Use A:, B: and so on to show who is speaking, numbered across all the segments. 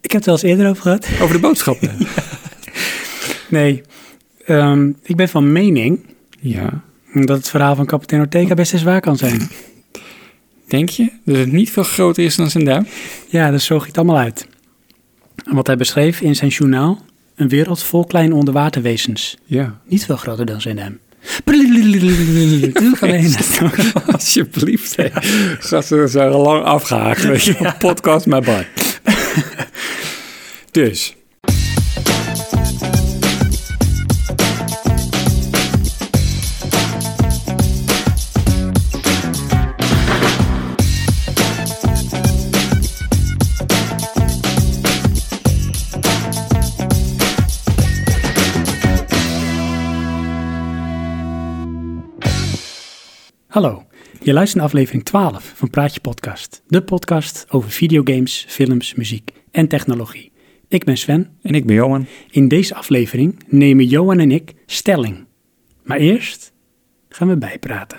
A: heb het wel eens eerder over gehad.
B: Over de boodschappen.
A: Nee, Ehm, ik ben van mening
B: ja.
A: dat het verhaal van kapitein Ortega best eens waar kan zijn.
B: Denk je dat het niet veel groter is dan zijn duim?
A: Ja, dat zoog het allemaal uit. En wat hij beschreef in zijn journaal, een wereld vol kleine onderwaterwezens.
B: Ja.
A: Niet veel groter dan zijn duim. Doe gewoon heen.
B: Alsjeblieft. hè. Gasten we zijn al lang afgehaakt. Weet je, podcast maar bye. dus,
A: Hallo, je luistert naar aflevering 12 van Praatje Podcast. De podcast over videogames, films, muziek en technologie. Ik ben Sven.
B: en ik ben Johan.
A: In deze aflevering nemen Johan en ik stelling. Maar eerst gaan we bijpraten.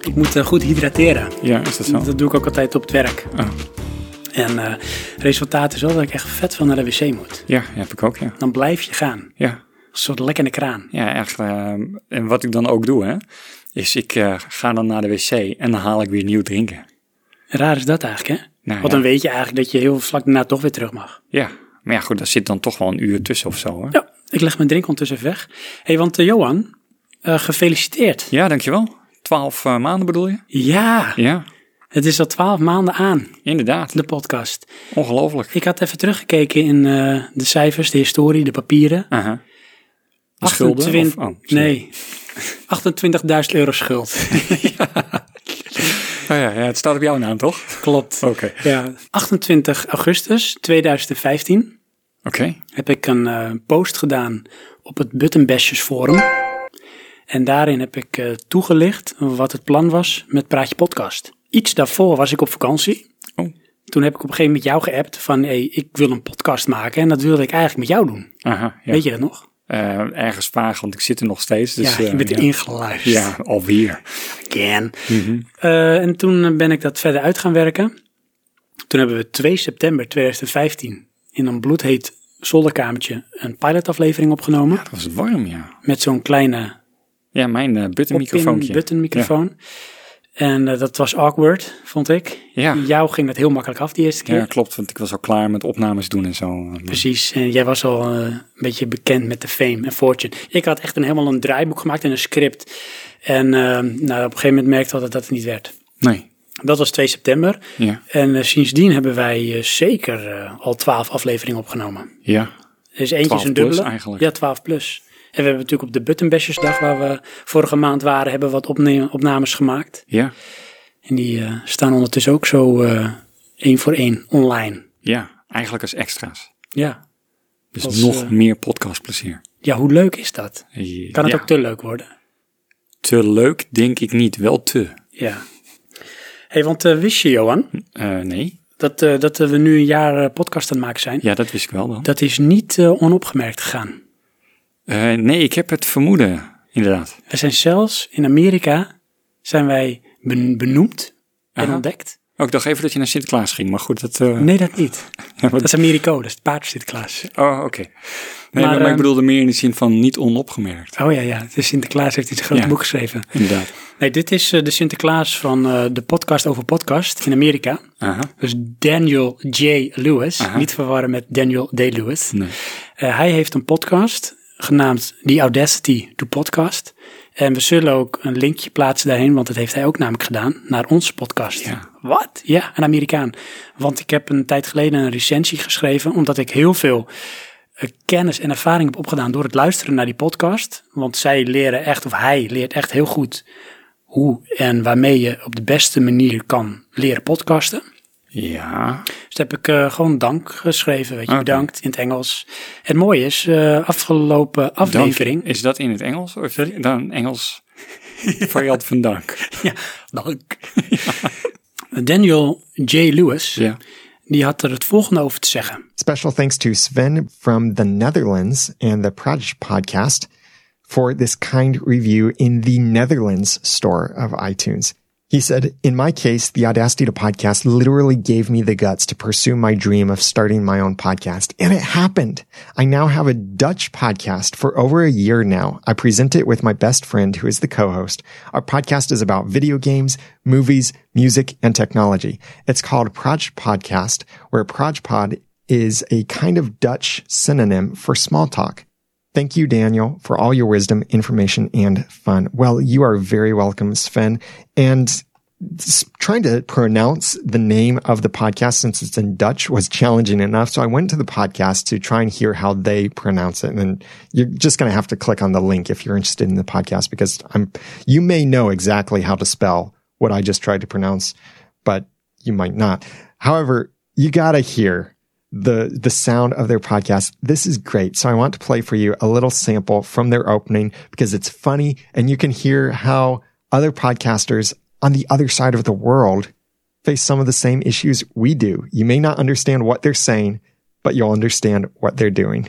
A: Ik moet eh, goed hydrateren.
B: Ja, is dat zo?
A: Dat doe ik ook altijd op het werk.
B: Oh.
A: En eh, resultaat is wel dat ik echt vet van naar de wc moet.
B: Ja, heb ik ook, ja.
A: Dan blijf je gaan.
B: Ja,
A: Een soort lekkende kraan.
B: ja echt. ehm, en wat ik dan ook doe, hè, is ik eh, ga dan naar de wc en dan haal ik weer nieuw drinken.
A: Raar is dat eigenlijk, hè?
B: Nou,
A: Want
B: ja.
A: dan weet je eigenlijk dat je heel vlak daarna toch weer terug mag.
B: Ja, maar ja, goed, daar zit dan toch wel een uur tussen of zo, hè?
A: Ja, ik leg mijn drink ondertussen even weg. Hé, hey, want eh, Johan, eh, gefeliciteerd.
B: Ja, dankjewel. Twaalf eh, maanden bedoel je?
A: Ja,
B: Ja,
A: het is al twaalf maanden aan,
B: inderdaad.
A: de podcast.
B: Ongelooflijk.
A: Ik had even teruggekeken in eh, de cijfers, de historie, de papieren.
B: Aha. De schulden? of- oh, sorry.
A: nee, 28.000 euro schuld.
B: Oh, ja, ja, het staat op jouw naam, toch?
A: Klopt.
B: Oké.
A: Ja, 28 augustus 2015
B: Oké.
A: heb ik een eh, post gedaan op het Buttonbashers forum. En daarin heb ik eh, toegelicht wat het plan was met Praatje Podcast. Iets daarvoor was ik op vakantie.
B: Oh.
A: Toen heb ik op een gegeven moment jou geappt van, hey, ik wil een podcast maken en dat wilde ik eigenlijk met jou doen.
B: Aha, ja.
A: Weet je dat nog?
B: Eh, ergens vaag, want ik zit er nog steeds. Dus,
A: ja, je
B: eh,
A: bent
B: ja.
A: ingeluisterd.
B: Ja, Mhm. alweer.
A: Again. Eh, en toen ben ik dat verder uit gaan werken. Toen hebben we 2 september 2015 in een bloedheet zolderkamertje een pilotaflevering opgenomen.
B: Dat was warm, ja.
A: Met zo'n kleine
B: Ja, mijn eh buttonmicroontje.
A: button microfoon. En eh, dat was awkward, vond ik.
B: Ja. Ja.
A: Jou ging dat heel makkelijk af die eerste keer.
B: ja, klopt, want ik was al klaar met opnames doen en zo.
A: Precies, en jij was al eh, een beetje bekend met de fame en fortune. Ik had echt een, helemaal een draaiboek gemaakt en een script. En eh, nou, op een gegeven moment merkte ik al dat dat het niet werd.
B: Nee.
A: Dat was 2 september.
B: Ja.
A: En eh, sindsdien hebben wij eh, zeker eh, al twaalf afleveringen opgenomen.
B: Ja.
A: Er is eentje
B: 12
A: is een
B: plus
A: dubbele.
B: eigenlijk.
A: Ja, 12 plus. En we hebben natuurlijk op de Buttonbashersdag, waar we vorige maand waren, hebben we wat opne- opnames gemaakt.
B: Ja.
A: En die eh, staan ondertussen ook zo eh, één voor één online.
B: Ja. Eigenlijk als extra's.
A: Ja.
B: Dus
A: Als,
B: nog
A: eh,
B: meer podcastplezier.
A: Ja, hoe leuk is dat?
B: Je-
A: Kan het
B: ja.
A: ook te leuk worden?
B: te leuk? Denk ik niet. Wel te.
A: Ja. hey, want eh, wist je, Johan,
B: Eh, nee.
A: dat, eh, dat we nu een jaar eh, podcast aan het maken zijn?
B: Ja, dat wist ik wel dan.
A: Dat is niet eh, onopgemerkt gegaan.
B: Eh, nee, ik heb het vermoeden. Inderdaad.
A: We zijn zelfs in Amerika zijn wij ben- benoemd en
B: Aha.
A: ontdekt.
B: Oh, ik dacht even dat je naar Sinterklaas ging, maar goed, dat... eh,
A: Nee, dat niet.
B: ja, wat-
A: Dat is Americo, dat is het paard Sinterklaas.
B: Oh, oké. Nee, maar, maar
A: ehm,
B: ik bedoelde meer in de zin van niet onopgemerkt.
A: Oh ja, ja. Dus Sinterklaas heeft iets een groot
B: Ja.
A: boek geschreven.
B: Inderdaad.
A: Nee, dit is eh, de Sinterklaas van eh, de podcast over podcast in Amerika.
B: Aha.
A: Dus Daniel J. Lewis.
B: Aha.
A: Niet verwarren met Daniel D. Lewis.
B: Nee.
A: Eh, hij heeft een podcast genaamd The Audacity to Podcast. En we zullen ook een linkje plaatsen daarheen, want dat heeft hij ook namelijk gedaan, naar onze podcast.
B: Ja.
A: Wat? Ja, een Amerikaan. Want ik heb een tijd geleden een recensie geschreven, omdat ik heel veel eh, kennis en ervaring heb opgedaan door het luisteren naar die podcast. Want zij leren echt, of hij leert echt heel goed hoe en waarmee je op de beste manier kan leren podcasten.
B: Ja.
A: Dus daar heb ik eh, gewoon dank geschreven, weet je,
B: Ah, Oké.
A: bedankt in het Engels. Het mooie is, eh, afgelopen aflevering...
B: Dank. Is dat in het Engels? Of dan Engels variant van dank?
A: Ja, dank. Daniel J. Lewis,
B: Ja.
A: die had er het volgende over te zeggen.
C: Special thanks to Sven from the Netherlands and the Prodigy podcast for this kind review in the Netherlands store of iTunes. He said, In my case, the Audacity to Podcast literally gave me the guts to pursue my dream of starting my own podcast. And it happened. I now have a Dutch podcast for over a year now. I present it with my best friend, who is the co-host. Our podcast is about video games, movies, music, and technology. It's called Proj Podcast, where Projpod is a kind of Dutch synonym for small talk. Thank you, Daniel, for all your wisdom, information, and fun. Well, you are very welcome, Sven. And s- trying to pronounce the name of the podcast since it's in Dutch was challenging enough. So I went to the podcast to try and hear how they pronounce it. And then you're just going to have to click on the link if you're interested in the podcast because I'm, you may know exactly how to spell what I just tried to pronounce, but you might not. However, you got to hear the the sound of their podcast. This is great. So I want to play for you a little sample from their opening because it's funny and you can hear how other podcasters on the other side of the world face some of the same issues we do. You may not understand what they're saying, but you'll understand what they're doing.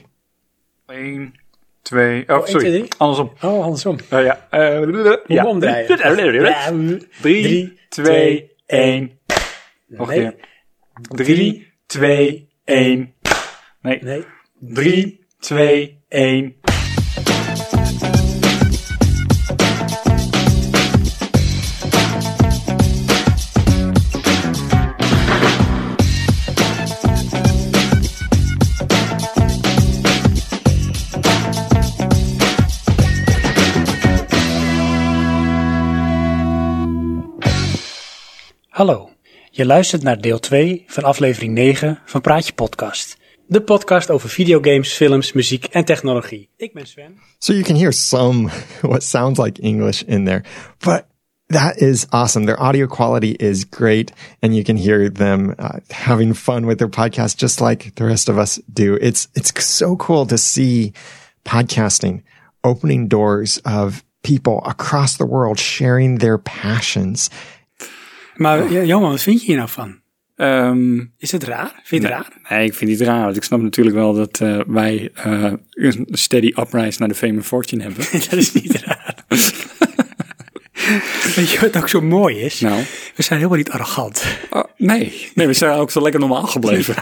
B: 1, 2,
A: sorry. twee,
B: oh, sorry.
A: drie.
B: Andersom.
A: Oh, andersom.
B: ja. ja.
A: omdraaien.
B: 3, 2, 1. Nog
A: Nee.
B: een keer. 3, 2, 1. Nee.
A: Nee.
B: 3, 2, 1.
A: Hallo, je luistert naar deel 2 van aflevering 9 van Praatje Podcast. De podcast over videogames, films, muziek en technologie. Ik ben Sven.
C: So you can hear some what sounds like English in there, but that is awesome. Their audio quality is great, and you can hear them uh, having fun with their podcast, just like the rest of us do. It's it's so cool to see podcasting opening doors of people across the world sharing their passions.
A: Maar
B: oh.
A: ja, Johan, wat vind je hier nou van? Is het raar? Vind je het raar?
B: Ehm, Nee, ik vind het raar. Want ik snap natuurlijk wel dat eh, wij eh, een steady uprise naar de fame and fortune hebben.
A: Dat is niet raar. Weet je wat ook zo mooi is?
B: Nou.
A: We zijn helemaal niet arrogant.
B: Oh, nee. nee, we zijn ook zo lekker normaal gebleven.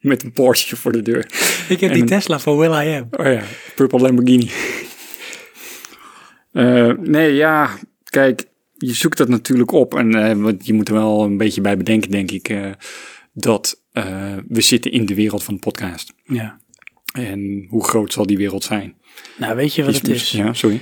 B: Met een Porsche voor de deur.
A: Ik heb
B: En
A: die
B: een-
A: Tesla van Will I Am.
B: Oh ja, Purple Lamborghini. Eh, nee, ja, kijk, je zoekt dat natuurlijk op. En eh, want je moet er wel een beetje bij bedenken, denk ik, eh, dat eh, we zitten in de wereld van de podcast.
A: Ja.
B: En hoe groot zal die wereld zijn?
A: Nou, weet je wat het is?
B: Ja, sorry.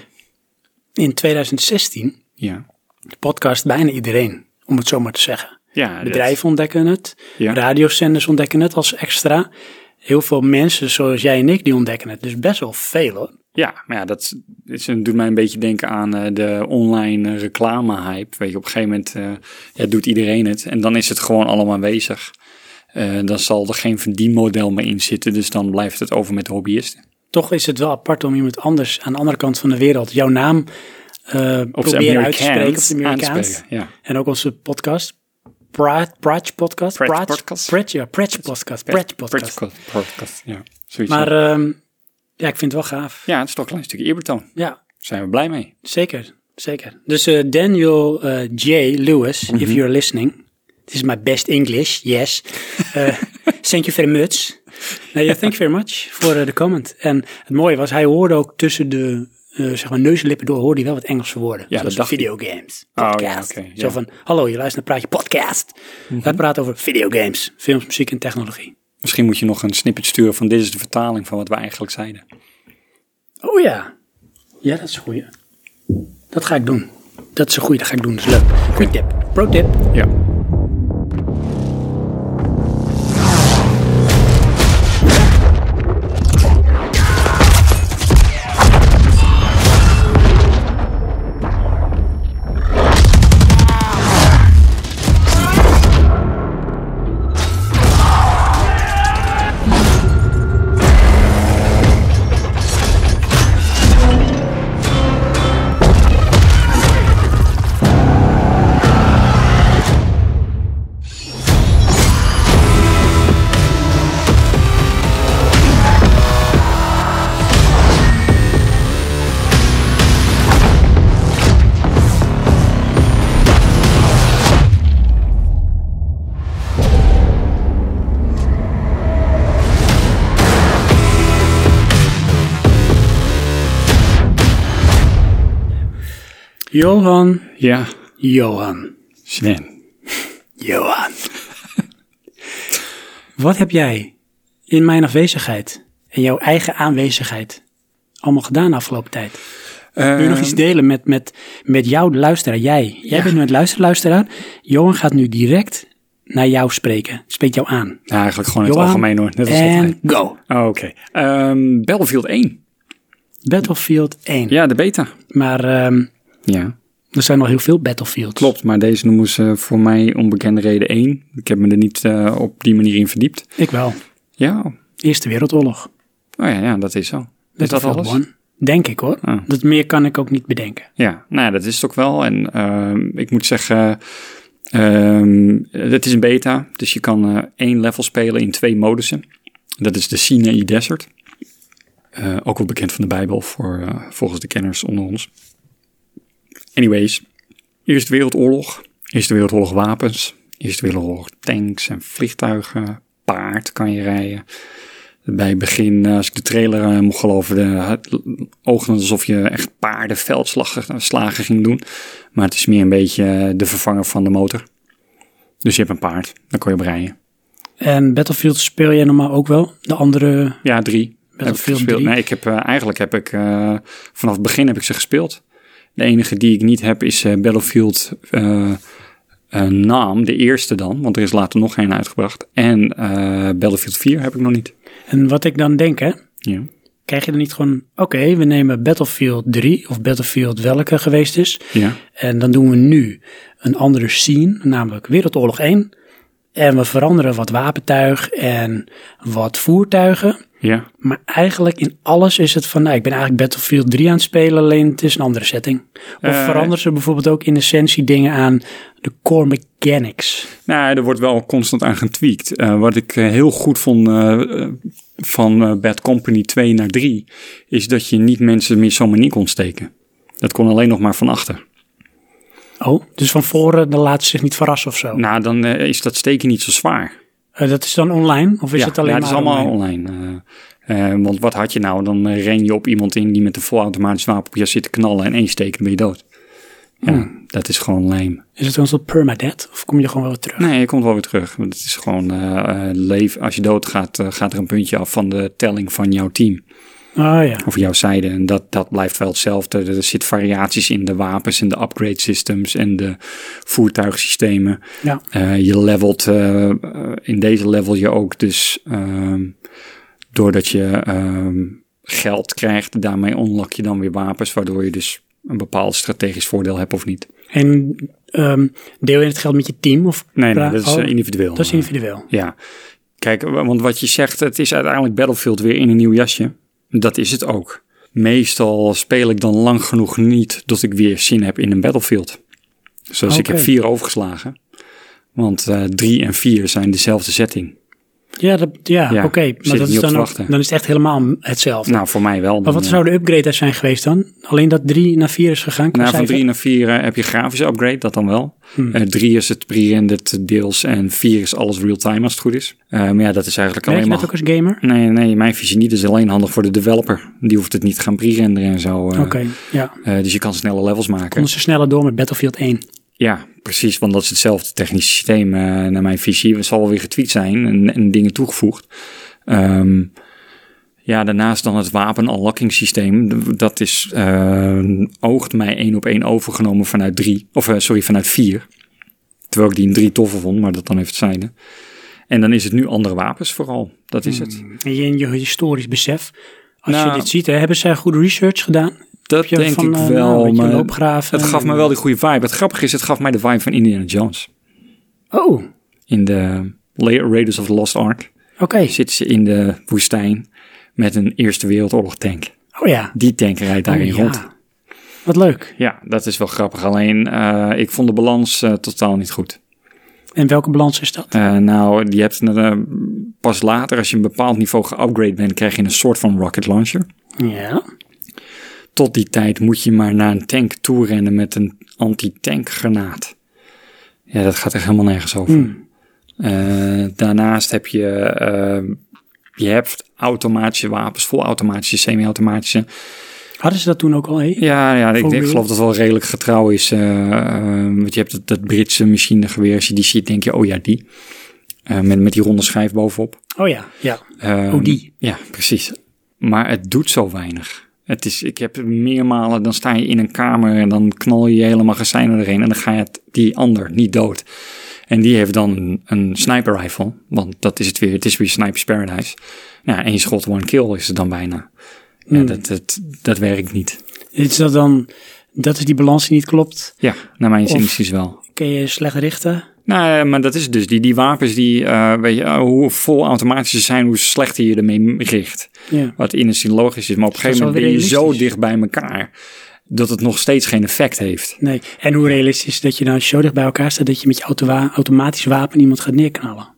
A: In 2016
B: Ja.
A: de podcast bijna iedereen, om het zo maar te zeggen.
B: Ja, dat-
A: Bedrijven ontdekken het,
B: Ja.
A: radiozenders ontdekken het als extra. Heel veel mensen zoals jij en ik, die ontdekken het. Dus best wel veel hoor.
B: Ja, maar ja, dat is- is, doet mij een beetje denken aan eh, de online eh, reclame-hype. Weet je, op een gegeven moment eh, ja, doet iedereen het en dan is het gewoon allemaal aanwezig. Eh, dan zal er geen verdienmodel meer in zitten, dus dan blijft het over met de hobbyisten.
A: Toch is het wel apart om iemand anders aan de andere kant van de wereld jouw naam eh
B: Op zijn
A: proberen uit te
B: Amerikaans
A: spreken op het Amerikaans.
B: aanspreken, Ja.
A: En ook onze podcast, Praat, Praatje Podcast.
B: Praatje
A: Praat-
B: Podcast.
A: Praat- ja, Praatje Podcast. Praatje Podcast.
B: Podcast, podcast, ja. Zoiets
A: Maar
B: maar,
A: ehm, ja, ik vind het wel gaaf.
B: ja, het is toch een klein stukje eerbetoon.
A: ja.
B: Zijn we blij mee.
A: Zeker, zeker. Dus eh, Daniel eh, J. Lewis, if
B: Mhm.
A: you're listening, this is my best English, yes. Eh, thank you very much. Nee, ja, thank you very much voor eh, de comment. En het mooie was, hij hoorde ook tussen de eh zeg maar neus en lippen door, hoorde hij wel wat Engelse woorden.
B: dat
A: zoals
B: dacht ik. Oh,
A: videogames,
B: ja,
A: podcast.
B: oké, ja. Mhm.
A: Zo van, hallo, je luistert naar Praatje Podcast. Wij praten over videogames, films, muziek en technologie.
B: Misschien moet je nog een snippet sturen van dit is de vertaling van wat we eigenlijk zeiden.
A: Oh ja. Ja, dat is een goeie. Dat ga ik doen. Dat is een goeie, dat ga ik doen. Dat is leuk. Pro tip. Pro tip.
B: Ja.
A: Johan,
B: Ja,
A: Johan,
B: Sven.
A: Johan. Wat heb jij in mijn afwezigheid en jouw eigen aanwezigheid allemaal gedaan de afgelopen tijd? Wil je
B: Ehm.
A: nog iets delen met, met, met jouw luisteraar? Jij. Jij bent nu het luisterluisteraar. Johan gaat nu direct naar jou spreken. Spreekt jou aan.
B: Nou, eigenlijk gewoon in het
A: Johan,
B: algemeen hoor. Net als
A: En
B: altijd.
A: go.
B: Oh, Oké. Ehm, Battlefield 1.
A: Battlefield 1.
B: Ja, de beta.
A: Maar ehm,
B: Ja.
A: er zijn al heel veel Battlefields.
B: Klopt, maar deze noemen ze voor mij onbekende reden 1. Ik heb me er niet eh, op die manier in verdiept.
A: Ik wel.
B: Ja, oh
A: Eerste Wereldoorlog.
B: ja, ja dat is zo. Is dat
A: Battlefield
B: alles?
A: One. Denk ik hoor.
B: Ah.
A: Dat meer kan ik ook niet bedenken.
B: Ja, nou ja, dat is het ook wel. En ehm, ik moet zeggen, ehm, het is een beta. Dus je kan eh, één level spelen in twee modussen. Dat is de Sinai Desert. Eh, ook wel bekend van de Bijbel voor, eh, volgens de kenners onder ons. Anyways, Eerste Wereldoorlog. Eerste Wereldoorlog wapens. Eerste Wereldoorlog tanks en vliegtuigen. Paard kan je rijden. Bij het begin, eh, als ik de trailer eh, mocht geloven, de, het oogde het alsof je echt paardenveldslagen eh, slagen ging doen. Maar het is meer een beetje eh, de vervanger van de motor. Dus je hebt een paard, dan kon je op rijden.
A: En Battlefield speel jij normaal ook wel? De andere...
B: Ja, drie. Heb ik
A: Battlefield
B: gespeeld.
A: drie.
B: Nee, ik heb, eh, eigenlijk heb ik eh, vanaf het begin heb ik ze gespeeld. De enige die ik niet heb is eh, Battlefield eh, eh, naam, de eerste dan. Want er is later nog geen uitgebracht. En eh, Battlefield 4 heb ik nog niet.
A: En wat ik dan denk hè...
B: Ja.
A: Krijg je dan niet gewoon... Oké, we nemen Battlefield 3 of Battlefield welke geweest is...
B: ja.
A: En dan doen we nu een andere scene, namelijk Wereldoorlog 1. En we veranderen wat wapentuig en wat voertuigen.
B: Ja.
A: Maar eigenlijk in alles is het van, nou, ik ben eigenlijk Battlefield 3 aan het spelen, alleen het is een andere setting. Of
B: Eh,
A: veranderen ze bijvoorbeeld ook in essentie dingen aan de core mechanics.
B: Nou, er wordt wel constant aan getweakt. Eh, wat ik eh, heel goed vond eh, eh, van eh, Bad Company 2 naar 3, is dat je niet mensen meer zomaar niet kon steken. Dat kon alleen nog maar van achter.
A: Oh, dus van voren, dan laten ze zich niet verrassen of zo.
B: Nou, dan eh, is dat steken niet zo zwaar.
A: Eh, dat is dan online? Of is
B: ja,
A: het alleen
B: ja,
A: maar
B: is allemaal
A: online?
B: online. Eh, eh, want wat had je nou? Dan eh, ren je op iemand in die met een volautomatisch wapen op je zit te knallen en één steek dan ben je dood. Ja,
A: Hmm.
B: dat is gewoon lame.
A: Is het dan zo'n permadeath? Of kom je gewoon wel weer terug?
B: Nee, je komt wel weer terug. Want het is gewoon eh, eh, leef. Als je doodgaat, eh, gaat er een puntje af van de telling van jouw team.
A: Oh ja.
B: over jouw zijde. En dat, dat blijft wel hetzelfde. Er zit variaties in de wapens en de upgrade systems en de voertuigsystemen.
A: ja.
B: Eh, je levelt eh, eh, in deze level je ook dus ehm, doordat je ehm, geld krijgt. Daarmee unlock je dan weer wapens, waardoor je dus een bepaald strategisch voordeel hebt of niet.
A: En ehm, deel je het geld met je team? Of
B: Nee, nee, dat is
A: Oh,
B: eh, individueel.
A: Dat is individueel.
B: Ja, kijk, wa- want wat je zegt, het is uiteindelijk Battlefield weer in een nieuw jasje. Dat is het ook. Meestal speel ik dan lang genoeg niet dat ik weer zin heb in een Battlefield. Zoals ik
A: Oké.
B: heb vier overgeslagen. Want eh, drie en vier zijn dezelfde setting.
A: Ja, dat, ja,
B: Ja,
A: oké.
B: zit
A: Maar
B: er
A: dat
B: niet
A: is
B: op
A: dan,
B: te
A: ook,
B: wachten.
A: dan is het echt helemaal hetzelfde.
B: Nou, voor mij wel.
A: maar
B: Dan,
A: wat
B: eh,
A: zouden upgrades zijn geweest dan? Alleen dat 3 naar 4 is gegaan? qua
B: nou, van
A: cijfer?
B: drie naar vier eh, heb je grafische upgrade, dat dan wel.
A: Hmm.
B: Eh, drie is het pre-rendered deels en vier is alles real-time als het goed is. Eh, maar ja, dat is eigenlijk
A: Werk
B: alleen
A: je
B: maar...
A: dat ook als gamer?
B: Nee, nee, mijn visie niet is alleen handig voor de developer. Die hoeft het niet te gaan pre-renderen en zo. eh.
A: Oké, ja.
B: Eh, dus je kan snelle levels maken.
A: Konden ze sneller door met Battlefield 1.
B: Ja, precies, want dat is hetzelfde technisch systeem eh, naar mijn visie. Het zal wel weer getweet zijn en, en dingen toegevoegd. Ehm, ja, daarnaast dan het wapen unlocking systeem. D- Dat is, eh, oogt mij één op één overgenomen vanuit drie, of eh, sorry, vanuit vier. Terwijl ik die in drie toffer vond, maar dat dan even zijnde. En dan is het nu andere wapens vooral. Dat
A: Hmm.
B: is het.
A: En je, in je historisch besef. Als
B: Mm. Nou-
A: je dit ziet, hè, hebben zij goede research gedaan?
B: Dat
A: je
B: denk
A: van,
B: ik
A: eh,
B: wel.
A: nou, weet je,
B: maar
A: loopgraven
B: het gaf
A: en-
B: me wel die goede vibe. Het grappige is, het gaf mij de vibe van Indiana Jones.
A: Oh, oké.
B: in de La- Raiders of the Lost Ark zit ze in de woestijn met een Eerste Wereldoorlog tank.
A: Oh ja.
B: Die tank rijdt daarin
A: Oh, ja.
B: rond.
A: Wat leuk.
B: Ja, dat is wel grappig. Alleen, eh, ik vond de balans eh, totaal niet goed.
A: En welke balans is dat?
B: Eh, nou, je hebt eh, pas later, als je een bepaald niveau geupgrade bent, krijg je een soort van rocket launcher.
A: Ja.
B: Tot die tijd moet je maar naar een tank toe rennen met een anti-tankgranaat. Ja, dat gaat echt helemaal nergens over.
A: Hmm.
B: Eh, daarnaast heb je, eh, je hebt automatische wapens, volautomatische, semi-automatische.
A: Hadden ze dat toen ook al? hé?
B: Ja, ja ik,
A: Voor
B: ik
A: Bill.
B: geloof dat het wel redelijk getrouw is. eh, eh, want je hebt dat, dat Britse machinegeweer. Als je die ziet, denk je, oh ja, die. Eh, met, met die ronde schijf bovenop.
A: Oh ja, ja.
B: Ehm,
A: Oh, die.
B: Ja, precies. Maar het doet zo weinig. Het is, ik heb meermalen, dan sta je in een kamer en dan knal je je helemaal gazijnen erheen. En dan ga je het- die ander niet dood. En die heeft dan een sniper rifle. Want dat is het weer. Het is weer Sniper's Paradise. Ja, één schot, one kill is het dan bijna. Ja,
A: Hmm.
B: dat, dat, dat werkt niet.
A: Is dat dan, dat is die balans die niet klopt?
B: Ja, naar mijn zin
A: Of-
B: is wel.
A: Kun je slecht richten?
B: Nou, ja, maar dat is dus die, die wapens die, eh, weet je, eh, hoe vol automatisch ze zijn, hoe slechter je ermee richt.
A: Ja.
B: Wat in een zin logisch is, maar op een
A: dat
B: gegeven moment
A: wel
B: ben je
A: weer
B: zo
A: realistisch?
B: dicht bij elkaar dat het nog steeds geen effect heeft.
A: Nee. En hoe realistisch is dat je dan zo dicht bij elkaar staat dat je met je autowa- automatisch wapen iemand gaat neerknallen?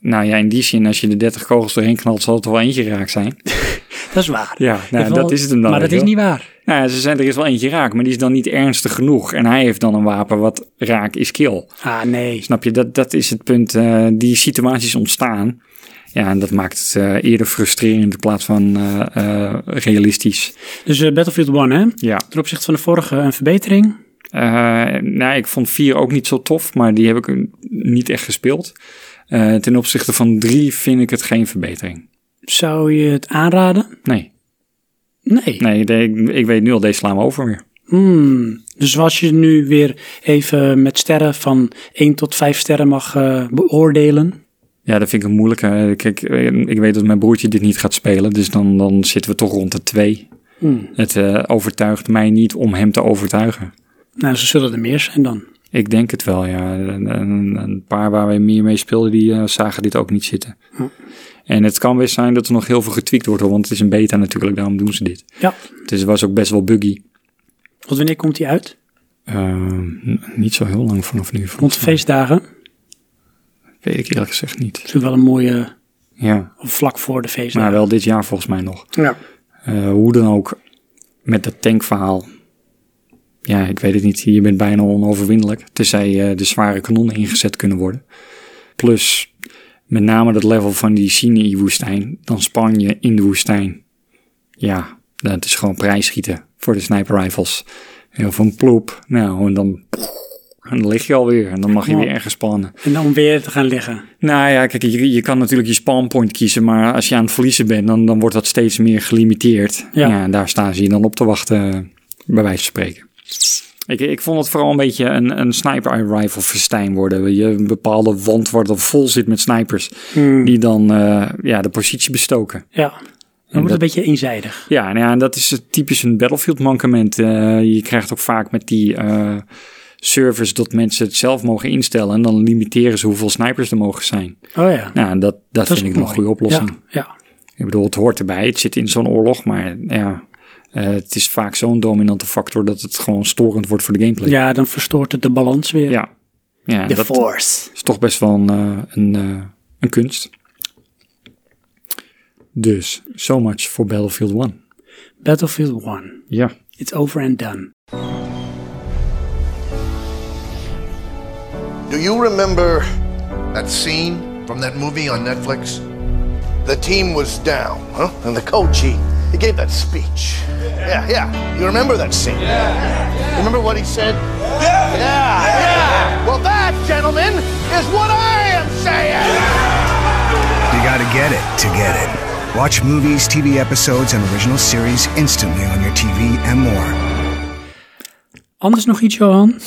B: Nou ja, in die zin, als je de 30 kogels doorheen knalt, zal het er wel eentje raak zijn.
A: Dat is waar.
B: Ja, nou,
A: Wel-
B: dat is het hem dan.
A: Maar dat
B: weet
A: is
B: je wel.
A: niet waar.
B: Nou ja, ze zijn er is wel eentje raak, maar die is dan niet ernstig genoeg. En hij heeft dan een wapen wat raak is kill.
A: Ah, nee.
B: Snap je, dat, dat is het punt. eh, die situaties ontstaan. Ja, en dat maakt het eh, eerder frustrerend in plaats van eh, eh, realistisch.
A: Dus eh, Battlefield 1, hè?
B: Ja.
A: Ten opzichte van de vorige een verbetering.
B: Eh, nou, ik vond 4 ook niet zo tof, maar die heb ik eh, niet echt gespeeld. Eh, ten opzichte van 3 vind ik het geen verbetering.
A: Zou je het aanraden?
B: Nee,
A: Nee.
B: nee de- ik, ik weet nu al, deze slaan we over weer.
A: Hmm. Dus als je nu weer even met sterren van 1 tot 5 sterren mag eh, beoordelen.
B: Ja, dat vind ik een moeilijke. Kijk, eh, ik weet dat mijn broertje dit niet gaat spelen, dus dan, dan zitten we toch rond de 2.
A: Hmm.
B: Het eh, overtuigt mij niet om hem te overtuigen.
A: Nou, ze zullen er meer zijn dan.
B: Ik denk het wel, ja. Een, een- een paar waar we meer mee speelden, die eh, zagen dit ook niet zitten.
A: Hm.
B: En het kan best zijn dat er nog heel veel getweakt wordt, hoor, want het is een beta natuurlijk, daarom doen ze dit.
A: Ja.
B: Dus het was ook best wel buggy.
A: Want wanneer komt die uit?
B: Ehm, n- niet zo heel lang vanaf nu.
A: Rond de feestdagen.
B: Weet ik eerlijk gezegd niet.
A: Natuurlijk wel een mooie
B: Ja,
A: of vlak voor de
B: maar
A: feestdagen.
B: wel dit jaar volgens mij nog.
A: Ja.
B: Eh, hoe dan ook, met dat tankverhaal. Ja, ik weet het niet. Je bent bijna onoverwinnelijk. Tenzij eh, de zware kanonnen ingezet kunnen worden. Plus, met name dat level van die Sinai-woestijn. Dan span je in de woestijn. Ja, dat is gewoon prijsschieten voor de sniper rifles. Heel van ploep. Nou, en dan... En dan lig je alweer. En dan mag je
A: Ja.
B: weer ergens spannen.
A: En dan weer te gaan liggen.
B: Nou ja, kijk, je, je kan natuurlijk je spawnpoint kiezen, maar als je aan het verliezen bent, dan, dan wordt dat steeds meer gelimiteerd.
A: Ja.
B: Ja. en daar staan ze je dan op te wachten, eh, bij wijze van spreken. Ik, ik vond het vooral een beetje een, een sniper rifle festijn worden. Je een bepaalde wand waar dan vol zit met snipers,
A: Hmm.
B: die dan eh, ja, de positie bestoken.
A: Ja. Dan wordt het
B: dat-
A: een beetje eenzijdig.
B: Ja, nou ja, en dat is het typisch een battlefield mankement. Eh, je krijgt ook vaak met die eh servers dat mensen het zelf mogen instellen en dan limiteren ze hoeveel snipers er mogen zijn.
A: Oh ja.
B: Nou, en dat, dat,
A: is
B: vind ik
A: mooi.
B: nog een goede oplossing.
A: Ja.
B: Ik bedoel, het hoort erbij. Het zit in zo'n oorlog, maar ja, eh, het is vaak zo'n dominante factor dat het gewoon storend wordt voor de
A: ja.
B: gameplay.
A: ja, dan verstoort het de balans weer.
B: ja. Ja,
A: De
B: dat
A: force.
B: is toch best wel een, eh, een, eh, een kunst. Dus, so much voor Battlefield 1.
A: Battlefield 1.
B: Ja.
A: It's over and done.
D: Do you remember that scene from that movie on Netflix? The team was down, huh? And the coach, he, he gave that speech. Yeah, yeah. You remember that scene? Yeah. Remember what he said? Yeah. Yeah, yeah. Well, that, gentlemen, is what I am saying.
E: You gotta get it to get it. Watch movies, TV episodes, and original series instantly on your TV and more.
A: Anders nog iets, Johan?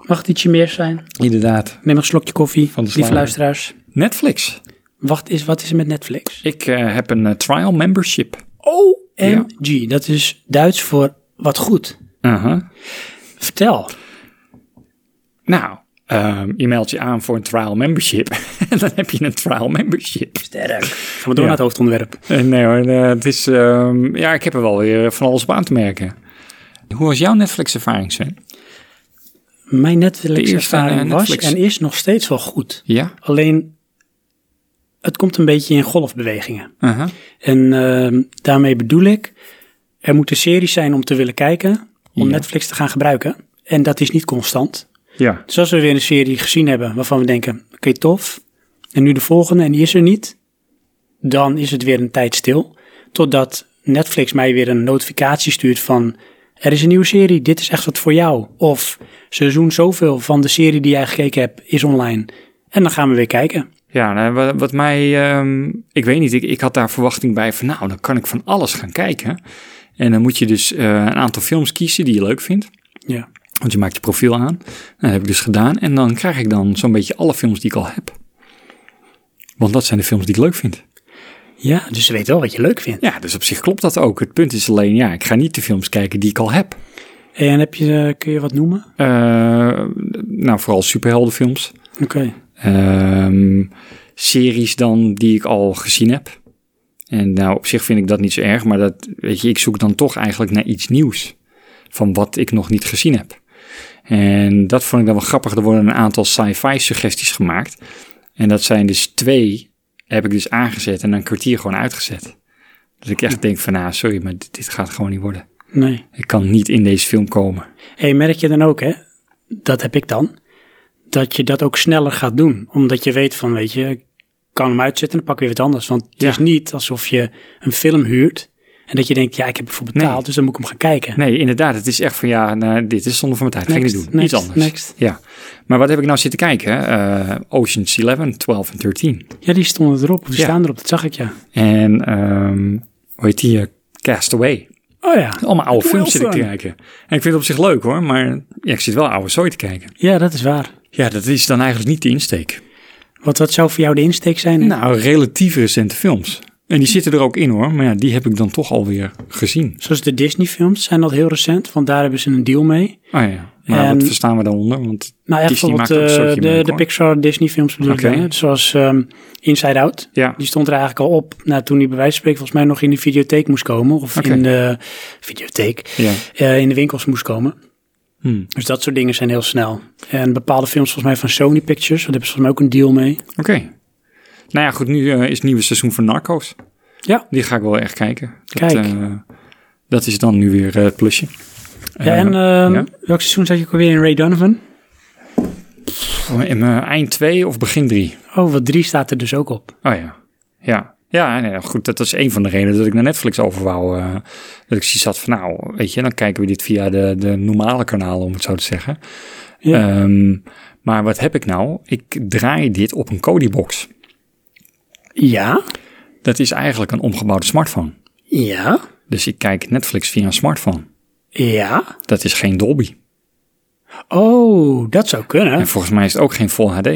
A: Mag het ietsje meer zijn?
B: Inderdaad.
A: Neem een slokje koffie,
B: Van de
A: lieve
B: slager.
A: luisteraars.
B: Netflix.
A: Wat is, wat is er met Netflix?
B: Ik eh, heb een eh, trial membership.
A: OMG, dat is Duits voor wat goed.
B: Aha.
A: Vertel.
B: Nou, ehm, je meldt je aan voor een trial membership. en dan heb je een trial membership.
A: Sterk. Gaan we door naar het hoofdonderwerp.
B: Eh, Nee hoor, eh, het is, ehm, ja, ik heb er wel weer van alles op aan te merken. Hoe was jouw Netflix-ervaring, Sven?
A: Mijn
B: De eerste,
A: Netflix-ervaring
B: eh,
A: was
B: Netflix.
A: en is nog steeds wel goed.
B: Ja.
A: Alleen, het komt een beetje in golfbewegingen.
B: Aha.
A: En ehm, daarmee bedoel ik, er moeten series zijn om te willen kijken, om Netflix te gaan gebruiken. En dat is niet constant.
B: Ja.
A: Dus als we weer een serie gezien hebben waarvan we denken, oké tof, en nu de volgende en die is er niet, dan is het weer een tijd stil. Totdat Netflix mij weer een notificatie stuurt van... er is een nieuwe serie, dit is echt wat voor jou. Of seizoen zoveel van de serie die jij gekeken hebt is online. En dan gaan we weer kijken.
B: Ja, nou, wa- wat mij, ehm, ik weet niet, ik, ik had daar verwachting bij van nou, dan kan ik van alles gaan kijken. En dan moet je dus eh, een aantal films kiezen die je leuk vindt.
A: Ja.
B: Want je maakt je profiel aan. Nou, dat heb ik dus gedaan. En dan krijg ik dan zo'n beetje alle films die ik al heb. Want dat zijn de films die ik leuk vind.
A: ja, dus ze weten wel wat je leuk vindt.
B: Ja, dus op zich klopt dat ook. Het punt is alleen, ja, ik ga niet de films kijken die ik al heb.
A: En heb je, eh, kun je wat noemen?
B: Eh, nou, vooral superheldenfilms.
A: Oké.
B: Ehm, series dan die ik al gezien heb. En nou, op zich vind ik dat niet zo erg, maar dat, weet je, ik zoek dan toch eigenlijk naar iets nieuws. Van wat ik nog niet gezien heb. En dat vond ik dan wel grappig. Er worden een aantal sci-fi suggesties gemaakt. En dat zijn dus twee, heb ik dus aangezet en een kwartier gewoon uitgezet. Dus ik echt denk van, nou, sorry, maar dit, dit gaat gewoon niet worden.
A: Nee.
B: Ik kan niet in deze film komen.
A: Hey, merk je dan ook, hè? Dat heb ik dan. Dat je dat ook sneller gaat doen. Omdat je weet van, weet je, ik kan hem uitzetten en dan pak ik weer wat anders. Want het
B: Ja.
A: is niet alsof je een film huurt en dat je denkt, ja, ik heb ervoor betaald,
B: Nee.
A: dus dan moet ik hem gaan kijken.
B: Nee, inderdaad. Het is echt van ja, nou, dit is zonde van mijn tijd. Ga ik
A: Next,
B: niet doen.
A: next,
B: Iets anders.
A: next.
B: Ja. Maar wat heb ik nou zitten kijken? Eh Ocean's 11, 12 en 13.
A: Ja, die stonden erop, of die
B: Ja.
A: staan erop, dat zag ik, ja.
B: En ehm hoe heet die? eh, Castaway.
A: Oh ja,
B: Allemaal oude films zit ik te
A: Wilson.
B: kijken. En ik vind het op zich leuk hoor, maar ja, ik zit wel oude zooi te kijken.
A: ja, dat is waar.
B: Ja, dat is dan eigenlijk niet de insteek.
A: Wat, wat zou voor jou de insteek zijn? hè?
B: Nou, relatief recente films. En die zitten er ook in hoor, maar ja, die heb ik dan toch alweer gezien.
A: Zoals de Disney-films zijn dat heel recent, want daar hebben ze een deal mee.
B: Oh ja, maar
A: En-
B: wat verstaan we daaronder? Want
A: Nou, echt
B: Disney maakt
A: bijvoorbeeld
B: ook een
A: eh,
B: soortje
A: de,
B: merk,
A: de
B: hoor.
A: Pixar Disney-films bedoel
B: Oké.
A: ik dan, hè? Zoals ehm, Inside Out.
B: Ja.
A: Die stond er eigenlijk al op nou, toen die bij wijze van spreken volgens mij nog in de videotheek moest komen. Of
B: Oké.
A: in de videotheek,
B: Ja.
A: eh, in de winkels moest komen.
B: Hmm.
A: Dus dat soort dingen zijn heel snel. En bepaalde films volgens mij van Sony Pictures, daar hebben ze volgens mij ook een deal mee.
B: Oké. Nou ja, goed, nu eh, is het nieuwe seizoen van Narcos.
A: Ja.
B: Die ga ik wel echt kijken. Dat,
A: Kijk.
B: eh, dat is dan nu weer eh, het plusje.
A: ja,
B: Eh,
A: en ehm,
B: ja.
A: welk seizoen zat je ook alweer in Ray Donovan?
B: Oh, In mijn eind 2 of begin 3?
A: Oh, wat drie staat er dus ook op.
B: Oh ja. Ja. Ja, nee, nou goed, dat is een van de redenen dat ik naar Netflix over wou. eh, dat ik zoiets had van, nou, weet je, dan kijken we dit via de, de normale kanalen, om het zo te zeggen.
A: Ja.
B: Ehm, maar wat heb ik nou? Ik draai dit op een Kodi-box.
A: Ja,
B: Dat is eigenlijk een omgebouwde smartphone.
A: ja,
B: Dus ik kijk Netflix via een smartphone.
A: ja.
B: Dat is geen Dolby.
A: Oh, dat zou kunnen.
B: En volgens mij is het ook geen Full HD.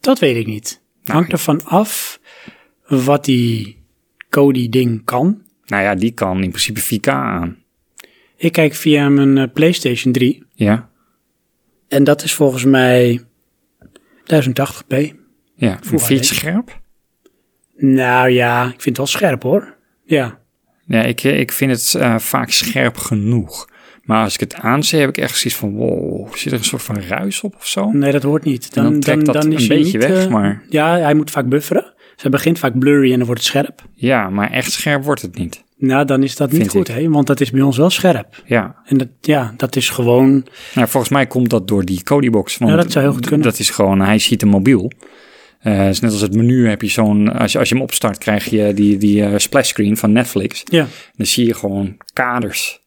A: Dat weet ik niet.
B: Nou,
A: Hangt ervan af wat die Kodi-ding kan.
B: Nou ja, die kan in principe 4K aan.
A: Ik kijk via mijn eh, PlayStation 3.
B: Ja,
A: En dat is volgens mij 1080p.
B: ja.
A: Full
B: Vind je het
A: HD.
B: scherp?
A: Nou ja, ik vind het wel scherp hoor. Ja.
B: Ja, ik, ik vind het eh, vaak scherp genoeg. Maar als ik het aanzet, heb ik echt zoiets van... wow, zit er een soort van ruis op of zo?
A: Nee, dat hoort niet.
B: dan trekt dat een
A: hij
B: beetje weg,
A: eh,
B: maar-
A: Ja, hij moet vaak bufferen. Dus hij begint vaak blurry en dan wordt het scherp.
B: Ja, maar echt scherp wordt het niet.
A: Nou, dan is dat niet
B: Vind
A: goed,
B: ik.
A: hè? Want dat is bij ons wel scherp.
B: Ja,
A: En dat, ja, dat is gewoon...
B: nou, volgens mij komt dat door die Kodi-box. want
A: Ja, dat zou heel goed kunnen.
B: Dat is gewoon, hij ziet een mobiel. Eh, het is net als het menu heb je zo'n... Als je, als je hem opstart, krijg je die, die eh, splash screen van Netflix.
A: Ja,
B: Dan zie je gewoon kaders.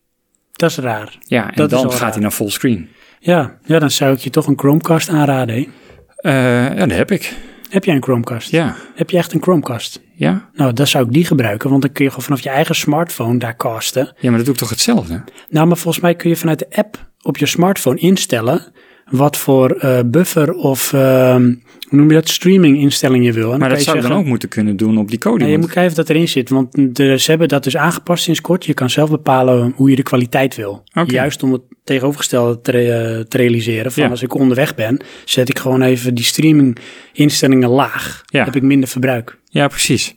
A: dat is raar.
B: Ja, en
A: Dat is
B: dan
A: wel
B: gaat
A: raar.
B: hij naar fullscreen.
A: Ja, ja, dan zou ik je toch een Chromecast aanraden, hè?
B: Eh ja, dat heb ik.
A: Heb jij een Chromecast?
B: Ja,
A: Heb je echt een Chromecast?
B: ja.
A: Nou, dan zou ik die gebruiken, want dan kun je gewoon vanaf je eigen smartphone daar casten.
B: Ja, maar dat doe ik toch hetzelfde?
A: Nou, maar volgens mij kun je vanuit de app op je smartphone instellen wat voor eh, buffer of ehm, hoe noem je dat, streaming instelling je wil. En
B: Maar
A: kan
B: dat
A: je
B: zou je dan
A: zeggen-
B: ook moeten kunnen doen op die code.
A: Nee, je
B: want-
A: moet kijken of dat erin zit, want de, ze hebben dat dus aangepast sinds kort. Je kan zelf bepalen hoe je de kwaliteit wil.
B: Oké.
A: Juist om het tegenovergestelde te, re- te realiseren. Van
B: Ja.
A: als ik onderweg ben, zet ik gewoon even die streaming instellingen laag.
B: Ja.
A: Heb ik minder verbruik.
B: Ja, precies.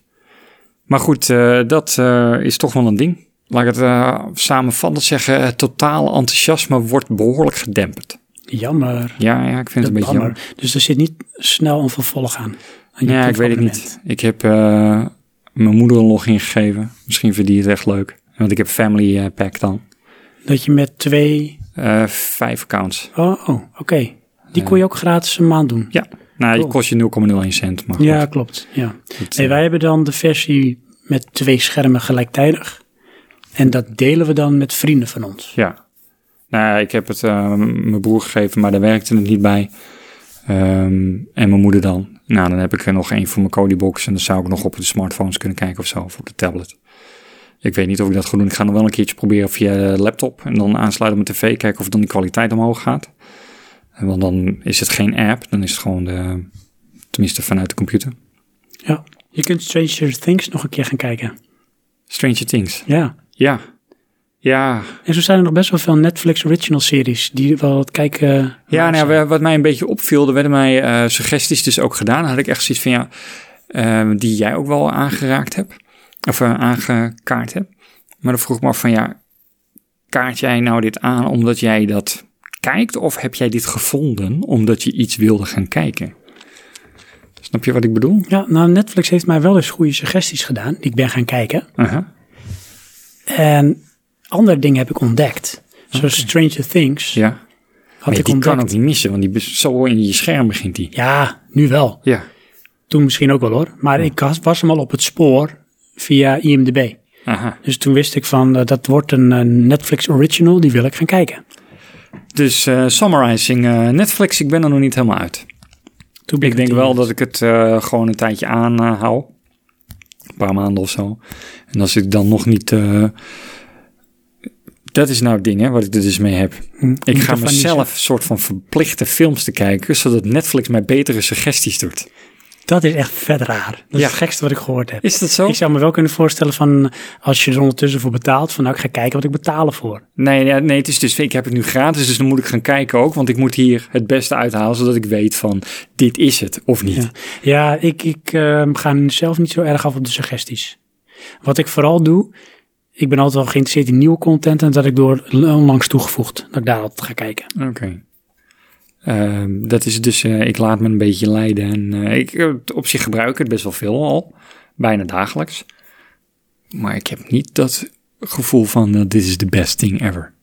B: Maar goed, eh, dat eh, is toch wel een ding. Laat ik het eh, samenvattend zeggen, het totale enthousiasme wordt behoorlijk gedemperd.
A: Jammer.
B: Ja, ja, ik vind het een beetje
A: Bammer.
B: jammer.
A: Dus er zit niet snel een vervolg aan. aan je
B: Ja, ik weet het
A: proefabonnement.
B: niet. Ik heb eh, mijn moeder een login gegeven. Misschien vindt die het echt leuk. Want ik heb family eh, pack dan.
A: Dat je met twee...
B: Eh, vijf accounts.
A: Oh, oh, oké. Die kon je ook gratis een maand doen.
B: Ja, nou, die
A: Cool.
B: kost je 0,01 cent. Maar
A: Ja,
B: goed, eh,
A: klopt. Ja.
B: het,
A: Nee, wij hebben dan de versie met twee schermen gelijktijdig. En dat delen we dan met vrienden van ons.
B: Ja. Nou ja, ik heb het eh, mijn broer gegeven, maar daar werkte het niet bij. Ehm, en mijn moeder dan. Nou, dan heb ik er nog één voor mijn Cody-box. En dan zou ik nog op de smartphones kunnen kijken of zo, of op de tablet. Ik weet niet of ik dat ga doen. Ik ga nog wel een keertje proberen via de laptop. En dan aansluiten op mijn tv, kijken of dan die kwaliteit omhoog gaat. En Want dan is het geen app, dan is het gewoon de... Tenminste, vanuit de computer.
A: Ja. Je kunt Stranger Things nog een keer gaan kijken.
B: Stranger Things.
A: Ja.
B: Ja. Ja,
A: En zo zijn er nog best wel veel Netflix original series die wel het kijken.
B: Ja, nou, ja, wat mij een beetje opviel, er werden mij eh, suggesties dus ook gedaan. Dan had ik echt zoiets van, ja, ehm, die jij ook wel aangeraakt hebt. Of eh, aangekaart hebt. Maar dan vroeg ik me af van, ja, kaart jij nou dit aan omdat jij dat kijkt? Of heb jij dit gevonden omdat je iets wilde gaan kijken? Snap je wat ik bedoel?
A: Ja, nou Netflix heeft mij wel eens goede suggesties gedaan die ik ben gaan kijken.
B: Aha.
A: En andere dingen heb ik ontdekt. Zoals Stranger Things
B: Ja.
A: had
B: maar
A: ik
B: die
A: ontdekt.
B: kan ook niet missen, want die bes- zo in je scherm begint die.
A: Ja, nu wel.
B: Ja.
A: Toen misschien ook wel hoor. Maar ik was, was hem al op het spoor via IMDb.
B: Aha.
A: Dus toen wist ik van, eh, dat wordt een eh, Netflix original, die wil ik gaan kijken.
B: Dus eh, summarizing, eh, Netflix, ik ben er nog niet helemaal uit.
A: Toen ben
B: Ik denk
A: het
B: wel
A: in-
B: dat ik het eh, gewoon een tijdje aanhou. een paar maanden of zo. En als ik dan nog niet. eh, dat is nou het ding, hè, wat ik er dus mee heb. Ik
A: niet
B: ga
A: ervan
B: mezelf soort van verplichten films te kijken, zodat Netflix mij betere suggesties doet.
A: Dat is echt vet raar. Dat is
B: Ja.
A: het gekste wat ik gehoord heb.
B: Is dat zo?
A: Ik zou me wel kunnen voorstellen van, als je er ondertussen voor betaalt, van nou, ik ga kijken wat ik betalen voor.
B: Nee, ja, nee, het is dus, ik heb het nu gratis, dus dan moet ik gaan kijken ook. Want ik moet hier het beste uithalen, zodat ik weet van dit is het of niet.
A: Ja, ja ik, ik ehm, ga zelf niet zo erg af op de suggesties. Wat ik vooral doe, ik ben altijd wel geïnteresseerd in nieuwe content en dat ik door onlangs toegevoegd, dat ik daar altijd ga kijken.
B: Oké. Ehm, dat is dus, eh, ik laat me een beetje leiden. En eh, ik, eh, op zich gebruik ik het best wel veel al. Bijna dagelijks. Maar ik heb niet dat gevoel van, eh, dit is the best thing ever.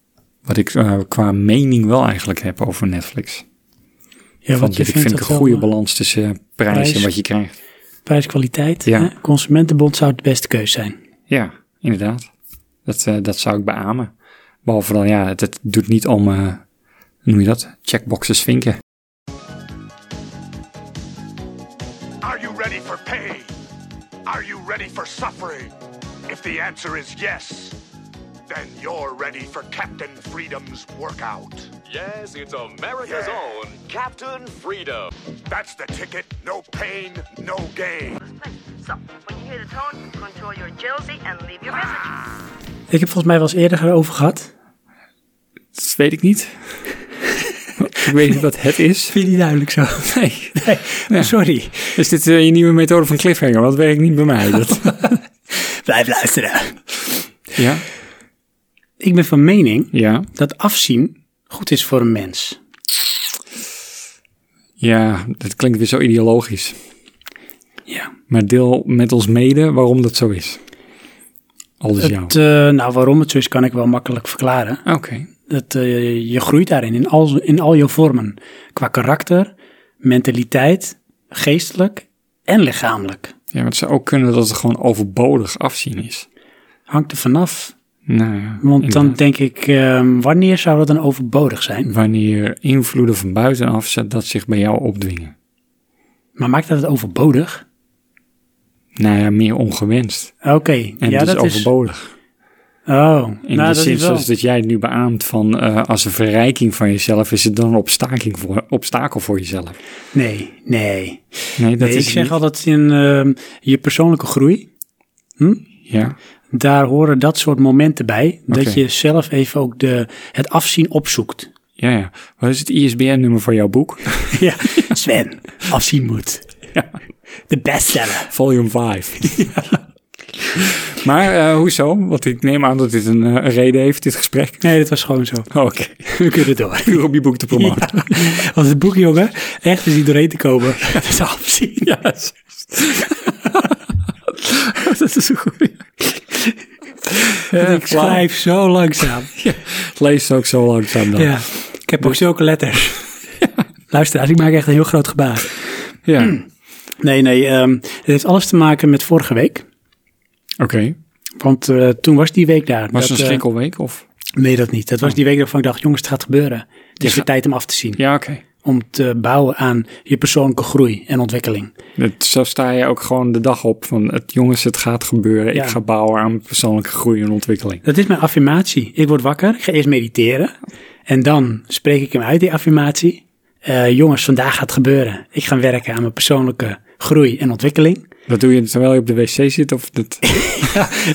B: Wat ik eh, qua mening wel eigenlijk heb over Netflix.
A: Ja,
B: Want
A: je
B: ik vind
A: dat
B: een
A: wel,
B: goede
A: eh,
B: balans tussen eh, prijs,
A: prijs.
B: en wat je krijgt.
A: Prijs-kwaliteit.
B: Ja.
A: hè? Consumentenbond zou de beste keus zijn.
B: Ja, inderdaad. Dat, eh, dat zou ik beamen. Behalve dan, ja, het, het doet niet om, eh, hoe noem je dat, checkboxes vinken.
F: Are you ready for pain? Are you ready for suffering? If the answer is yes, then you're ready for Captain Freedom's workout.
G: Yes, it's America's
F: Yeah.
G: own Captain Freedom.
F: That's the ticket. No pain, no gain.
H: So, when you hear the tone, control your jealousy and leave your message.
A: Ik heb volgens mij wel eens eerder over gehad.
B: Dat weet ik niet. ik weet niet wat het is.
A: Vind je niet duidelijk zo?
B: Nee.
A: Nee, sorry.
B: Is dit eh, je nieuwe methode van cliffhanger? Want dat werkt niet bij mij. Dat,
A: Blijf luisteren.
B: ja?
A: Ik ben van mening
B: Ja.
A: dat afzien goed is voor een mens.
B: Ja, dat klinkt weer zo ideologisch.
A: Ja.
B: Maar deel met ons mede waarom dat zo is. Al dus jou.
A: Het, eh, nou, waarom het zo is, kan ik wel makkelijk verklaren.
B: Oké.
A: Dat, eh, je groeit daarin, in al, in al je vormen. Qua karakter, mentaliteit, geestelijk en lichamelijk.
B: Ja, maar het zou ook kunnen dat het gewoon overbodig afzien is.
A: Hangt er vanaf.
B: Nou ja,
A: Want dan
B: inderdaad.
A: denk ik, ehm, wanneer zou dat dan overbodig zijn?
B: Wanneer invloeden van buitenaf zet dat zich bij jou opdwingen.
A: Maar maakt dat het overbodig? Ah,
B: Nou ja, meer ongewenst.
A: Oké,
B: En
A: ja,
B: dus
A: dat is...
B: overbodig.
A: Oh, nou,
B: In de
A: dat
B: zin
A: is wel.
B: zoals dat jij het nu beaamt van eh, als een verrijking van jezelf, is het dan een obstaking voor, obstakel voor jezelf.
A: Nee, nee.
B: Nee,
A: nee
B: dat is
A: ik
B: het
A: zeg
B: niet.
A: altijd in ehm, je persoonlijke groei,
B: Ja,
A: daar horen dat soort momenten bij. Dat
B: Oké.
A: je zelf even ook de, het afzien opzoekt.
B: ja, ja. Wat is het ISBN-nummer van jouw boek?
A: ja, Sven, afzien moet. De bestseller.
B: Volume 5. Maar eh, hoezo? Want ik neem aan dat dit een, eh, een reden heeft, dit gesprek. Oh,
A: Nee, dat was gewoon zo.
B: Oké,
A: We kunnen door.
B: puur om je boek te promoten.
A: Ja, want het boek, jongen, echt is die doorheen te komen. Dat is afzien.
B: Ja, dat is een goede.
A: ik schrijf zo langzaam.
B: Lees ook zo langzaam dan.
A: Ja, ik heb ook zulke letters. Luisteraars, ik maak echt een heel groot gebaar.
B: Ja.
A: Nee, nee, ehm, het heeft alles te maken met vorige week.
B: Oké.
A: Want eh, toen was die week daar.
B: Was
A: dat,
B: het een
A: eh,
B: schrikkelweek? Of?
A: nee, dat niet. Dat was die week waarvan ik dacht, jongens, het gaat gebeuren. Het is
B: Ja.
A: weer tijd om af te zien.
B: Ja, oké.
A: Om te bouwen aan je persoonlijke groei en ontwikkeling.
B: Dat- Zo sta je ook gewoon de dag op van het, jongens, het gaat gebeuren.
A: Ja.
B: Ik ga bouwen aan mijn persoonlijke groei en ontwikkeling.
A: Dat is mijn affirmatie. Ik word wakker, ik ga eerst mediteren. En dan spreek ik hem uit, die affirmatie. Eh, jongens, vandaag gaat het gebeuren. Ik ga werken aan mijn persoonlijke groei en ontwikkeling.
B: Dat doe je terwijl je op de wc zit of dat...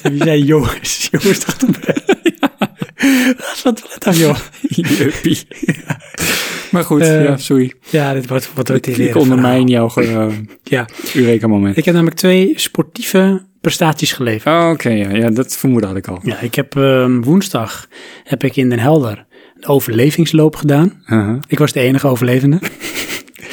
A: En die zei, jongens, jongens, dat gaat gebeuren. Laat van het toilet af, joh.
B: Juppie. Maar goed,
A: Eh,
B: ja, sorry.
A: Ja, dit wordt wat
B: Ik, ik ondermijn jouw eh,
A: Ja,
B: Eureka-moment.
A: ik heb namelijk twee sportieve prestaties geleverd.
B: Oh, Oké, ja, ja, dat vermoeden had ik al.
A: Ja, ik heb ehm, woensdag heb ik in Den Helder een overlevingsloop gedaan.
B: Uh-huh.
A: Ik was de enige overlevende.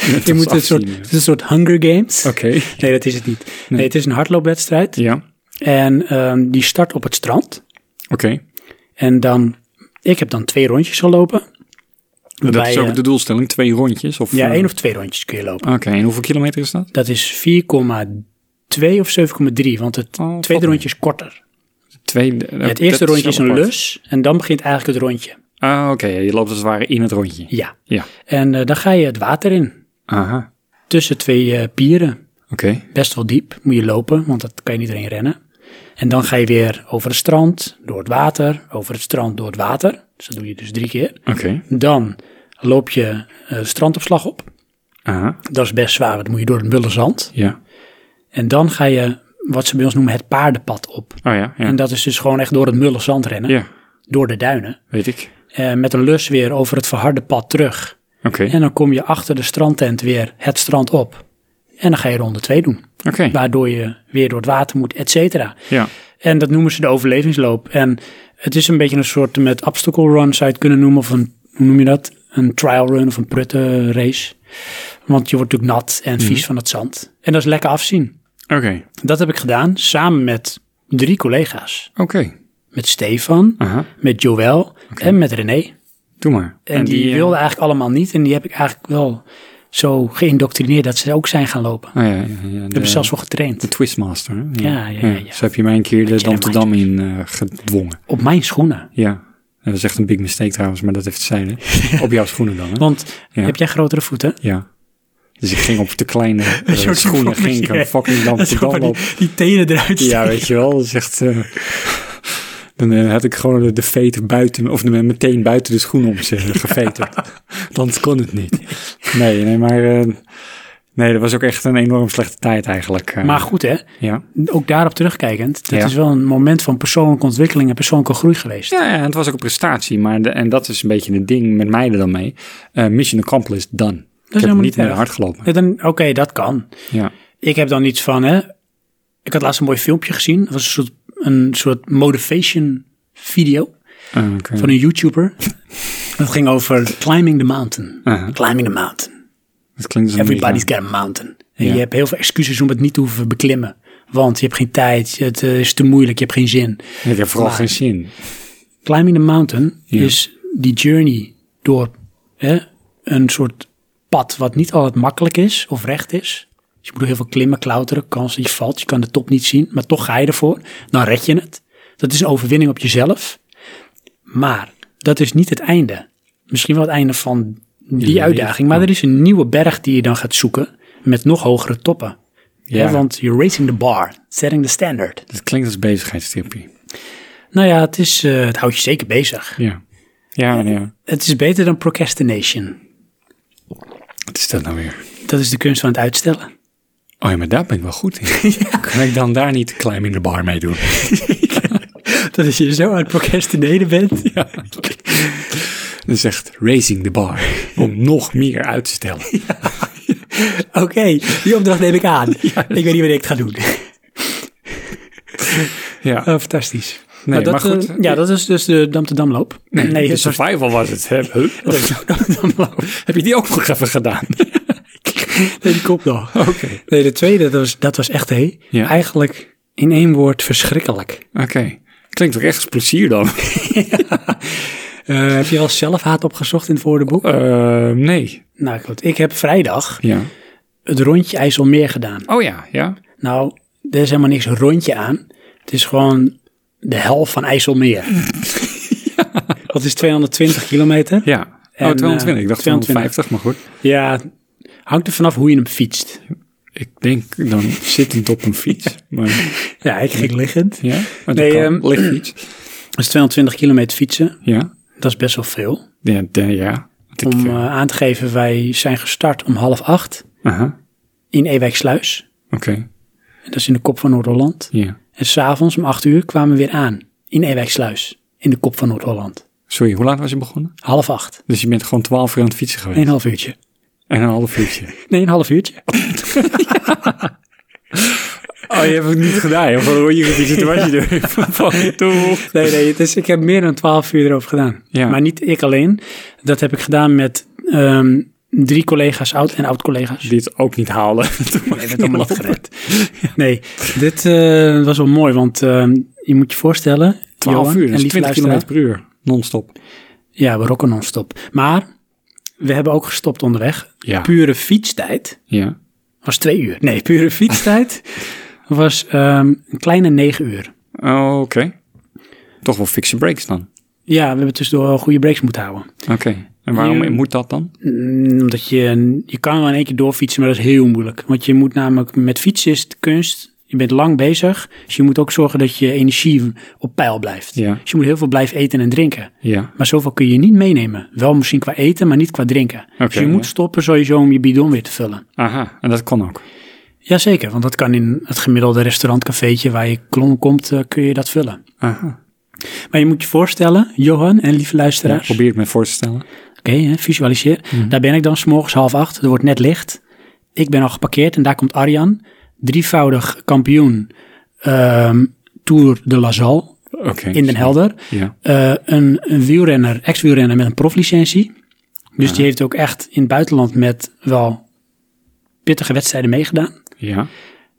A: Je
B: was
A: moet een soort,
B: 18, ja.
A: het is een soort Hunger Games.
B: Oké,
A: Nee, dat is het niet. Nee, het is een hardloopwedstrijd.
B: ja, oké.
A: En ehm, die start op het strand. En dan, ik heb dan twee rondjes gelopen.
B: Dat
A: Waarbij,
B: is ook
A: eh,
B: de doelstelling, twee rondjes? Of,
A: ja,
B: eh,
A: één of twee rondjes kun je lopen.
B: Oké, en hoeveel kilometer is dat?
A: Dat is 4,2 of 7,3, want het
B: Oh,
A: tweede
B: valt mee.
A: rondje is korter.
B: Twee, eh,
A: Ja, het eerste rondje is een lus en dan begint eigenlijk het rondje.
B: Ah, oké, ja, je loopt als het ware in het rondje.
A: Ja.
B: Ja,
A: En eh, dan ga je het water in,
B: aha,
A: tussen twee eh, pieren.
B: oké.
A: Best wel diep, moet je lopen, want dat kan je niet erin rennen. En dan ga je weer over het strand, door het water, over het strand, door het water. Dus dat doe je dus drie keer.
B: Oké,
A: Dan loop je eh, de strandopslag op.
B: aha,
A: Dat is best zwaar, want dan moet je door het mulle zand.
B: ja.
A: En dan ga je, wat ze bij ons noemen, het paardenpad op.
B: Oh ja, ja,
A: En dat is dus gewoon echt door het mulle zand rennen,
B: ja
A: door de duinen.
B: weet ik.
A: Eh, met een lus weer over het verharde pad terug.
B: Oké,
A: En dan kom je achter de strandtent weer het strand op. En dan ga je ronde 2 doen.
B: oké,
A: Waardoor je weer door het water moet, et cetera.
B: ja.
A: En dat noemen ze de overlevingsloop. En het is een beetje een soort met obstacle run zou je het kunnen noemen. Of een, hoe noem je dat? Een trial run of een prutte race. Want je wordt natuurlijk nat en
B: Mhm.
A: vies van het zand. En dat is lekker afzien.
B: Oké,
A: Dat heb ik gedaan samen met drie collega's.
B: oké,
A: Met Stefan,
B: aha,
A: met Joël en met René.
B: doe maar.
A: En, die,
B: eh,
A: wilden eigenlijk allemaal niet. En die heb ik eigenlijk wel zo geïndoctrineerd dat ze ook zijn gaan lopen.
B: Oh ja, ja, ja,
A: Ik heb
B: de-
A: ze zelfs wel getraind.
B: De Twistmaster, hè?
A: Ja, ja, ja, ja.
B: Zo heb je mij een keer de
A: Jedi
B: Amsterdam in eh, gedwongen.
A: Op mijn schoenen.
B: Ja. Dat is echt een big mistake trouwens, maar dat heeft zijde. Op jouw schoenen dan, hè?
A: Want
B: Ja.
A: heb jij grotere voeten?
B: Ja. Dus ik ging op de kleine eh,
A: Zo die
B: schoenen,
A: voetjes,
B: ging ik
A: hè?
B: een fucking
A: Dat is
B: Amsterdam
A: gewoon
B: op.
A: die, die tenen eruit
B: Ja, weet je wel. Dat is echt... eh, dan eh, had ik gewoon de- de veter buiten, of de- meteen buiten de schoen om zich geveterd. Dan kon het niet. Nee, nee, maar... eh, nee, dat was ook echt een enorm slechte tijd eigenlijk. eh.
A: Maar goed hè,
B: Ja.
A: ook daarop terugkijkend, dat
B: Ja.
A: is wel een moment van persoonlijke ontwikkeling en persoonlijke groei geweest.
B: Ja, ja, het was ook een prestatie. Maar de- en dat is een beetje het ding met mij er dan mee. Eh, mission accomplished, done. ik heb
A: helemaal
B: hem
A: niet
B: niet meer
A: erg.
B: hard gelopen.
A: Ja, dan Oké, dat kan.
B: Ja.
A: Ik heb dan iets van, hè, ik had laatst een mooi filmpje gezien. Dat was een soort, een soort motivation video
B: Eh, oké.
A: van een YouTuber. dat ging over climbing the mountain.
B: Aha.
A: Climbing the mountain.
B: Dat klinkt als een
A: Everybody's
B: beetje-
A: got a mountain. En
B: Ja.
A: je hebt heel veel excuses om het niet te hoeven beklimmen. Want je hebt geen tijd, het eh, is te moeilijk, je hebt geen zin.
B: Ik heb vooral geen zin.
A: Climbing the Mountain is die journey door hè, een soort pad wat niet altijd makkelijk is of recht is. Dus je moet door heel veel klimmen, klauteren, kans dat je valt. Je kan de top niet zien, maar toch ga je ervoor. Dan red je het. Dat is een overwinning op jezelf. Maar dat is niet het einde. Misschien wel het einde van die
B: leven,
A: uitdaging. Maar er is een nieuwe berg die je dan gaat zoeken met nog hogere toppen.
B: Ja.
A: Hè, want you're raising the bar, setting the standard.
B: Dat klinkt als bezigheidstipje.
A: Nou ja, het, is, eh, het houdt je zeker bezig.
B: Ja. Ja, ja.
A: Het is beter dan procrastination.
B: Wat is dat nou weer?
A: Dat is de kunst van het uitstellen.
B: Oh ja, maar daar ben ik wel goed in. Kan ik dan daar niet climbing the bar mee doen?
A: Dat als je zo aan het procrastineren bent.
B: Dat is echt raising the bar. Om nog meer uit te stellen.
A: Oké, die opdracht neem ik aan. ik weet niet wanneer ik het ga doen.
B: Ja.
A: Eh, fantastisch.
B: nee, maar,
A: dat,
B: goed.
A: eh, ja, dat is dus de Dam-te-Damloop. Nee, dus-
B: de
A: het was
B: survival was het. Hè? Huh? Heb je die ook nog even gedaan?
A: nee, die kop nog.
B: Oké.
A: Nee, de tweede, dat was, dat was echt, hé.
B: Ja.
A: Eigenlijk in één woord verschrikkelijk.
B: Oké. Klinkt ook echt als plezier dan.
A: Eh, heb je wel zelfhaat opgezocht in het woordenboek?
B: Eh, nee.
A: Nou goed, ik heb vrijdag
B: Ja.
A: het rondje IJsselmeer gedaan.
B: Oh ja, ja.
A: Nou, er is helemaal niks rondje aan. Het is gewoon de hel van IJsselmeer. Dat is 220 kilometer.
B: Ja. oh,
A: En, eh,
B: 220. ik
A: 220.
B: dacht 250, maar goed.
A: Ja, hangt er vanaf hoe je hem fietst.
B: Ik denk dan zittend op een fiets. Maar,
A: Ja, ik ging liggend.
B: ja, maar dat
A: Nee,
B: kan.
A: ehm,
B: Lichtfiets.
A: Dat is 220 kilometer fietsen.
B: Ja.
A: Dat is best wel veel.
B: Ja, de- ja. Want ik,
A: Om
B: eh,
A: eh, aan te geven, wij zijn gestart om half acht
B: aha,
A: in Ewijksluis.
B: Oké,
A: Dat is in de kop van Noord-Holland.
B: ja.
A: En s'avonds om acht uur kwamen we weer aan in Ewijksluis. In de kop van Noord-Holland.
B: Sorry, hoe laat was je begonnen?
A: Half acht.
B: Dus je bent gewoon 12 uur aan het fietsen geweest.
A: Een half uurtje.
B: En een half uurtje.
A: Nee, een half uurtje.
B: Oh, je hebt het niet gedaan. Of hoe je gefietst was je er van toe.
A: Nee, nee, het is, ik heb meer dan twaalf uur erover gedaan.
B: Ja.
A: Maar niet ik alleen. Dat heb ik gedaan met ehm, drie collega's, oud en oud-collega's.
B: Die het ook niet haalden. Toen mag
A: Nee,
B: ik
A: dat allemaal niet
B: lopen.
A: gered. Nee, dit eh, was wel mooi, want eh, je moet je voorstellen...
B: 12
A: Johan
B: uur,
A: en
B: dat is
A: lieve
B: 20
A: luisteraar,
B: km per uur. Non-stop.
A: Ja, we rocken non-stop. Maar we hebben ook gestopt onderweg.
B: Ja.
A: Pure fietstijd
B: Ja.
A: was twee uur. Nee, pure fietstijd was ehm, een kleine negen uur.
B: Oh, Oké. Toch wel fixe breaks dan.
A: Ja, we hebben tussendoor wel goede breaks moeten houden.
B: Oké. En waarom
A: Ja.
B: moet dat dan?
A: Mm, Omdat je, je kan wel in één keer doorfietsen, maar dat is heel moeilijk. Want je moet namelijk, met fietsen is het kunst, je bent lang bezig. Dus je moet ook zorgen dat je energie op peil blijft.
B: Ja.
A: Dus je moet heel veel blijven eten en drinken.
B: Ja.
A: Maar zoveel kun je niet meenemen. Wel misschien qua eten, maar niet qua drinken. dus je
B: ja.
A: moet stoppen sowieso om je bidon weer te vullen.
B: Aha. En dat kon ook.
A: Jazeker, want dat kan in het gemiddelde restaurantcafeetje waar je klom komt, eh, kun je dat vullen.
B: Aha.
A: Maar je moet je voorstellen, Johan en lieve
B: Ja,
A: luisteraars.
B: probeer ik me voor te stellen.
A: Oké, hè, visualiseer. Daar ben ik dan, s'morgens half acht. Er wordt net licht. Ik ben al geparkeerd en daar komt Arjan. Drievoudig kampioen ehm, Tour de La Salle
B: Oké.
A: in Den Helder.
B: Ja.
A: Eh, een, een wielrenner, ex-wielrenner met een proflicentie. Dus die heeft ook echt in het buitenland met wel pittige wedstrijden meegedaan.
B: Ja.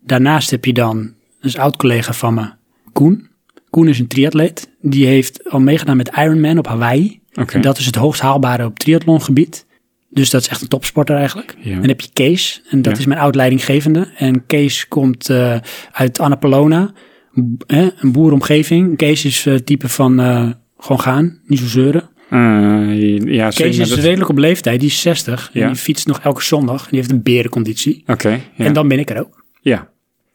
A: Daarnaast heb je dan een oud-collega van me, Koen. Koen is een triatleet. Die heeft al meegedaan met Ironman op Hawaii.
B: Oké.
A: En dat is het hoogst haalbare op triathlongebied. Dus dat is echt een topsporter eigenlijk.
B: Ja.
A: En dan heb je Kees. En dat
B: Ja.
A: is mijn oud-leidinggevende. En Kees komt eh, uit Annapolona. B- hè, een boeromgeving. Kees is eh, type van eh, gewoon gaan, niet zo zeuren.
B: Eh, ja, sorry,
A: Kees
B: maar
A: is
B: dat-
A: redelijk op leeftijd. Die is 60.
B: Ja.
A: En die fietst nog elke zondag. En die heeft een berenconditie.
B: Oké. ja.
A: En dan ben ik er ook.
B: Ja.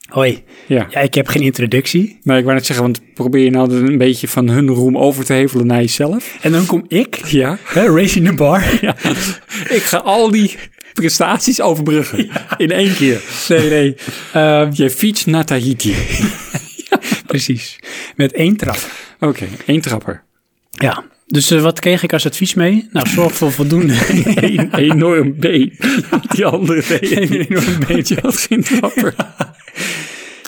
A: Hoi.
B: Ja.
A: Ja, ik heb geen introductie.
B: Nou, ik wou net zeggen, want probeer je nou een beetje van hun roem over te hevelen naar jezelf?
A: En dan kom ik,
B: Ja.
A: hè, Racing the Bar.
B: ja. ik ga al die prestaties overbruggen in één keer.
A: Nee, nee. Ehm,
B: Je fietst naar Tahiti.
A: precies. Met één trap.
B: Oké, één trapper.
A: Ja. Dus eh, wat kreeg ik als advies mee? Nou, zorg voor voldoende.
B: Eén enorm been. Die andere been.
A: Eén enorm been.
B: Je had geen trapper.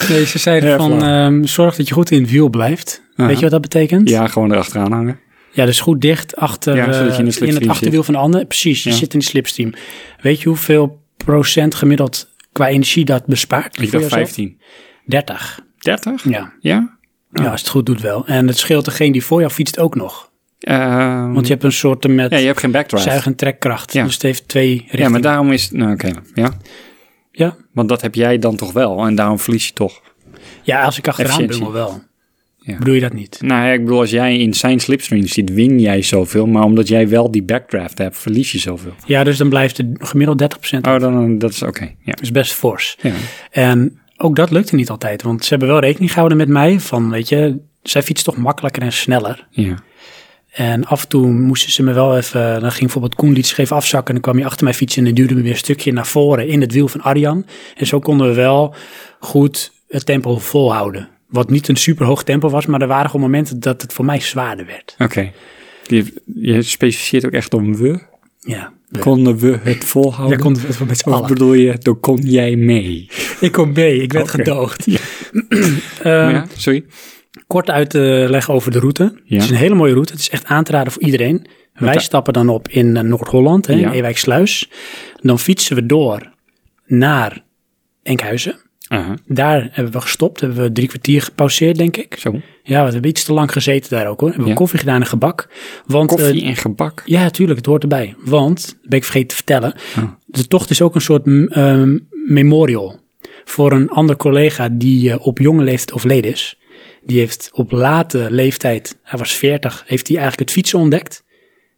A: Nee, ze zeiden
B: Erg
A: van, ehm, zorg dat je goed in het wiel blijft.
B: Aha.
A: Weet je wat dat betekent?
B: Ja, gewoon erachteraan hangen.
A: Ja, dus goed dicht achter,
B: Ja, zodat je in de
A: eh, in,
B: slipstream
A: het
B: zit.
A: achterwiel van de ander. Precies, je
B: Ja.
A: zit in de slipstream. Weet je hoeveel procent gemiddeld qua energie dat bespaart?
B: Ik
A: voor
B: dacht
A: jezelf?
B: 15.
A: 30,
B: 30?
A: ja.
B: Ja?
A: Ja, als het goed doet wel. En het scheelt degene die voor jou fietst ook nog.
B: Ehm,
A: Want Hm. je hebt een soort met...
B: ja, je hebt geen backdrive.
A: zuig- en trekkracht.
B: Ja.
A: Dus het heeft twee richtingen.
B: Ja, maar daarom is... Nou, oké. Ja.
A: ja?
B: Want dat heb jij dan toch wel. En daarom verlies je toch.
A: Ja, als ik achteraan
B: Efficiëntie.
A: bungel wel.
B: Ja.
A: Bedoel je dat niet?
B: Nou ja, ik bedoel, als jij in zijn slipstream zit, win jij zoveel. Maar omdat jij wel die backdraft hebt, verlies je zoveel.
A: Ja, dus dan blijft het gemiddeld 30%. Dat
B: Oh, dan, dan- dat is oké. Ja.
A: is best fors.
B: Ja.
A: En ook dat lukte niet altijd. Want ze hebben wel rekening gehouden met mij. Van, weet je, zij fietst toch makkelijker en sneller.
B: ja.
A: En af en toe moesten ze me wel even... Dan ging bijvoorbeeld Koen liet scheef afzakken. En dan kwam je achter mij fietsen. En dan duwde me weer een stukje naar voren in het wiel van Arjan. En zo konden we wel goed het tempo volhouden. Wat niet een superhoog tempo was. Maar er waren gewoon momenten dat het voor mij zwaarder werd.
B: Oké. Je, je specificeert ook echt om we.
A: Ja,
B: Konden we het volhouden?
A: Jij kon het met z'n
B: of
A: allen.
B: bedoel je, dan kon jij mee?
A: Ik kom mee, ik werd
B: Oké.
A: gedoogd.
B: Maar
A: Ehm,
B: ja, sorry.
A: Kort uit te leggen over de route. Het is een hele mooie route. Het is echt aan te raden voor iedereen. Wij
B: de-
A: stappen dan op in eh, Noord-Holland, hè,
B: Ja.
A: Ewijksluis. Dan fietsen we door naar Enkhuizen.
B: Aha,
A: Daar hebben we gestopt. Hebben we drie kwartier gepauzeerd, denk ik.
B: zo.
A: Ja, we hebben iets te lang gezeten daar ook hoor. Hebben we
B: Ja.
A: koffie gedaan en gebak. Want, eh,
B: Koffie en gebak.
A: ja, tuurlijk, het hoort erbij. Want, dat ben ik vergeten te vertellen, de tocht is ook een soort mm, ehm, memorial voor een ander collega die eh, op jonge leeftijd overleden is. Die heeft op late leeftijd, hij was 40, heeft hij eigenlijk het fietsen ontdekt.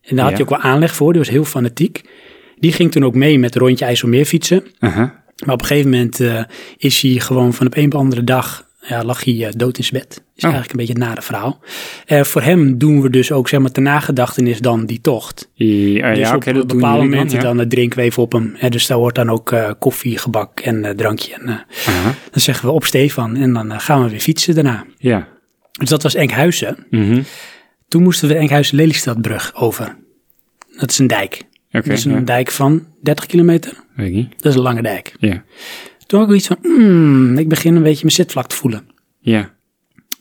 A: En daar had hij
B: Ja.
A: ook wel aanleg voor, die was heel fanatiek. Die ging toen ook mee met rondje IJsselmeer fietsen.
B: Uh-huh.
A: Maar op een gegeven moment eh, is hij gewoon van op een op de andere dag, ja, lag hij eh, dood in zijn bed. Is eigenlijk een beetje het nare verhaal. Eh, voor hem doen we dus ook, zeg maar, ter nagedachtenis dan die tocht.
B: Ja,
A: dus
B: ja oké,
A: op
B: dat
A: bepaalde
B: doen jullie dan,
A: momenten
B: ja.
A: dan, het drinken we even op hem. Hè, dus daar hoort dan ook eh, koffie, gebak en eh, drankje. En, eh, Dan zeggen we op Stefan en dan eh, gaan we weer fietsen daarna.
B: Ja.
A: Dus dat was Enkhuizen.
B: Mhm.
A: Toen moesten we Enkhuizen-Lelystadbrug over. Dat is een dijk.
B: Oké,
A: dat is een
B: ja.
A: dijk van 30 kilometer.
B: Weet ik niet.
A: Dat is een lange dijk.
B: Ja.
A: Toen had ik wel iets van, "Mm, ik begin een beetje mijn zitvlak te voelen.
B: Ja.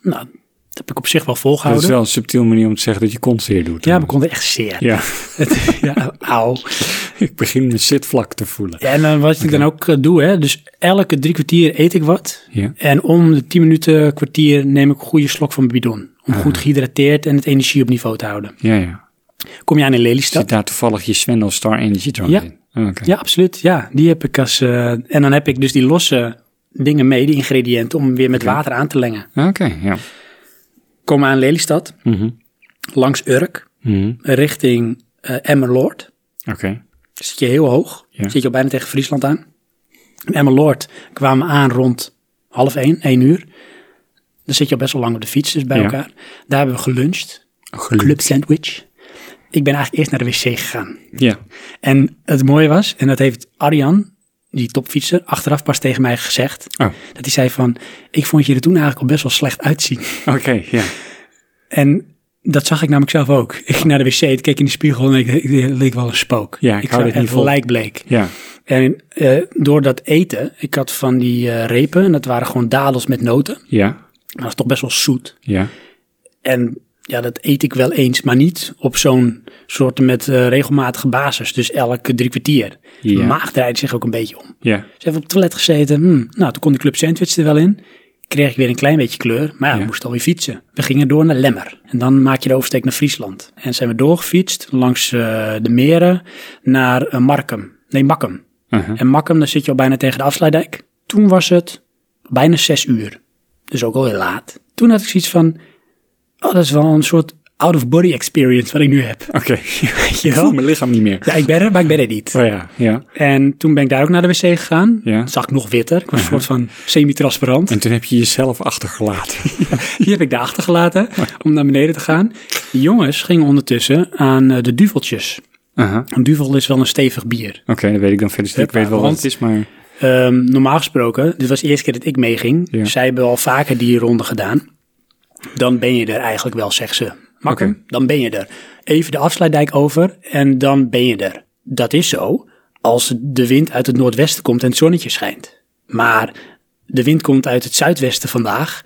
A: Nou, dat heb ik op zich wel
B: Dat is
A: volgehouden.
B: wel een subtiel manier om te zeggen dat je kont zeer doet.
A: Ja, begon er echt zeer.
B: Ja,
A: ja, auw.
B: ik begin mijn zitvlak te voelen.
A: En eh, wat ik dan ook eh, doe, hè, dus elke drie kwartier eet ik wat.
B: Ja.
A: En om de tien minuten kwartier neem ik een goede slok van mijn bidon. Om goed gehydrateerd en het energie op niveau te houden.
B: Ja, ja.
A: Kom je aan in
B: Zit
A: Lelystad?
B: daar toevallig je Swendel Star Energy Drink
A: Ja.
B: in? Oh, oké.
A: Ja, absoluut. Ja, die heb ik als... eh, en dan heb ik dus die losse dingen mee, die ingrediënten, om weer met water aan te lengen.
B: Oké, ja.
A: Kom aan Lelystad,
B: Mhm.
A: langs Urk,
B: Mhm.
A: richting eh Emmeloord.
B: Oké.
A: zit je heel hoog.
B: Ja.
A: Zit je al bijna tegen Friesland aan. En Emmeloord kwamen aan rond half één, één uur. Dan zit je al best wel lang op de fiets, dus bij
B: Ja.
A: elkaar. Daar hebben we geluncht. Club sandwich. Ik ben eigenlijk eerst naar de wc gegaan.
B: Ja.
A: En het mooie was, en dat heeft Arjan, die topfietser, achteraf pas tegen mij gezegd.
B: Oh,
A: Dat hij zei van, ik vond je er toen eigenlijk al best wel slecht uitzien.
B: oké, ja.
A: En dat zag ik namelijk zelf ook. Ik ging naar de wc, ik keek in de spiegel en ik, ik, leek wel een spook.
B: Ja, ik hou
A: zag
B: dit niet
A: echt
B: vol.
A: lijkbleek.
B: Ja,
A: En eh, door dat eten, ik had van die eh, repen, en dat waren gewoon dadels met noten.
B: ja,
A: Dat was toch best wel zoet.
B: ja.
A: En ja, dat eet ik wel eens, maar niet op zo'n soort met eh, regelmatige basis. Dus elke drie kwartier.
B: Ja.
A: Mijn maag draaide zich ook een beetje om.
B: Ja,
A: Dus even op het toilet gezeten. Hmm, nou, toen kon die club sandwich er wel in. Kreeg ik weer een klein beetje kleur, maar ja, we
B: Ja.
A: moesten alweer fietsen. We gingen door naar Lemmer. En dan maak je de oversteek naar Friesland. En zijn we doorgefietst langs eh, de meren naar eh, Markum. Nee, Makkum.
B: uh-huh.
A: En Makkum, dan zit je al bijna tegen de afsluitdijk. Toen was het bijna zes uur. Dus ook al heel laat. Toen had ik zoiets van, oh, dat is wel een soort out-of-body experience wat ik nu heb.
B: oké.
A: je
B: ik
A: wel?
B: voel mijn lichaam niet meer.
A: Ja, ik ben er, maar ik ben er niet.
B: Oh ja, ja.
A: En toen ben ik daar ook naar de wc gegaan.
B: Ja.
A: Dat zag ik nog witter. Ik was een soort van semi-transparant.
B: En toen heb je jezelf achtergelaten.
A: Die heb ik daar achtergelaten om naar beneden te gaan. De jongens gingen ondertussen aan eh, de duveltjes.
B: Uh-huh.
A: Een duvel is wel een stevig bier.
B: Oké, dat weet ik dan verder. niet. ik
A: Huppa,
B: weet wel wat
A: want-
B: het is, maar...
A: Ehm, normaal gesproken, dit was de eerste keer dat ik meeging.
B: Ja.
A: Zij hebben al vaker die ronde gedaan. Dan ben je er eigenlijk wel, zegt ze. Makker,
B: Oké.
A: dan ben je er. Even de afsluitdijk over en dan ben je er. Dat is zo als de wind uit het noordwesten komt en het zonnetje schijnt. Maar de wind komt uit het zuidwesten vandaag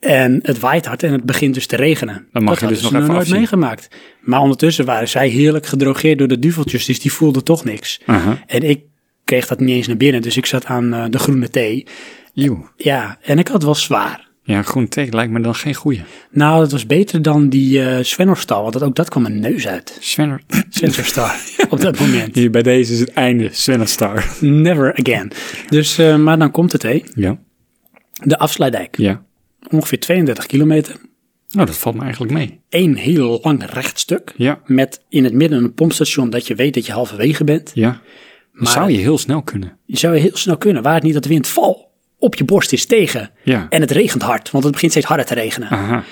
A: en het waait hard en het begint dus te regenen.
B: Dan mag
A: dat
B: je dus
A: hadden ze
B: nog even
A: nooit
B: afzien.
A: meegemaakt. Maar ondertussen waren zij heerlijk gedrogeerd door de duveltjes, dus die voelden toch niks.
B: Uh-huh.
A: En ik kreeg dat niet eens naar binnen, dus ik zat aan eh, de groene thee.
B: Eeuw.
A: Ja, en ik had het wel zwaar.
B: Ja, groen thee lijkt me dan geen goeie.
A: Nou, dat was beter dan die eh Svenorstal, want dat, ook dat kwam mijn neus uit.
B: Svenner.
A: Svenorstar, op dat moment.
B: Hier, bij deze is het einde. Svenner Star.
A: Never again. Dus, eh, maar dan komt het, hé.
B: Ja,
A: De afsluitdijk.
B: ja.
A: Ongeveer 32 kilometer.
B: Nou, dat valt me eigenlijk mee.
A: Eén heel lang rechtstuk.
B: Ja,
A: Met in het midden een pompstation dat je weet dat je halverwege bent.
B: ja. Maar... Zou je heel snel kunnen.
A: Je zou heel snel kunnen, waar het niet dat de wind val op je borst is tegen.
B: Ja.
A: En het regent hard, want het begint steeds harder te regenen.
B: Aha.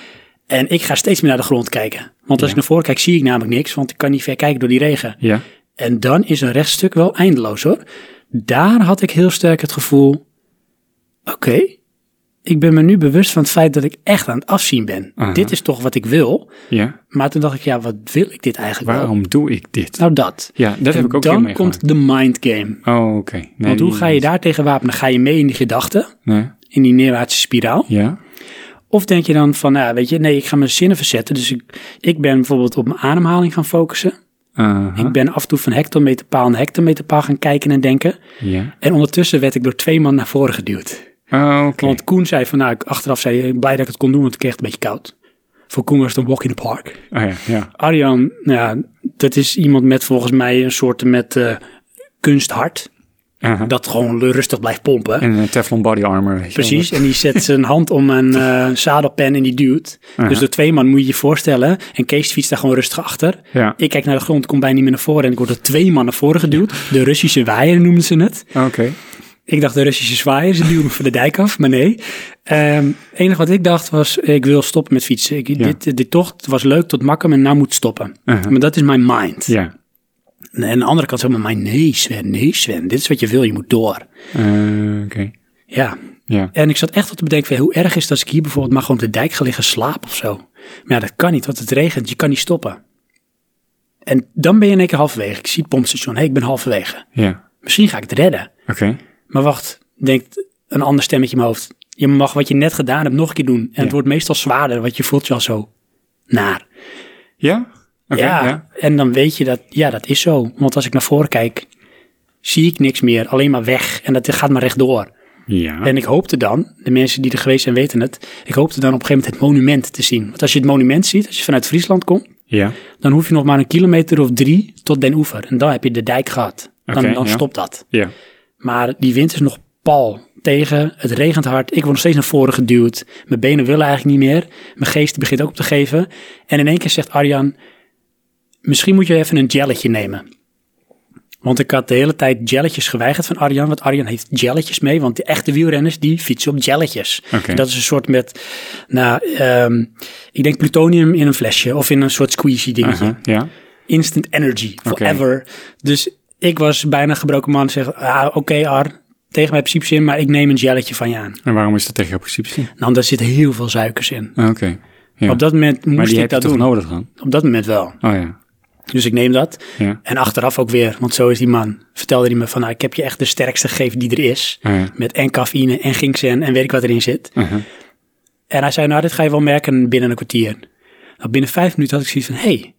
A: En ik ga steeds meer naar de grond kijken. Want als ik naar voren kijk, zie ik namelijk niks, want ik kan niet ver kijken door die regen.
B: Ja.
A: En dan is een rechtstuk wel eindeloos hoor. Daar had ik heel sterk het gevoel: oké, ik ben me nu bewust van het feit dat ik echt aan het afzien ben.
B: Aha.
A: Dit is toch wat ik wil.
B: Ja.
A: Maar toen dacht ik: ja, wat wil ik dit eigenlijk wel?
B: Waarom doe ik dit?
A: Nou, dat.
B: Ja, dat heb
A: En
B: ik ook heel
A: Dan
B: meegemaakt.
A: komt de mind game.
B: Oh, oké. Nee,
A: Want hoe
B: die-
A: ga je daar tegen wapenen? Ga je mee in die gedachten,
B: Nee.
A: in die neerwaartse spiraal?
B: Ja.
A: Of denk je dan van, nou, weet je, nee, ik ga mijn zinnen verzetten. Dus ik, ik ben bijvoorbeeld op mijn ademhaling gaan focussen.
B: Aha.
A: Ik ben af en toe van hectometerpaal naar hectometerpaal gaan kijken en denken.
B: Ja.
A: En ondertussen werd ik door twee man naar voren geduwd.
B: Oh, oké.
A: Want Koen zei van, nou, ik- achteraf zei hij, ik ben blij dat ik het kon doen, want ik kreeg het een beetje koud. Voor Koen was het een walk in the park.
B: Oh ja, ja.
A: Arjan, nou ja, dat is iemand met volgens mij een soort met eh, kunsthart. Dat gewoon rustig blijft pompen.
B: En een Teflon body armor. weet je wel.
A: Precies, en die zet zijn hand om een eh, zadelpen en die duwt. Dus door twee man moet je je voorstellen. En Kees fietst daar gewoon rustig achter.
B: Ja.
A: Ik kijk naar de grond, kom bijna niet meer naar voren. En ik word door twee man naar voren geduwd. De Russische waaier noemden ze het.
B: Oké.
A: Ik dacht de Russische zwaaier, ze duwen me van de dijk af, maar nee. Ehm, Het enige wat ik dacht was, ik wil stoppen met fietsen. Ik, dit, dit tocht was leuk tot makkelijk en nou moet het stoppen. Maar dat is mijn mind.
B: Ja.
A: En aan de andere kant zegt maar, nee Sven, nee Sven, dit is wat je wil, je moet door.
B: Eh, Oké.
A: Ja.
B: Ja.
A: En ik zat echt wat te bedenken van, hoe erg is het als ik hier bijvoorbeeld maar gewoon op de dijk ga liggen slapen of zo. Maar ja, dat kan niet, want het regent, je kan niet stoppen. En dan ben je in één keer halverwege. Ik zie het pompstation, hé, hey, ik ben halverwege.
B: Ja.
A: Misschien ga ik het redden.
B: Oké.
A: Maar wacht, denkt een ander stemmetje in mijn hoofd. Je mag wat je net gedaan hebt nog een keer doen. En het wordt meestal zwaarder, want je voelt je al zo naar.
B: Ja? Oké.
A: ja,
B: ja.
A: en dan weet je dat, ja, dat is zo. Want als ik naar voren kijk, zie ik niks meer. Alleen maar weg. En dat gaat maar rechtdoor.
B: Ja.
A: En ik hoopte dan, de mensen die er geweest zijn weten het, ik hoopte dan op een gegeven moment het monument te zien. Want als je het monument ziet, als je vanuit Friesland komt,
B: Ja.
A: dan hoef je nog maar een kilometer of drie tot Den Oever. En dan heb je de dijk gehad. Dan,
B: Oké,
A: dan
B: ja.
A: stopt dat.
B: Ja.
A: Maar die wind is nog pal tegen. Het regent hard. Ik word nog steeds naar voren geduwd. Mijn benen willen eigenlijk niet meer. Mijn geest begint ook op te geven. En in één keer zegt Arjan: Misschien moet je even een jelletje nemen. Want ik had de hele tijd jelletjes geweigerd van Arjan. Want Arjan heeft jelletjes mee. Want de echte wielrenners die fietsen op jelletjes.
B: Oké.
A: Dat is een soort met, nou, ehm, ik denk plutonium in een flesje. Of in een soort squeezy dingetje
B: Aha, Uh-huh. Ja.
A: instant energy
B: Oké.
A: forever. Dus ik was bijna gebroken man. Zeg, ah, oké Ar, tegen mijn principes in, maar ik neem een jelletje van je aan.
B: En waarom is dat tegen jouw principes in?
A: Nou, daar zit heel veel suikers in.
B: Oké. Ja.
A: Op dat moment
B: maar
A: moest
B: die
A: ik
B: heb je
A: dat
B: toch
A: doen.
B: nodig dan?
A: Op dat moment wel.
B: Oh ja.
A: Dus ik neem dat.
B: Ja.
A: En achteraf ook weer, want zo is die man. Vertelde hij me van, nou, ik heb je echt de sterkste gegeven die er is.
B: Ah, ja. Mhm.
A: Met en cafeïne en ginkzen en weet ik wat erin zit.
B: Aha.
A: En hij zei, nou, dit ga je wel merken binnen een kwartier. Nou, binnen vijf minuten had ik zoiets van, hé, hey,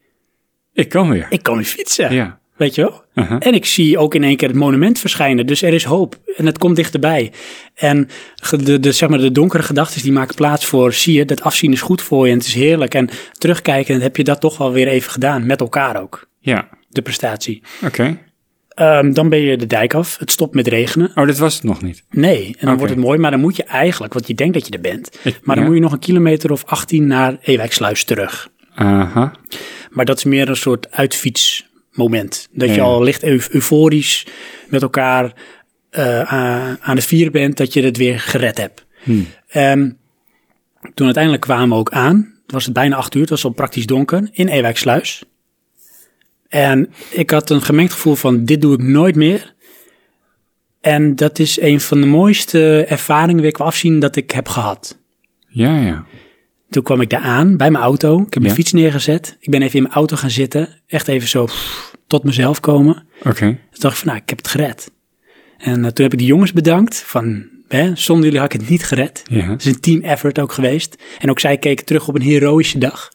B: Ik kan weer.
A: ik kan weer fietsen.
B: Ja. Uh-huh.
A: Weet je wel?
B: Aha.
A: En ik zie ook in één keer het monument verschijnen. Dus er is hoop. En het komt dichterbij. En ge- de, de, zeg maar, de donkere gedachten die maken plaats voor... zie je, dat afzien is goed voor je en het is heerlijk. En terugkijken heb je dat toch wel weer even gedaan. Met elkaar ook.
B: Ja.
A: De prestatie.
B: Oké.
A: Ehm, dan ben je de dijk af. Het stopt met regenen.
B: Oh, dit was het nog niet.
A: Nee. En dan
B: Oké.
A: wordt het mooi. Maar dan moet je eigenlijk... want je denkt dat je er bent.
B: Ik-
A: maar dan
B: ja.
A: moet je nog een kilometer of 18 naar Ewijksluis terug.
B: Aha.
A: Maar dat is meer een soort uitfietsmoment. Dat je
B: Ja.
A: al licht eu- euforisch met elkaar eh, aan- aan de vier bent, dat je het weer gered hebt. En toen uiteindelijk kwamen we ook aan, was het bijna acht uur, het was al praktisch donker, in Ewijksluis. En ik had een gemengd gevoel van, dit doe ik nooit meer. En dat is een van de mooiste ervaringen weer qua afzien dat ik heb gehad.
B: Ja, ja.
A: Toen kwam ik daar aan bij mijn auto. Ik heb mijn
B: Ja.
A: fiets neergezet. Ik ben even in mijn auto gaan zitten. Echt even zo pff, tot mezelf komen.
B: Oké.
A: Toen dacht ik van, nou, ik heb het gered. En eh, toen heb ik die jongens bedankt van, hè, zonder jullie had ik het niet gered.
B: Ja.
A: Het is een team effort ook geweest. En ook zij keken terug op een heroïsche dag.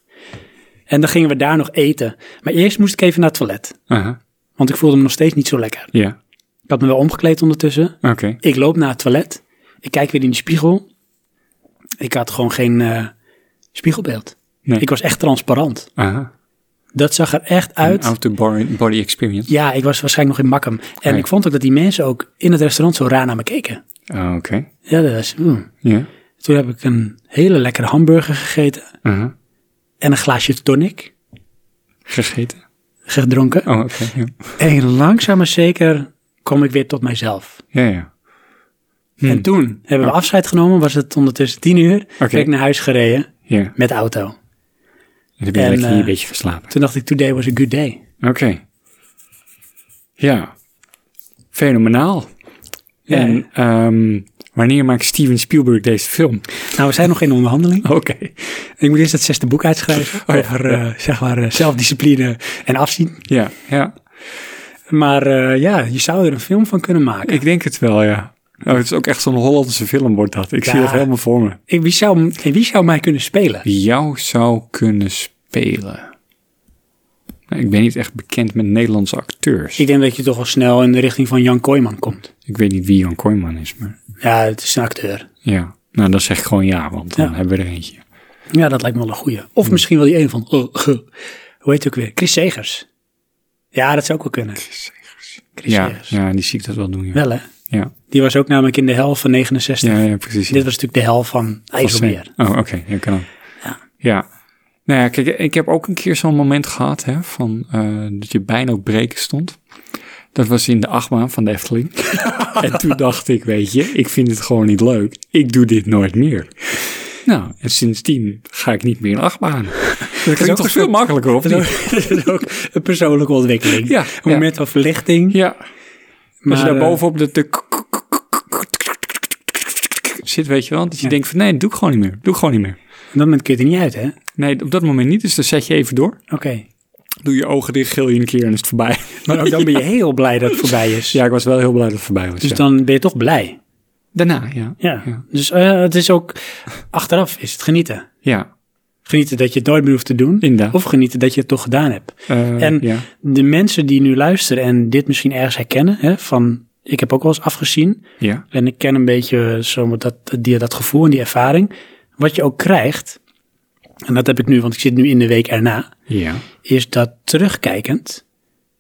A: En dan gingen we daar nog eten. Maar eerst moest ik even naar het toilet.
B: Aha.
A: Want ik voelde me nog steeds niet zo lekker.
B: Ja.
A: Ik had me wel omgekleed ondertussen.
B: Oké.
A: Ik loop naar het toilet. Ik kijk weer in de spiegel. Ik had gewoon geen eh, spiegelbeeld.
B: Nee.
A: Ik was echt transparant.
B: Aha.
A: Dat zag er echt
B: Een
A: uit.
B: out-of-body experience.
A: Ja, ik was waarschijnlijk nog in Makkum. En
B: Nee.
A: ik vond ook dat die mensen ook in het restaurant zo raar naar me keken.
B: Oh, Oké.
A: Ja, dat was... mm.
B: Ja.
A: Toen heb ik een hele lekkere hamburger gegeten.
B: Aha.
A: En een glaasje tonic
B: Gegeten.
A: gedronken.
B: Oh, oké. Ja.
A: En langzaam maar zeker kom ik weer tot mijzelf.
B: ja, ja. Hmm.
A: En toen hebben we
B: Oh.
A: afscheid genomen. Was het ondertussen tien uur. Ben ik naar huis gereden
B: Ja.
A: met de auto.
B: En dan ben je
A: En,
B: lekker hier
A: eh,
B: een beetje geslapen.
A: Toen dacht ik, today was a good day.
B: Oké. Ja. Fenomenaal. En ehm, wanneer maakt Steven Spielberg deze film?
A: Nou, we zijn nog in onderhandeling.
B: Oké.
A: Ik moet eerst het zesde boek uitschrijven
B: Oh.
A: over eh, zeg maar, eh, zelfdiscipline en afzien.
B: Ja, ja.
A: Maar eh, ja, je zou er een film van kunnen maken.
B: Ik denk het wel, ja. Oh, het is ook echt zo'n Hollandse film wordt dat. Ik zie
A: Ja.
B: dat helemaal voor me.
A: Ik- wie, zou, en wie zou mij kunnen spelen?
B: Wie jou zou kunnen spelen? Nou, ik ben niet echt bekend met Nederlandse acteurs.
A: Ik
B: Ik,
A: denk dat je toch wel snel in de richting van Jan Kooijman komt.
B: weet niet wie Jan Kooijman is, maar
A: Ja, het is een acteur.
B: ja. Nou, dan zeg ik gewoon ja, want dan
A: Ja.
B: hebben we er eentje.
A: Ja, dat lijkt me wel een goeie.
B: Hmm.
A: Of misschien wel die een eh, van... oh, hoe heet het ook weer? Chris Segers. Ja, dat zou ook wel kunnen. Chris Segers. Chris
B: Ja,
A: Ayres.
B: ja, die zie ik dat wel doen. Ja,
A: Wel hè?
B: Ja,
A: Die was ook namelijk in de hel van 69.
B: ja, ja precies.
A: Dit was natuurlijk de hel van IJsselmeer.
B: Oh, oké. Ja, kan ook.
A: Ja.
B: Ja. Nou ja, kijk, ik heb ook een keer zo'n moment gehad, hè, van, eh, dat je bijna op breken stond. Dat was in de achtbaan van de Efteling. en toen dacht ik, weet je, ik vind het gewoon niet leuk. Ik doe dit nooit meer. Nou, en sindsdien ga ik niet meer in achtbaan. Dat
A: ook
B: klinkt toch
A: een
B: veel
A: soort-
B: makkelijker, of
A: Dat
B: niet?
A: is ook- dat is ook een persoonlijke ontwikkeling.
B: Ja,
A: Een
B: ja.
A: moment van verlichting.
B: Ja.
A: Maar,
B: Als je
A: eh,
B: daar bovenop de... de zit, weet je wel. Dat je denkt van, nee, dat doe ik gewoon niet meer. Doe ik gewoon niet meer.
A: Op dat moment kun je het niet uit, hè? Oké.
B: Nee, op dat moment niet. Dus dan zet je even door. Doe je ogen dicht, gil je een keer en is het voorbij.
A: Maar ook Oh, dan ben je heel blij dat het voorbij is.
B: Ja, ik was wel heel blij dat het voorbij was.
A: Dus
B: ja.
A: dan ben je toch blij.
B: Daarna, ja.
A: Ja. Dus eh, het is ook, achteraf is het genieten.
B: Ja.
A: Genieten dat je het nooit meer hoeft te doen.
B: Inderdaad.
A: Of genieten dat je het toch gedaan hebt.
B: Eh,
A: en
B: ja.
A: de mensen die nu luisteren en dit misschien ergens herkennen, hè, van ik heb ook wel eens afgezien.
B: Ja.
A: En ik ken een beetje zo dat, die, dat gevoel en die ervaring. Wat je ook krijgt, en dat heb ik nu, want ik zit nu in de week erna,
B: Ja.
A: is dat terugkijkend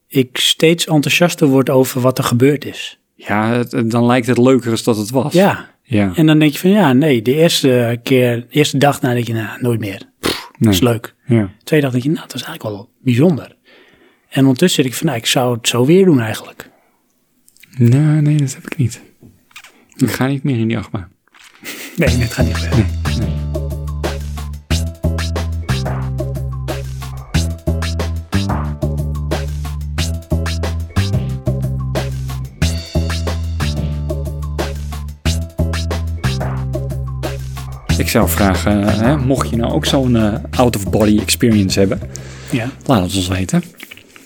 A: ik steeds enthousiaster word over wat er gebeurd is.
B: Ja, het- het- dan lijkt het leuker als dat het was.
A: Ja.
B: Ja.
A: En dan denk je van ja, nee, de eerste keer, de eerste dag nadat je, nou, nooit meer. Pff,
B: Nee.
A: is leuk.
B: Ja.
A: De tweede dag denk je, nou, dat is eigenlijk wel bijzonder. En ondertussen zit ik van, nou, ik zou het zo weer doen eigenlijk.
B: Nee, nee, dat heb ik niet. Ik ga niet meer in die achtbaan.
A: Nee, het gaat niet gebeuren.
B: Ik zou vragen, eh, hè, mocht je nou ook zo'n eh, out-of-body experience hebben,
A: Ja.
B: laat het ons weten.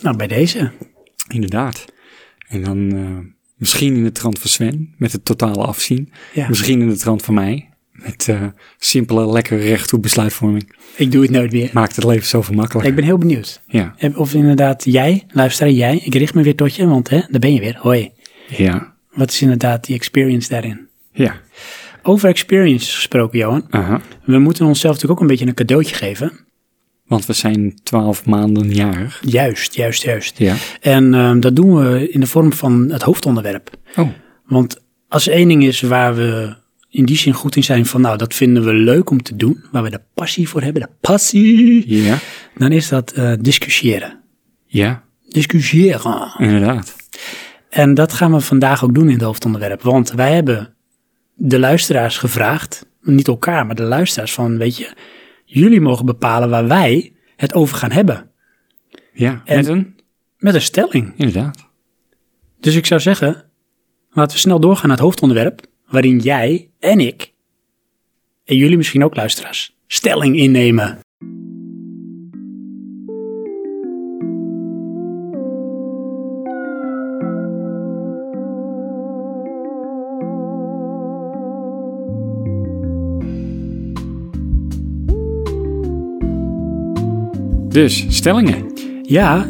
A: Nou, bij deze.
B: Inderdaad. En dan eh, misschien in de trant van Sven, met het totale afzien.
A: Ja.
B: Misschien in de trant van mij, met eh, simpele, lekkere rechthoek besluitvorming.
A: Ik doe het nooit meer.
B: Maakt het leven zoveel
A: Ja,
B: makkelijker.
A: ik ben heel benieuwd.
B: Ja.
A: Heb- Of inderdaad jij, luister jij, ik richt me weer tot je, want hè, daar ben je weer. Hoi.
B: Ja.
A: Wat is inderdaad die experience daarin?
B: Ja.
A: Over experience gesproken, Johan.
B: Aha.
A: We moeten onszelf natuurlijk ook een beetje een cadeautje geven.
B: Want we zijn twaalf maanden jarig.
A: Juist, juist, juist.
B: Ja.
A: En ehm, dat doen we in de vorm van het hoofdonderwerp.
B: Oh.
A: Want als er één ding is waar we in die zin goed in zijn van, nou, dat vinden we leuk om te doen, waar we de passie voor hebben, de passie,
B: Ja.
A: dan is dat eh, discussiëren.
B: Ja.
A: Discussiëren.
B: Inderdaad.
A: En dat gaan we vandaag ook doen in het hoofdonderwerp. Want wij hebben de luisteraars gevraagd, niet elkaar, maar de luisteraars van, weet je, jullie mogen bepalen waar wij het over gaan hebben.
B: Ja.
A: En-
B: Met een?
A: Met een stelling.
B: Inderdaad.
A: Dus ik zou zeggen, laten we snel doorgaan naar het hoofdonderwerp, waarin jij en ik, en jullie misschien ook luisteraars, stelling innemen.
B: Dus, stellingen.
A: Ja,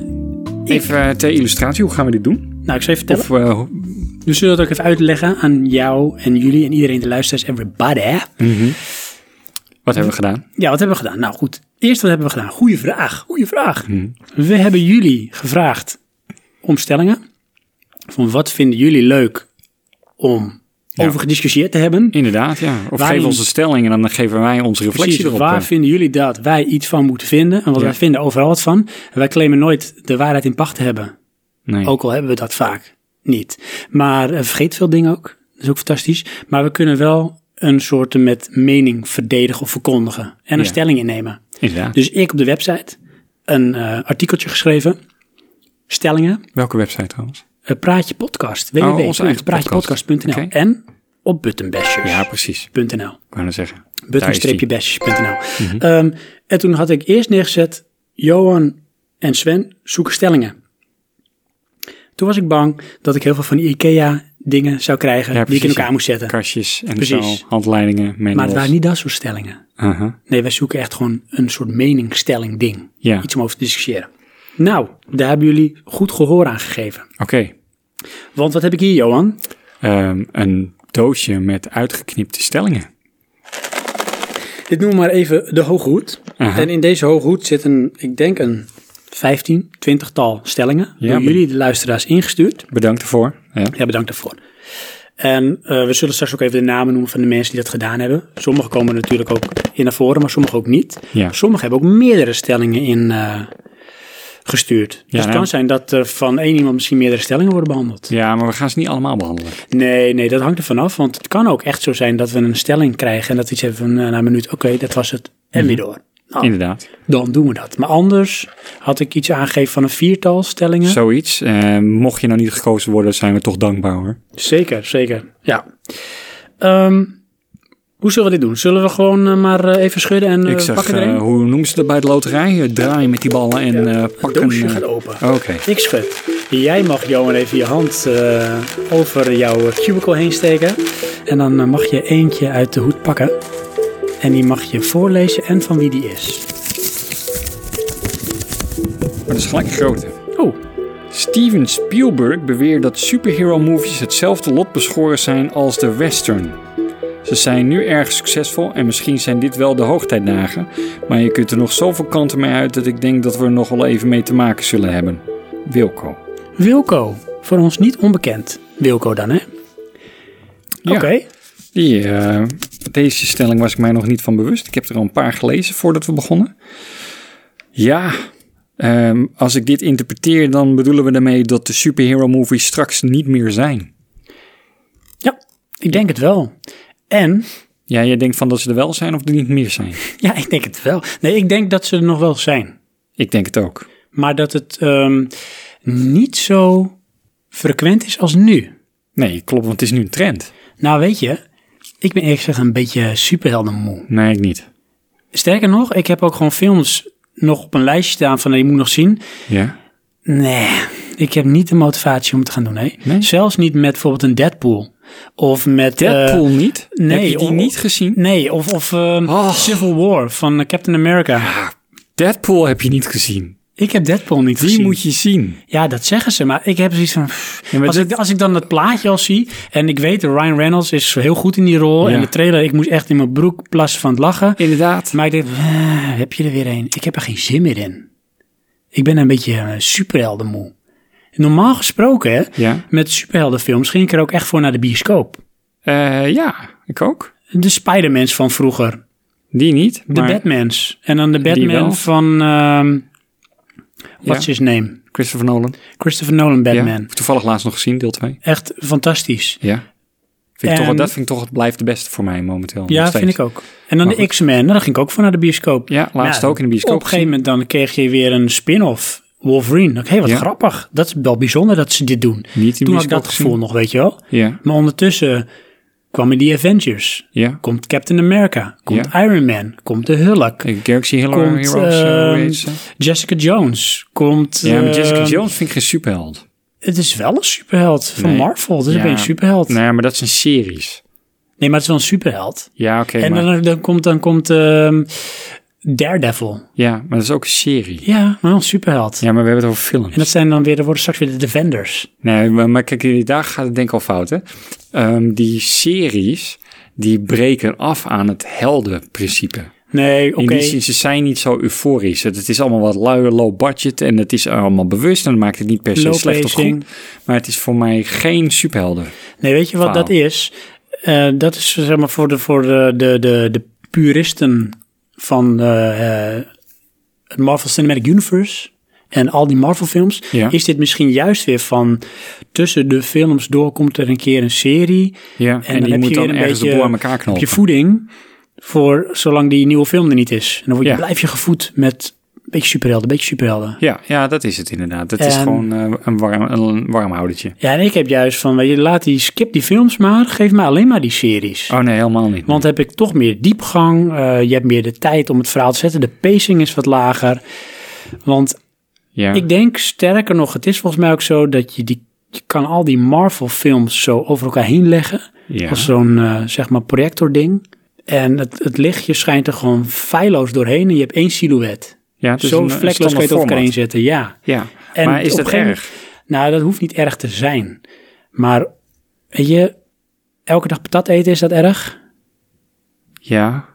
B: Even eh, ter illustratie, hoe gaan we dit doen?
A: nou ik zal even vertellen.
B: Of, eh, hoe-
A: Dus zullen we dat ook even uitleggen aan jou en jullie en iedereen de luisteraars, everybody.
B: wat hebben we gedaan?
A: Ja, wat hebben we gedaan? Nou goed, eerst wat hebben we gedaan? Goeie vraag, goeie vraag. We hebben jullie gevraagd om stellingen. Van wat vinden jullie leuk om over gediscussieerd te hebben?
B: Inderdaad, ja. Of
A: Waarin-
B: geef ons een stelling en dan geven wij onze reflectie
A: Precies,
B: erop.
A: waar
B: eh.
A: vinden jullie dat wij iets van moeten vinden? En wat
B: Ja.
A: wij vinden overal wat van. En wij claimen nooit de waarheid in pacht te hebben.
B: nee.
A: Ook al hebben we dat vaak niet. Maar eh, vergeet veel dingen ook. Dat is ook fantastisch. Maar we kunnen wel een soort met mening verdedigen of verkondigen. En een
B: Ja.
A: stelling innemen.
B: Inderdaad.
A: Dus ik op de website een eh, artikeltje geschreven. Stellingen.
B: Welke website trouwens?
A: eh, Praatje podcast.
B: eigen
A: www.praatjepodcast.nl
B: Oh, podcast. Oké.
A: En op buttonbashers.nl.
B: Ja, precies. Ik wou net zeggen. Daar is die.
A: button-bashes.nl.
B: Mhm.
A: Ehm, en toen had ik eerst neergezet, Johan en Sven zoeken stellingen. Toen was ik bang dat ik heel veel van die IKEA dingen zou krijgen
B: Ja,
A: die ik in
B: precies,
A: elkaar
B: ja.
A: moest zetten.
B: Kastjes en
A: Precies.
B: zo, handleidingen, manuals.
A: Maar het waren niet dat soort stellingen.
B: Aha.
A: Nee, wij zoeken echt gewoon een soort meningsstelling ding.
B: Ja.
A: Iets om over te discussiëren. Nou, daar hebben jullie goed gehoor aan gegeven.
B: Oké.
A: Want wat heb ik hier, Johan?
B: Ehm, een doosje met uitgeknipte stellingen.
A: Dit noemen we maar even de hooghoed.
B: Aha.
A: En in deze hooghoed zit een, ik denk een 15, 20 tal stellingen
B: Ja,
A: door
B: maar-
A: jullie, de luisteraars, ingestuurd.
B: Bedankt ervoor. Ja.
A: Ja, bedankt daarvoor. En eh, we zullen straks ook even de namen noemen van de mensen die dat gedaan hebben. Sommige komen natuurlijk ook in naar voren, maar sommige ook niet.
B: Ja.
A: Sommige hebben ook meerdere stellingen in eh, gestuurd. dus het
B: nou-
A: kan zijn dat er van één iemand misschien meerdere stellingen worden behandeld.
B: ja, maar we gaan ze niet allemaal behandelen.
A: Nee, nee, dat hangt er vanaf. Want het kan ook echt zo zijn dat we een stelling krijgen en dat we iets hebben van eh, na een minuut, oké, dat was het.
B: Mhm.
A: En weer door. Nou,
B: Inderdaad.
A: dan doen we dat. Maar anders had ik iets aangegeven van een viertal stellingen.
B: Zoiets. Eh, mocht je nou niet gekozen worden, zijn we toch dankbaar hoor.
A: Zeker, zeker. Ja. Ehm, hoe zullen we dit doen? Zullen we gewoon eh, maar eh, even schudden en eh,
B: Ik zeg,
A: pakken er een?
B: eh, hoe noemen ze dat bij de loterij? Eh, Draaien met die ballen en eh pakken.
A: doosje
B: eh,
A: gaat open.
B: Oké.
A: Ik schud. Jij mag Johan even je hand eh, over jouw cubicle heen steken. En dan eh, mag je eentje uit de hoed pakken. En die mag je voorlezen en van wie die is.
B: Maar dat is gelijk een grote.
A: Oh,
B: Steven Spielberg beweert dat superhero-movies hetzelfde lot beschoren zijn als de western. Ze zijn nu erg succesvol en misschien zijn dit wel de hoogtijdagen, maar je kunt er nog zoveel kanten mee uit dat ik denk dat we er nog wel even mee te maken zullen hebben. Wilco.
A: Wilco. Voor ons niet onbekend. Wilco dan, hè?
B: Ja.
A: Oké.
B: Die, eh, deze stelling was ik mij nog niet van bewust. Ik heb er al een paar gelezen voordat we begonnen. Ja, ehm, als ik dit interpreteer, dan bedoelen we daarmee dat de superhero-movies straks niet meer zijn.
A: Ja, ik denk het wel. En
B: Ja, jij denkt van dat ze er wel zijn of er niet meer zijn.
A: Ja, ik denk het wel. Nee, ik denk dat ze er nog wel zijn.
B: Ik denk het ook.
A: Maar dat het ehm, niet zo frequent is als nu.
B: Nee, klopt, want het is nu een trend.
A: Nou, weet je, ik ben eerlijk gezegd een beetje superheldenmoe.
B: Nee, ik niet.
A: Sterker nog, ik heb ook gewoon films nog op een lijstje staan van die moet ik nog zien.
B: Ja?
A: Nee, ik heb niet de motivatie om het te gaan doen. Nee.
B: Nee?
A: Zelfs niet met bijvoorbeeld een Deadpool. Of met... eh,
B: Deadpool niet?
A: nee,
B: Heb je die
A: om-
B: niet gezien? Oh.
A: nee, of, of ehm,
B: Och.
A: Civil War van eh, Captain America.
B: Deadpool heb je niet gezien.
A: Ik heb Deadpool niet
B: Die
A: gezien.
B: moet je zien.
A: Ja, dat zeggen ze, maar ik heb zoiets van... pff,
B: maar
A: als,
B: dit-
A: ik, als ik dan dat plaatje al zie en ik weet, Ryan Reynolds is heel goed in die rol.
B: Ja.
A: En de trailer, ik moest echt in mijn broek plassen van het lachen.
B: Inderdaad.
A: Maar ik denk, eh, heb je er weer een? Ik heb er geen zin meer in. Ik ben een beetje eh, superheldenmoe. Normaal gesproken, hè,
B: Ja.
A: met superheldenfilms ging ik er ook echt voor naar de bioscoop.
B: Eh, ja, ik ook.
A: De Spider-Mans van vroeger,
B: Die niet,
A: de
B: maar
A: Batmans. En dan de
B: wel.
A: Batman van, ehm what's his name?
B: Christopher Nolan.
A: Christopher Nolan
B: Ja,
A: Batman.
B: heb ik toevallig laatst nog gezien, deel 2.
A: Echt fantastisch.
B: Ja. Vind ik
A: En-
B: toch, dat vind ik toch, het blijft de beste voor mij momenteel. nog
A: Ja,
B: steeds.
A: vind ik ook. En dan
B: Maar
A: de
B: goed.
A: X-Men, daar ging ik ook voor naar de bioscoop.
B: Ja, laatst ook in de bioscoop
A: Op een gegeven moment dan kreeg je weer een spin-off, Wolverine. Hé, hey, wat
B: Ja.
A: grappig. Dat is wel bijzonder dat ze dit doen.
B: Niet in
A: Toen had ik
B: bioscoop
A: dat gevoel
B: gezien.
A: nog, weet je wel.
B: Ja,
A: Maar ondertussen kwamen die Avengers.
B: ja.
A: Komt Captain America, komt
B: Ja.
A: Iron Man, komt de Hulk,
B: Ik- Galaxy Hero,
A: komt
B: Heroes, eh, hoe
A: ehm,
B: heet ze?
A: Jessica Jones, komt...
B: Ja, maar Jessica
A: ehm,
B: Jones vind ik geen superheld.
A: Het is wel een superheld van
B: Nee.
A: Marvel, dus ik
B: Ja.
A: ben een superheld. Nee.
B: Nee, maar dat zijn series.
A: maar het is wel een superheld.
B: Ja, oké,
A: en
B: maar...
A: dan, dan komt, dan komt ehm, Daredevil.
B: Ja, maar dat is ook een serie.
A: Ja, maar wel een superheld.
B: Ja, maar we hebben het over films.
A: En dat zijn dan weer, dat worden straks weer de Defenders.
B: Nee, maar, maar kijk, daar gaat het denk ik al fout, hè. Ehm, die series, die breken af aan het heldenprincipe.
A: Nee, oké.
B: In die zin, ze zijn niet zo euforisch. Het, het is allemaal wat lui, low budget en het is allemaal bewust. En dat maakt het niet per se
A: Low
B: slecht of
A: pacing.
B: goed. Maar het is voor mij geen superhelden.
A: Nee, weet je wat
B: Verhaal.
A: dat is? Eh, dat is zeg maar voor de, voor de, de, de, de puristen van eh, eh, het Marvel Cinematic Universe en al die Marvel films,
B: Ja.
A: is dit misschien juist weer van tussen de films door komt er een keer een serie.
B: Ja, en die moet dan
A: weer
B: ergens de boel aan elkaar knopen.
A: heb je voeding voor zolang die nieuwe film er niet is. En dan word je,
B: Ja.
A: blijf je gevoed met een beetje superhelden, een beetje superhelden.
B: Ja, ja, dat is het inderdaad. Het is
A: En-
B: gewoon eh, een, warm, een warm houdertje.
A: Ja, en ik heb juist van, weet je, laat die, skip die films maar, geef mij alleen maar die series.
B: Oh nee, helemaal niet.
A: Want heb ik toch meer diepgang, eh, je hebt meer de tijd om het verhaal te zetten, de pacing is wat lager. Want
B: ja.
A: ik denk, sterker nog, het is volgens mij ook zo dat je die, je kan al die Marvel films zo over elkaar heen leggen.
B: Ja.
A: Als zo'n, eh, zeg maar, projector ding. En het, het lichtje schijnt er gewoon feilloos doorheen en je hebt één silhouet.
B: ja, het is
A: Zo
B: een- een
A: vlekloos kan je het over
B: standaard
A: elkaar heen
B: format.
A: zetten, ja.
B: Ja,
A: En
B: maar is
A: op
B: dat
A: een gegeven
B: erg?
A: Nou, dat hoeft niet erg te zijn. Maar weet je, elke dag patat eten, is dat erg?
B: Ja,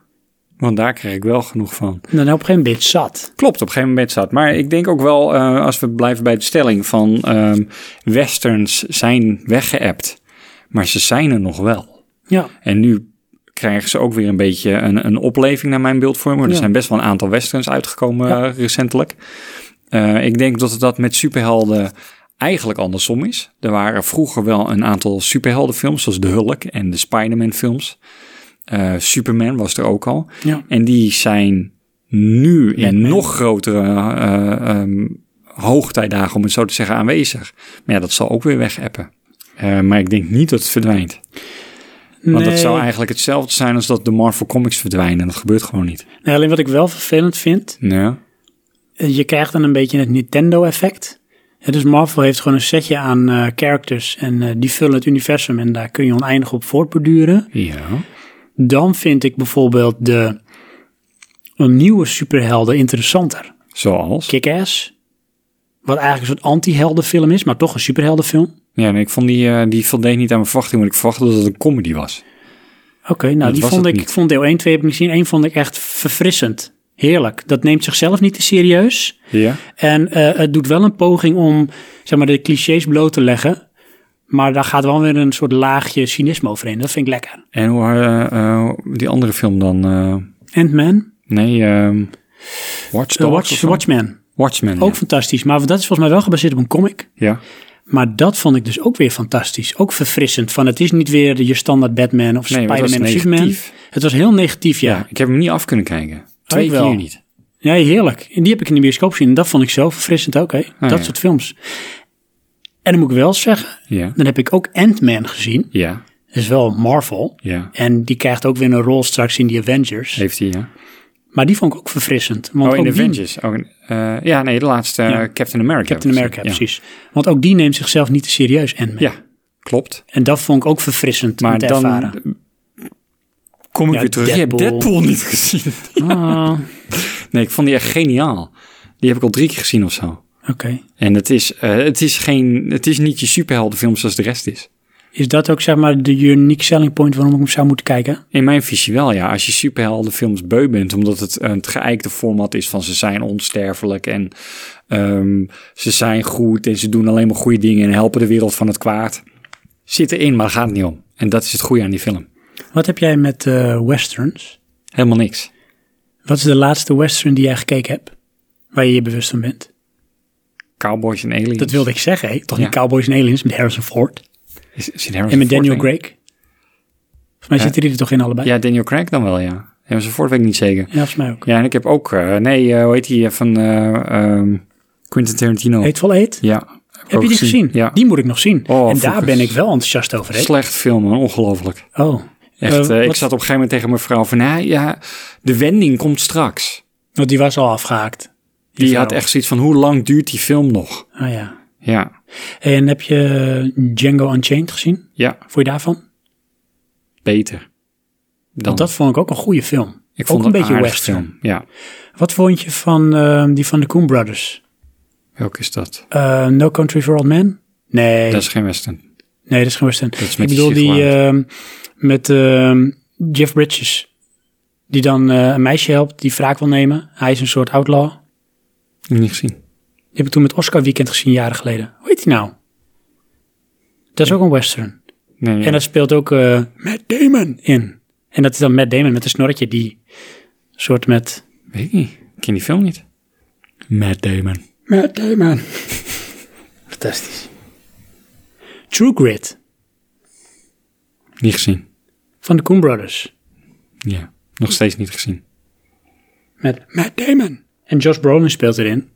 B: Want daar kreeg ik wel genoeg van.
A: Dan op een gegeven moment zat.
B: Klopt, op een gegeven moment zat. Maar ik denk ook wel, eh, als we blijven bij de stelling van ehm, westerns zijn weggeëpt. Maar ze zijn er nog wel.
A: Ja,
B: En nu krijgen ze ook weer een beetje een, een opleving naar mijn beeldvorming. Er
A: Ja.
B: zijn best wel een aantal westerns uitgekomen
A: Ja.
B: eh, recentelijk. Eh, ik denk dat het dat met superhelden eigenlijk andersom is. Er waren vroeger wel een aantal superheldenfilms, zoals de Hulk en de Spider-Man films. Eh, Superman was er ook al.
A: Ja.
B: En die zijn nu in nog grotere eh, ehm, hoogtijdagen, om het zo te zeggen, aanwezig. Maar ja, dat zal ook weer wegappen. Eh, maar ik denk niet dat het verdwijnt. Want dat zou eigenlijk hetzelfde zijn als dat de Marvel Comics verdwijnen. En dat gebeurt gewoon niet.
A: Nee, alleen wat ik wel vervelend vind,
B: Nee.
A: eh, je krijgt dan een beetje het Nintendo-effect. Eh, Dus Marvel heeft gewoon een setje aan eh, characters en eh, die vullen het universum en daar kun je oneindig op voortborduren.
B: Ja.
A: Dan vind ik bijvoorbeeld de een nieuwe superhelden interessanter.
B: Zoals.
A: Kick-Ass, wat eigenlijk een soort anti-heldenfilm is, maar toch een superheldenfilm.
B: Ja, nee, ik vond die, eh, die voldeed niet aan mijn verwachting. Want ik verwachtte dat het een comedy was.
A: Oké, nou
B: Dat
A: die
B: was
A: vond
B: het
A: ik,
B: niet.
A: ik vond deel 1, 2 heb ik niet gezien. 1 vond ik echt verfrissend. Heerlijk. Dat neemt zichzelf niet te serieus.
B: Ja.
A: En eh, het doet wel een poging om zeg maar, de clichés bloot te leggen. Maar daar gaat wel weer een soort laagje cynisme overheen. Dat vind ik lekker.
B: En hoe eh, eh, die andere film dan? eh,
A: Ant-Man,
B: nee, ehm Watch
A: The
B: Dogs of
A: Eh, Watch,
B: zo?
A: Watchmen.
B: Watchmen.
A: Ook
B: ja.
A: fantastisch. Maar dat is volgens mij wel gebaseerd op een comic.
B: ja.
A: Maar dat vond ik dus ook weer fantastisch. Ook verfrissend. Van het is niet weer de- je standaard Batman of
B: Nee, maar het
A: Spider-Man of
B: was
A: Superman.
B: negatief.
A: Het was heel negatief, ja.
B: Ja, ik heb hem niet af kunnen kijken. Twee
A: Oh, ik wel.
B: keer niet.
A: Ja, heerlijk. En die heb ik in de bioscoop gezien. En dat vond ik zo verfrissend ook, hè. dat
B: Oh, ja.
A: soort films. En dan moet ik wel zeggen,
B: Ja.
A: dan heb ik ook Ant-Man gezien.
B: Ja.
A: Dat is wel Marvel.
B: Ja.
A: En die krijgt ook weer een rol straks in die Avengers.
B: Heeft hij, ja.
A: Maar die vond ik ook verfrissend. Want
B: Oh, in
A: ook
B: de
A: die-
B: Avengers. Oh, in- eh, ja, nee, de laatste eh,
A: Ja.
B: Captain America.
A: Captain
B: heb ik
A: America,
B: gezien.
A: precies. Want ook die neemt zichzelf niet te serieus, Ant-Man.
B: Ja. ja, klopt.
A: En dat vond ik ook verfrissend om
B: Maar
A: te
B: dan
A: ervaren.
B: kom ik
A: Ja,
B: weer terug. Je
A: Deadpool.
B: hebt Deadpool niet gezien.
A: Ah,
B: Nee, ik vond die echt geniaal. Die heb ik al drie keer gezien of zo.
A: Oké.
B: En het is, eh, het is, geen, het is niet je superheldenfilm zoals de rest is.
A: Is dat ook, zeg maar, de unique selling point waarom ik hem zou moeten kijken?
B: In mijn visie wel, ja. Als je superheldenfilms beu bent, omdat het een geëikte format is van ze zijn onsterfelijk en ehm, ze zijn goed en ze doen alleen maar goede dingen en helpen de wereld van het kwaad. Zit erin, maar daar gaat het niet om. En dat is het goede aan die film.
A: Wat heb jij met eh, westerns?
B: Helemaal niks.
A: Wat is de laatste western die jij gekeken hebt? Waar je je bewust van bent?
B: Cowboys en aliens.
A: Dat wilde ik zeggen, hè? Toch
B: Ja.
A: niet Cowboys en Aliens met Harrison Ford
B: Is, zit Harrison
A: en met
B: Ford
A: Daniel
B: in?
A: Craig? Volgens mij zitten die er toch in allebei?
B: Ja, Daniel Craig dan wel, ja. Harrison Ford weet ik niet zeker.
A: Ja, volgens mij ook.
B: Ja, en ik heb ook... eh, nee, eh, hoe heet die? eh, Van eh, ehm, Quentin Tarantino.
A: Hateful Eight?
B: Ja. ik
A: Heb
B: ook
A: je die gezien?
B: Ja.
A: Die moet ik nog zien.
B: Oh,
A: en daar
B: vroeger.
A: ben ik wel enthousiast over. hè?
B: Slecht film, man. Ongelooflijk.
A: Oh.
B: Echt,
A: Eh,
B: eh, ik
A: wat-
B: zat op een gegeven moment tegen mijn vrouw van... Nou ja, de wending komt straks.
A: Want die was al afgehaakt.
B: Die
A: vrouw.
B: had echt zoiets van... Hoe lang duurt die film nog?
A: Ah ja.
B: Ja.
A: En heb je eh, Django Unchained gezien?
B: Ja,
A: Vond je daarvan? Want
B: beter. Dan.
A: dat vond ik ook een goede film.
B: ik vond
A: ook
B: het
A: een beetje
B: aardig
A: western.
B: film. Ja.
A: Wat vond je van eh, die van de Coen Brothers?
B: Welke is dat?
A: Eh, no Country for Old Men? Nee.
B: Dat is geen western.
A: Nee, dat is geen western.
B: is
A: ik
B: met die
A: bedoel die
B: sigaret.
A: ehm, met ehm, Jeff Bridges. Die dan eh, een meisje helpt die wraak wil nemen. Hij is een soort outlaw.
B: Ik heb niet gezien.
A: Die heb ik toen met Oscar Weekend gezien, jaren geleden. Hoe heet die nou? Dat is ook een western.
B: Nee,
A: En daar speelt ook eh Matt Damon in. En dat is dan Matt Damon met een snorretje die soort met...
B: weet ik niet. Ik ken die film niet. Matt Damon.
A: Matt Damon. Fantastisch. True Grit
B: Niet gezien.
A: van de Coen Brothers.
B: Ja. Nog steeds niet gezien.
A: Met Matt Damon. En Josh Brolin speelt erin.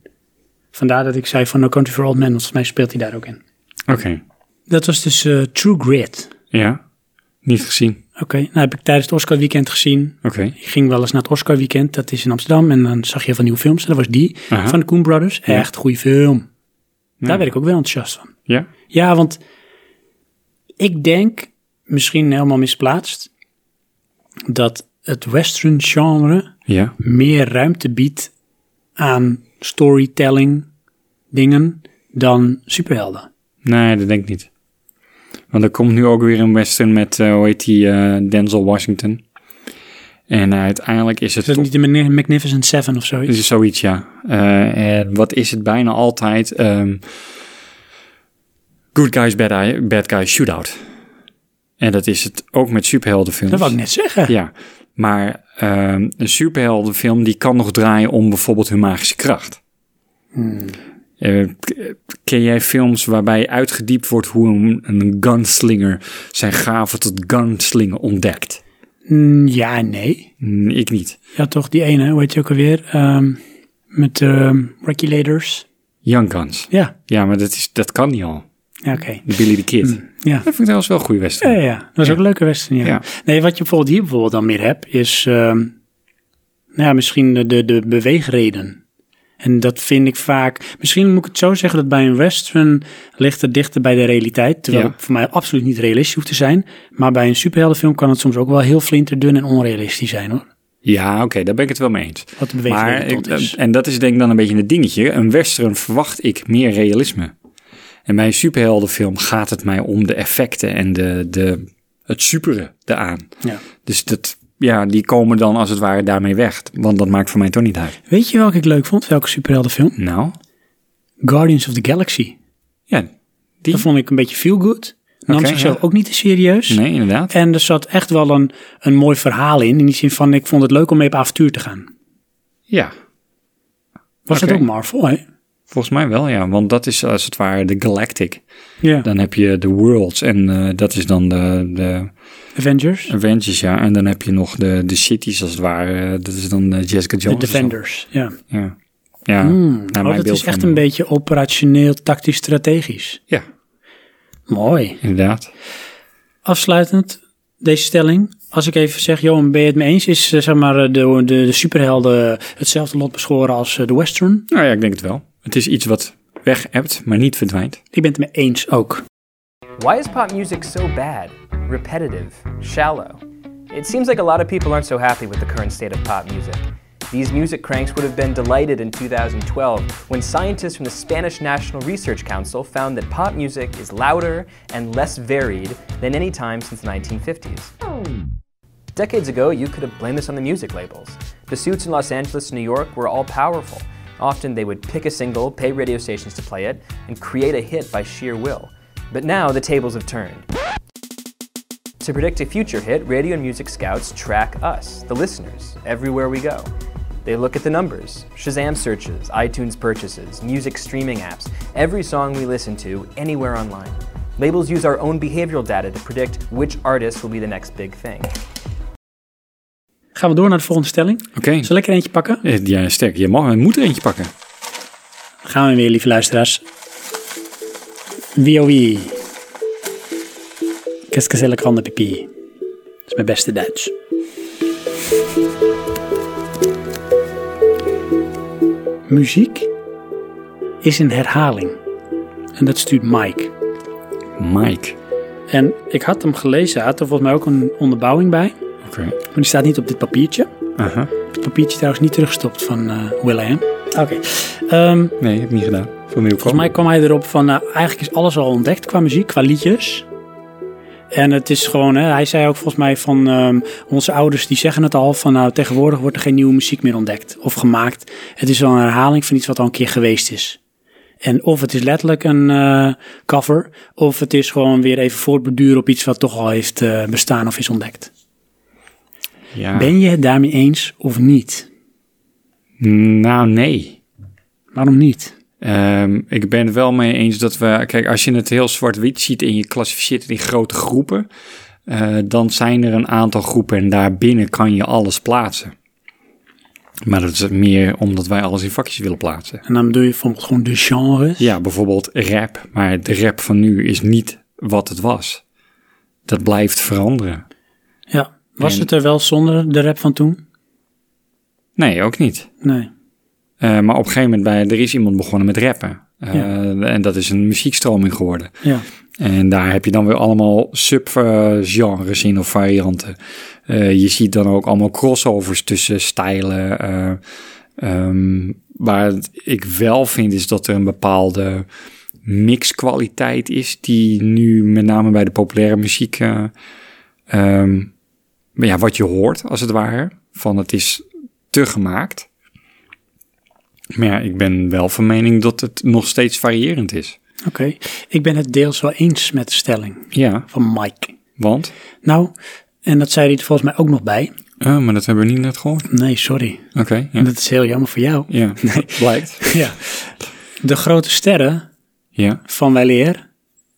A: Vandaar dat ik zei van No Country for Old Men, want volgens mij speelt hij daar ook in.
B: Oké.
A: Dat was dus eh, True Grit.
B: Ja. Niet gezien.
A: Oké, nou heb ik tijdens het Oscar weekend gezien.
B: Oké.
A: Ik ging wel eens naar het Oscar weekend, dat is in Amsterdam. En dan zag je van nieuwe films. En dat was die
B: Aha.
A: van de Coen Brothers. Echt goede film. Daar werd ik ook wel enthousiast van.
B: Ja.
A: Ja, want ik denk, misschien helemaal misplaatst, dat het western genre
B: Ja.
A: meer ruimte biedt aan storytelling dingen dan superhelden.
B: Nee, dat denk ik niet. Want er komt nu ook weer een western met, eh, hoe heet die, eh, Denzel Washington. En uiteindelijk is het...
A: Is dat niet de Magni- Magnificent Seven of zoiets?
B: Dit is zoiets, ja. Eh, en wat is het bijna altijd? Ehm, good guys, bad, eye- bad guys, shootout. En dat is het ook met superheldenfilms.
A: dat wou ik net zeggen.
B: Ja, maar ehm, een superheldenfilm die kan nog draaien om bijvoorbeeld hun magische kracht. Eh, k- ken jij films waarbij uitgediept wordt hoe een, een gunslinger zijn gave tot gunslinger ontdekt?
A: Mm, Ja, nee.
B: Hm, Ik niet.
A: Ja, toch die ene, hoe heet je ook alweer? Ehm, met ehm, regulators.
B: Young Guns.
A: Ja,
B: Ja, maar dat, is, dat kan niet al.
A: ja oké.
B: Billy the Kid.
A: Ja.
B: Dat vind ik trouwens wel een goede
A: Ja,
B: wedstrijd.
A: ja, ja. dat is ook een leuke wedstrijd. Ja.
B: Ja.
A: Nee, wat je bijvoorbeeld hier bijvoorbeeld dan meer hebt, is ehm, nou ja, misschien de, de, de beweegreden. En dat vind ik vaak. Misschien moet ik het zo zeggen dat bij een western ligt het dichter bij de realiteit. Terwijl
B: Ja.
A: het voor mij absoluut niet realistisch hoeft te zijn. Maar bij een superheldenfilm kan het soms ook wel heel flinterdun en onrealistisch zijn hoor.
B: Ja, oké, daar ben ik het wel mee eens.
A: Wat de beweegreden tot
B: ik- eh,
A: is.
B: En dat is denk ik dan een beetje het dingetje. Een western verwacht ik meer realisme. En bij een superheldenfilm gaat het mij om de effecten en de, de, het supere eraan.
A: Ja.
B: Dus dat, ja, die komen dan als het ware daarmee weg. Want dat maakt voor mij toch niet uit.
A: Weet je welke ik leuk vond? Welke superheldenfilm?
B: Nou,
A: Guardians of the Galaxy.
B: ja, die?
A: Dat vond ik een beetje feel good. Nam
B: Oké,
A: zichzelf
B: ja.
A: ook niet te serieus.
B: Nee, inderdaad.
A: En er zat echt wel een, een mooi verhaal in. In die zin van, ik vond het leuk om mee op avontuur te gaan.
B: Ja,
A: Was dat
B: Oké.
A: ook Marvel, hè?
B: volgens mij wel, ja. Want dat is als het ware de Galactic.
A: Ja.
B: Dan heb je de Worlds en eh, dat is dan de, de,
A: Avengers?
B: Avengers, ja. En dan heb je nog de, de cities, als het ware. Dat is dan eh, Jessica
A: De
B: Jones. of zo.
A: Defenders, ja.
B: Ja, ja naar
A: oh,
B: mijn
A: dat
B: beeld
A: is echt
B: van-
A: een beetje operationeel, tactisch, strategisch.
B: Ja,
A: Mooi.
B: inderdaad.
A: Afsluitend, deze stelling. Als ik even zeg, Johan, ben je het mee eens? Is eh, zeg maar, eh, de, de, de superhelden hetzelfde lot beschoren als eh, de western?
B: Nou ja, ik denk het wel. Het is iets wat weg hebt, maar niet verdwijnt.
A: Ik ben het mee eens ook.
I: Why is pop music so bad, repetitive, shallow? It seems like a lot of people aren't so happy with the current state of pop music. These music cranks would have been delighted in 2012 when scientists from the Spanish National Research Council found that pop music is louder and less varied than any time since the 1950s. Decades ago, you could have blamed this on the music labels. The suits in Los Angeles and New York were all powerful. Often they would pick a single, pay radio stations to play it, and create a hit by sheer will. But now the tables have turned. To predict a future hit, radio and music scouts track us, the listeners, everywhere we go. They look at the numbers Shazam searches, iTunes purchases, music streaming apps, every song we listen to, anywhere online. Labels use our own behavioral data to predict which artist will be the next big thing.
A: Gaan we door naar de volgende stelling?
B: Oké.
A: Zal ik er eentje pakken?
B: Eh, Ja, sterk. Je mag, je moet er eentje pakken.
A: gaan we weer, lieve luisteraars. oh WOE. Qu'est-ce que c'est le grande pipi? Dat is mijn beste Duits. Muziek is een herhaling. En dat stuurt Mike.
B: Mike.
A: En ik had hem gelezen, hij had er volgens mij ook een onderbouwing bij.
B: Oké.
A: Maar die staat niet op dit papiertje.
B: Aha.
A: Het papiertje trouwens niet teruggestopt van eh Will.i.am. Oké. Ehm,
B: Nee, heb ik niet gedaan. Van Nieuw
A: Volgens mij kwam hij erop van, nou, eigenlijk is alles al ontdekt qua muziek, qua liedjes. En het is gewoon, hè, hij zei ook volgens mij van, ehm, onze ouders die zeggen het al, van nou, tegenwoordig wordt er geen nieuwe muziek meer ontdekt of gemaakt. Het is wel een herhaling van iets wat al een keer geweest is. En of het is letterlijk een eh, cover, of het is gewoon weer even voortborduren op iets wat toch al heeft eh, bestaan of is ontdekt.
B: Ja.
A: Ben je het daarmee eens of niet?
B: Nou, nee.
A: Waarom niet?
B: Ehm, ik ben het wel mee eens dat we, kijk, als je het heel zwart-wit ziet en je klassificeert het in grote groepen, eh, dan zijn er een aantal groepen en daarbinnen kan je alles plaatsen. Maar dat is meer omdat wij alles in vakjes willen plaatsen.
A: En dan bedoel je bijvoorbeeld gewoon de genres.
B: Ja, bijvoorbeeld rap, maar de rap van nu is niet wat het was. Dat blijft veranderen.
A: Ja. Was
B: En-
A: het er wel zonder de rap van toen?
B: Nee, ook niet.
A: Nee.
B: Eh, maar op een gegeven moment, bij, er is iemand begonnen met rappen. Eh,
A: Ja.
B: En dat is een muziekstroming geworden.
A: Ja.
B: En daar heb je dan weer allemaal subgenres in of varianten. Eh, je ziet dan ook allemaal crossovers tussen stijlen. eh, ehm, waar het- ik wel vind is dat er een bepaalde mixkwaliteit is... die nu met name bij de populaire muziek... eh, ehm, ja, wat je hoort, als het ware. Van het is te gemaakt. Maar ja, ik ben wel van mening dat het nog steeds variërend is.
A: Oké, ik ben het deels wel eens met de stelling
B: Ja,
A: van Mike.
B: want?
A: Nou, en dat zei hij er volgens mij ook nog bij.
B: Oh, maar dat hebben we niet net gehoord.
A: Nee, sorry.
B: Oké, ja.
A: Dat is heel jammer voor jou.
B: ja. blijkt.
A: Ja. De grote sterren
B: Ja,
A: van Weleer,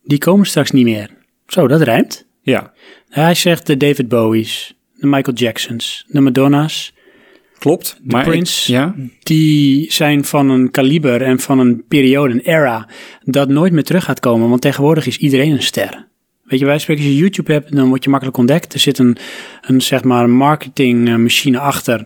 A: die komen straks niet meer. Zo, dat rijmt.
B: ja.
A: Hij zegt de David Bowies, de Michael Jacksons, de Madonna's.
B: Klopt. maar ik-
A: Prince.
B: ja,
A: Die zijn van een kaliber en van een periode, een era, dat nooit meer terug gaat komen. Want tegenwoordig is iedereen een ster. Weet je, wij spreken, als je YouTube hebt, dan word je makkelijk ontdekt. Er zit een, een zeg maar, marketingmachine achter,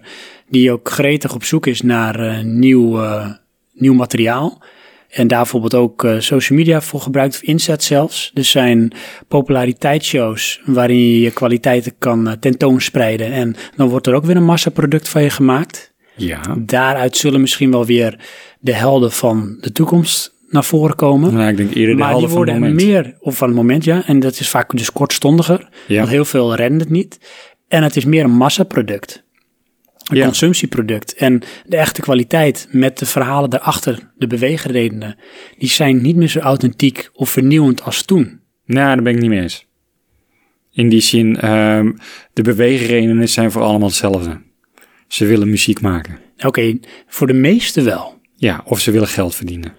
A: die ook gretig op zoek is naar eh, nieuw, eh, nieuw materiaal. En daar bijvoorbeeld ook eh, social media voor gebruikt, of inzet zelfs. Dus zijn populariteitsshows waarin je je kwaliteiten kan eh, tentoonspreiden. En dan wordt er ook weer een massaproduct van je gemaakt
B: ja.
A: daaruit zullen misschien wel weer de helden van de toekomst naar voren komen.
B: Nou, ik denk eerder de
A: maar die
B: helden van het
A: worden
B: moment.
A: meer op van het moment, ja. En dat is vaak dus kortstondiger.
B: Ja.
A: Want heel veel rennen het niet. En het is meer een massaproduct. Een
B: Ja.
A: consumptieproduct. En de echte kwaliteit met de verhalen daarachter, de beweegredenen, die zijn niet meer zo authentiek of vernieuwend als toen.
B: Nou, daar ben ik niet mee eens. In die zin, ehm, de beweegredenen zijn voor allemaal hetzelfde. Ze willen muziek maken.
A: Oké, voor de meesten wel.
B: Ja, of ze willen geld verdienen.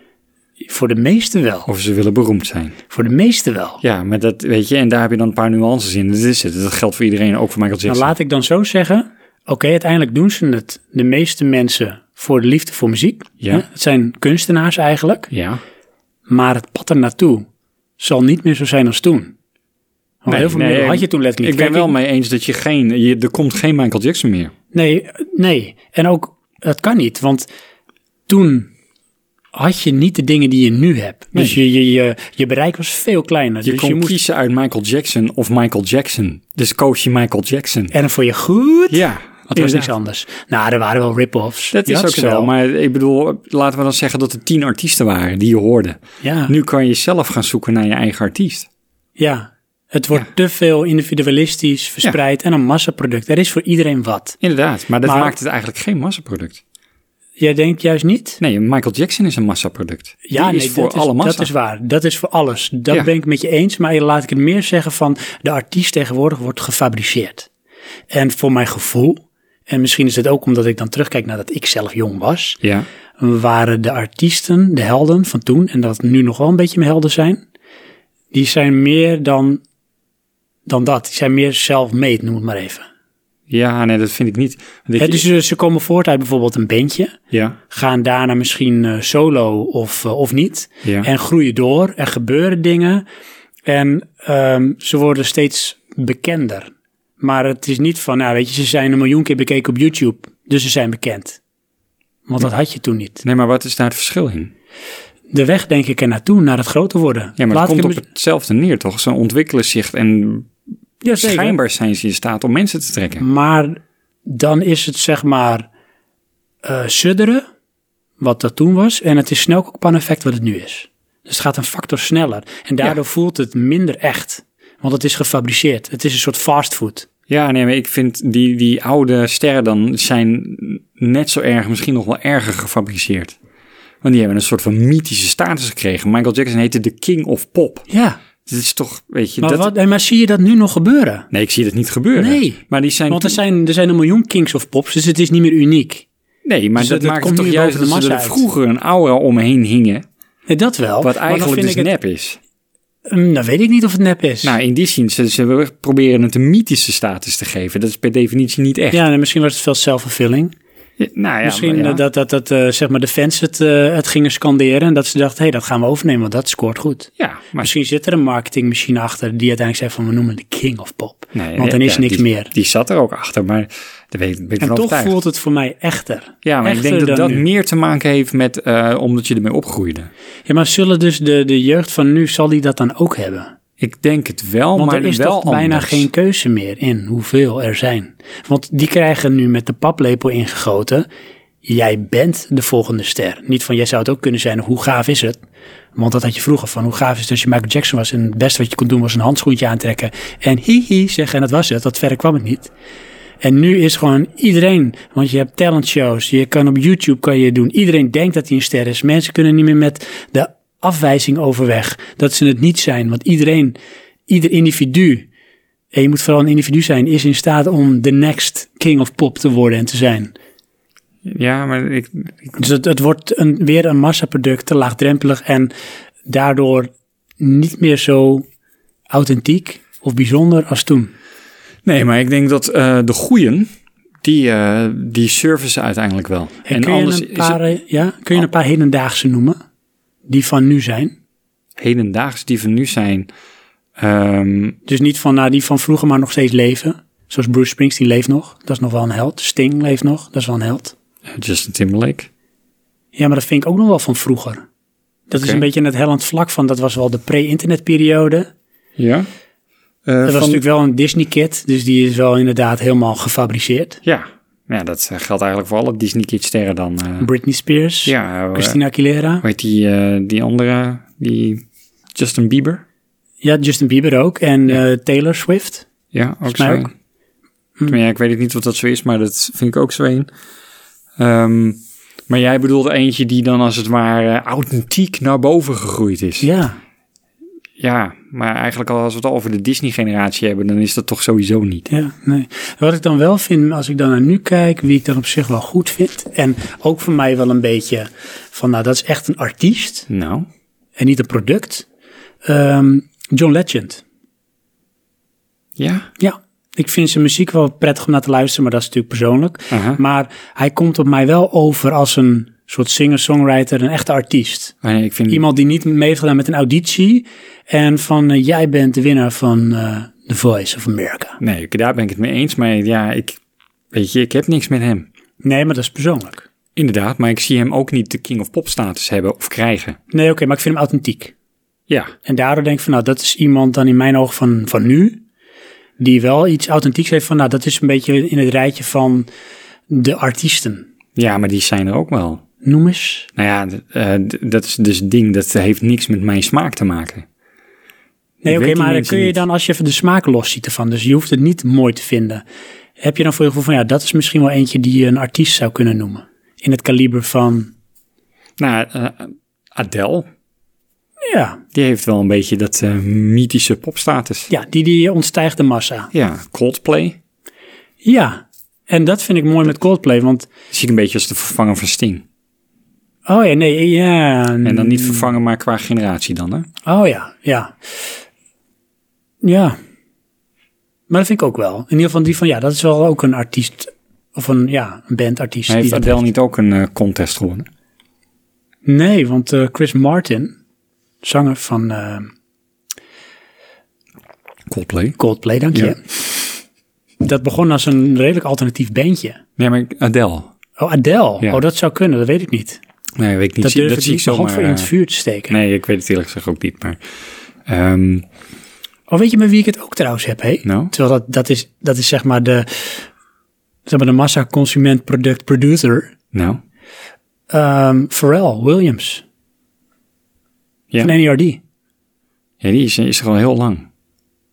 A: Voor de meesten wel.
B: Of ze willen beroemd zijn.
A: Voor de meesten wel.
B: Ja, maar dat weet je, en daar heb je dan een paar nuances in. Dat is het. Dat geldt voor iedereen, ook voor Michael
A: Nou,
B: Jackson.
A: laat ik dan zo zeggen. Oké, uiteindelijk doen ze het, de meeste mensen, voor de liefde voor muziek.
B: Ja.
A: Hè? Het zijn kunstenaars eigenlijk.
B: Ja,
A: Maar het pad ernaartoe zal niet meer zo zijn als toen. Want Nou, heel veel middelen
B: ik-
A: had je toen letterlijk
B: Ik
A: niet.
B: ben
A: Kijk,
B: wel mee eens dat je geen, je, er komt geen Michael Jackson meer.
A: Nee, nee. En ook, het kan niet, want toen had je niet de dingen die je nu hebt. Dus je, je, je, je bereik was veel kleiner.
B: Je
A: dus
B: kon
A: je moest,
B: kiezen uit Michael Jackson of Michael Jackson. Dus koos je Michael Jackson.
A: en voor je goed,
B: Ja,
A: er was
B: inderdaad.
A: niks anders. Nou, er waren wel rip-offs.
B: Dat
A: Die
B: is
A: had
B: ook
A: ze
B: zo, maar ik bedoel, laten we dan zeggen dat er tien artiesten waren die je hoorde.
A: ja.
B: Nu kan je zelf gaan zoeken naar je eigen artiest.
A: Ja, het wordt te veel individualistisch verspreid en een massaproduct. Er is voor iedereen wat.
B: Inderdaad, maar dat
A: Maar-
B: maakt het eigenlijk geen massaproduct.
A: Jij denkt juist niet?
B: Nee, Michael Jackson is een massaproduct. Die is voor
A: dat,
B: alle
A: is,
B: massa.
A: dat is waar. Dat is voor alles. Dat
B: Ja.
A: ben ik met je eens, maar laat ik het meer zeggen van de artiest tegenwoordig wordt gefabriceerd. En voor mijn gevoel, en misschien is het ook omdat ik dan terugkijk naar dat ik zelf jong was,
B: Ja,
A: waren de artiesten, de helden van toen, en dat nu nog wel een beetje mijn helden zijn, die zijn meer dan, dan dat. Die zijn meer self-made, noem het maar even.
B: ja, nee, dat vind ik niet. Want ik-
A: Hè, dus ze- ze komen voort uit bijvoorbeeld een bandje,
B: ja,
A: gaan daarna misschien eh, solo of, eh, of niet,
B: Ja.
A: en groeien door, er gebeuren dingen en ehm, ze worden steeds bekender. Maar het is niet van, nou weet je, ze zijn een miljoen keer bekeken op YouTube, dus ze zijn bekend. Want dat had je toen niet.
B: nee, maar wat is daar het verschil in?
A: De weg denk ik er naartoe, naar het groter worden.
B: Ja, maar
A: Laat
B: het
A: ik
B: komt op
A: hem-
B: hetzelfde neer, toch? Ze ontwikkelen zich en
A: Ja, zeker.
B: schijnbaar zijn ze in staat om mensen te trekken.
A: Maar dan is het zeg maar eh, sudderen, wat dat toen was, en het is snelkookpan-effect wat het nu is. Dus het gaat een factor sneller en daardoor voelt het minder echt, want het is gefabriceerd. Het is een soort fastfood.
B: Ja, nee, maar ik vind die, die oude sterren dan zijn net zo erg, misschien nog wel erger gefabriceerd. Want die hebben een soort van mythische status gekregen. Michael Jackson heette de King of Pop.
A: Ja,
B: Dit is toch, weet je,
A: maar,
B: dat...
A: wat, en maar zie je dat nu nog gebeuren?
B: Nee, ik zie dat niet gebeuren.
A: Nee.
B: Maar die zijn...
A: Want er zijn, er zijn een miljoen kings of pops, dus het is niet meer uniek.
B: Nee, maar
A: Dus dat-
B: dat,
A: dat
B: maakt
A: komt
B: toch
A: nu
B: juist
A: boven
B: dat
A: de
B: ze er
A: massa uit.
B: vroeger een aura omheen hingen.
A: Nee, dat wel.
B: Wat
A: maar dan
B: eigenlijk
A: vind
B: dus
A: ik het-
B: nep is.
A: Mm, dan weet ik niet of het nep is.
B: Nou, in die zin, ze, ze proberen het een mythische status te geven. Dat is per definitie niet echt.
A: ja, nee, misschien was het veel zelfvervulling.
B: Ja, nou ja,
A: Misschien
B: maar ja.
A: eh, dat, dat, dat eh, zeg maar de fans het, eh, het gingen scanderen en dat ze dachten, hé, hey, dat gaan we overnemen, want dat scoort goed.
B: Ja, maar
A: Misschien zit er een marketingmachine achter die uiteindelijk zegt van, we noemen het de king of pop.
B: Nee,
A: want dan
B: ja,
A: is niks
B: die-
A: meer.
B: Die zat er ook achter, maar daar ben ik, ben ik
A: en
B: van
A: toch
B: overtuigd.
A: voelt het voor mij echter.
B: ja, maar ik
A: Echter
B: denk dat
A: dan
B: dat
A: nu.
B: meer te maken heeft met eh, omdat je ermee opgroeide.
A: Ja, maar zullen dus de, de jeugd van nu, zal die dat dan ook hebben?
B: Ik denk het wel,
A: Want
B: maar
A: er is
B: wel
A: toch bijna
B: anders.
A: geen keuze meer in hoeveel er zijn. Want die krijgen nu met de paplepel ingegoten, jij bent de volgende ster. Niet van, jij zou het ook kunnen zijn, of hoe gaaf is het? Want dat had je vroeger van, hoe gaaf is het als je Michael Jackson was en het beste wat je kon doen was een handschoentje aantrekken en hihi zeggen en dat was het, dat verder kwam het niet. En nu is gewoon iedereen, want je hebt talentshows, je kan op YouTube kan je doen. Iedereen denkt dat hij een ster is. Mensen kunnen niet meer met de afwijzing overweg dat ze het niet zijn. Want iedereen, ieder individu, en je moet vooral een individu zijn, is in staat om de next king of pop te worden en te zijn.
B: Ja, maar ik, ik-
A: Dus het, het wordt een, weer een massaproduct, te laagdrempelig en daardoor niet meer zo authentiek of bijzonder als toen.
B: nee, maar ik denk dat eh, de goeien, die, eh, die servicen uiteindelijk wel.
A: En, kun, je een paar,
B: is het Oh.
A: eh, ja, kun je een paar hedendaagse noemen die van nu zijn?
B: hedendaags die van nu zijn. ehm,
A: Dus niet van nou, die van vroeger, maar nog steeds leven. Zoals Bruce Springsteen leeft nog, dat is nog wel een held. Sting leeft nog, dat is wel een held.
B: Justin Timberlake.
A: Ja, maar dat vind ik ook nog wel van vroeger. Dat is
B: Oké.
A: een beetje in het hellend vlak van, dat was wel de pre-internetperiode.
B: Ja.
A: Dat was natuurlijk wel een Disney-kid, dus die is wel inderdaad helemaal gefabriceerd.
B: Ja. ja, dat eh, geldt eigenlijk voor alle Disney Kids sterren dan. eh.
A: Britney Spears,
B: ja, eh,
A: Christina Aguilera.
B: hoe heet die, eh, die andere? Die Justin Bieber?
A: Ja, Justin Bieber ook. En eh, Taylor Swift.
B: Ja, ook
A: mij
B: zo.
A: ook.
B: een. Maar ja, ik weet het niet wat dat zo is, maar dat vind ik ook zo een. Ehm, maar jij bedoelt eentje die dan als het ware authentiek naar boven gegroeid is.
A: Ja.
B: Ja, maar eigenlijk al als we het al over de Disney-generatie hebben, dan is dat toch sowieso niet.
A: Ja, nee. Wat ik dan wel vind, als ik dan naar nu kijk, wie ik dan op zich wel goed vind. En ook voor mij wel een beetje van, nou, dat is echt een artiest
B: Nou,
A: en niet een product. Ehm, John Legend.
B: ja.
A: Ja, ik vind zijn muziek wel prettig om naar te luisteren, maar dat is natuurlijk persoonlijk.
B: Aha.
A: Maar hij komt op mij wel over als een soort singer-songwriter, een echte artiest.
B: Ah, nee, ik vind
A: Iemand die niet mee heeft gedaan met een auditie. En van eh, jij bent de winnaar van eh, The Voice of America.
B: Nee, ik- daar ben ik het mee eens. Maar ja, ik, weet je, ik heb niks met hem.
A: Nee, maar dat is persoonlijk.
B: Inderdaad, maar ik zie hem ook niet de King of Pop status hebben of krijgen.
A: Nee, oké, maar ik vind hem authentiek.
B: Ja,
A: En daardoor denk ik van, nou, dat is iemand dan in mijn ogen van, van nu. Die wel iets authentieks heeft van, nou, dat is een beetje in het rijtje van de artiesten.
B: ja maar die zijn er ook wel.
A: Noem eens.
B: Nou ja, d- eh, d- dat is dus het ding. Dat heeft niks met mijn smaak te maken.
A: Nee, oké,
B: Ik weet die
A: maar dan
B: mensen
A: kun je
B: niet.
A: dan als je even de smaak los ziet ervan. Dus je hoeft het niet mooi te vinden. Heb je dan voor je gevoel van, ja, dat is misschien wel eentje die je een artiest zou kunnen noemen. In het kaliber van,
B: Nou, eh, Adele,
A: ja,
B: die heeft wel een beetje dat eh, mythische popstatus.
A: ja die, die ontstijgt de massa.
B: Ja, Coldplay.
A: Ja, en dat vind ik mooi met Coldplay, want,
B: Zie ik een beetje als de vervanger van Sting.
A: oh ja, nee, ja.
B: En dan
A: Mm.
B: niet vervangen, maar qua generatie dan, hè?
A: Oh ja, ja. Ja. Maar dat vind ik ook wel. In ieder geval die van, ja, dat is wel ook een artiest. Of een, ja, een bandartiest.
B: Maar
A: die
B: heeft
A: dat
B: Adele
A: heeft.
B: niet ook een eh, contest gewonnen?
A: Nee, want eh, Chris Martin, zanger van eh,
B: Coldplay.
A: Coldplay, dank je.
B: Ja.
A: Dat begon als een redelijk alternatief bandje.
B: Nee, maar Adele.
A: Oh, Adele.
B: Ja.
A: Oh, dat zou kunnen, dat weet ik niet.
B: Nee, weet ik niet.
A: Dat
B: Zie-
A: durf ik
B: zie
A: niet mijn hand
B: zomaar,
A: voor in het
B: eh,
A: vuur te steken.
B: Nee, ik weet het eerlijk gezegd ook niet, maar... ehm,
A: Oh, weet je met wie ik het ook trouwens heb, hé?
B: Nou?
A: Terwijl dat, dat, is, dat is zeg maar de, zeg maar de massa-consument product producer.
B: nou,
A: Ehm Pharrell Williams
B: ja.
A: van E NERD.
B: ja, die is, is er al heel lang.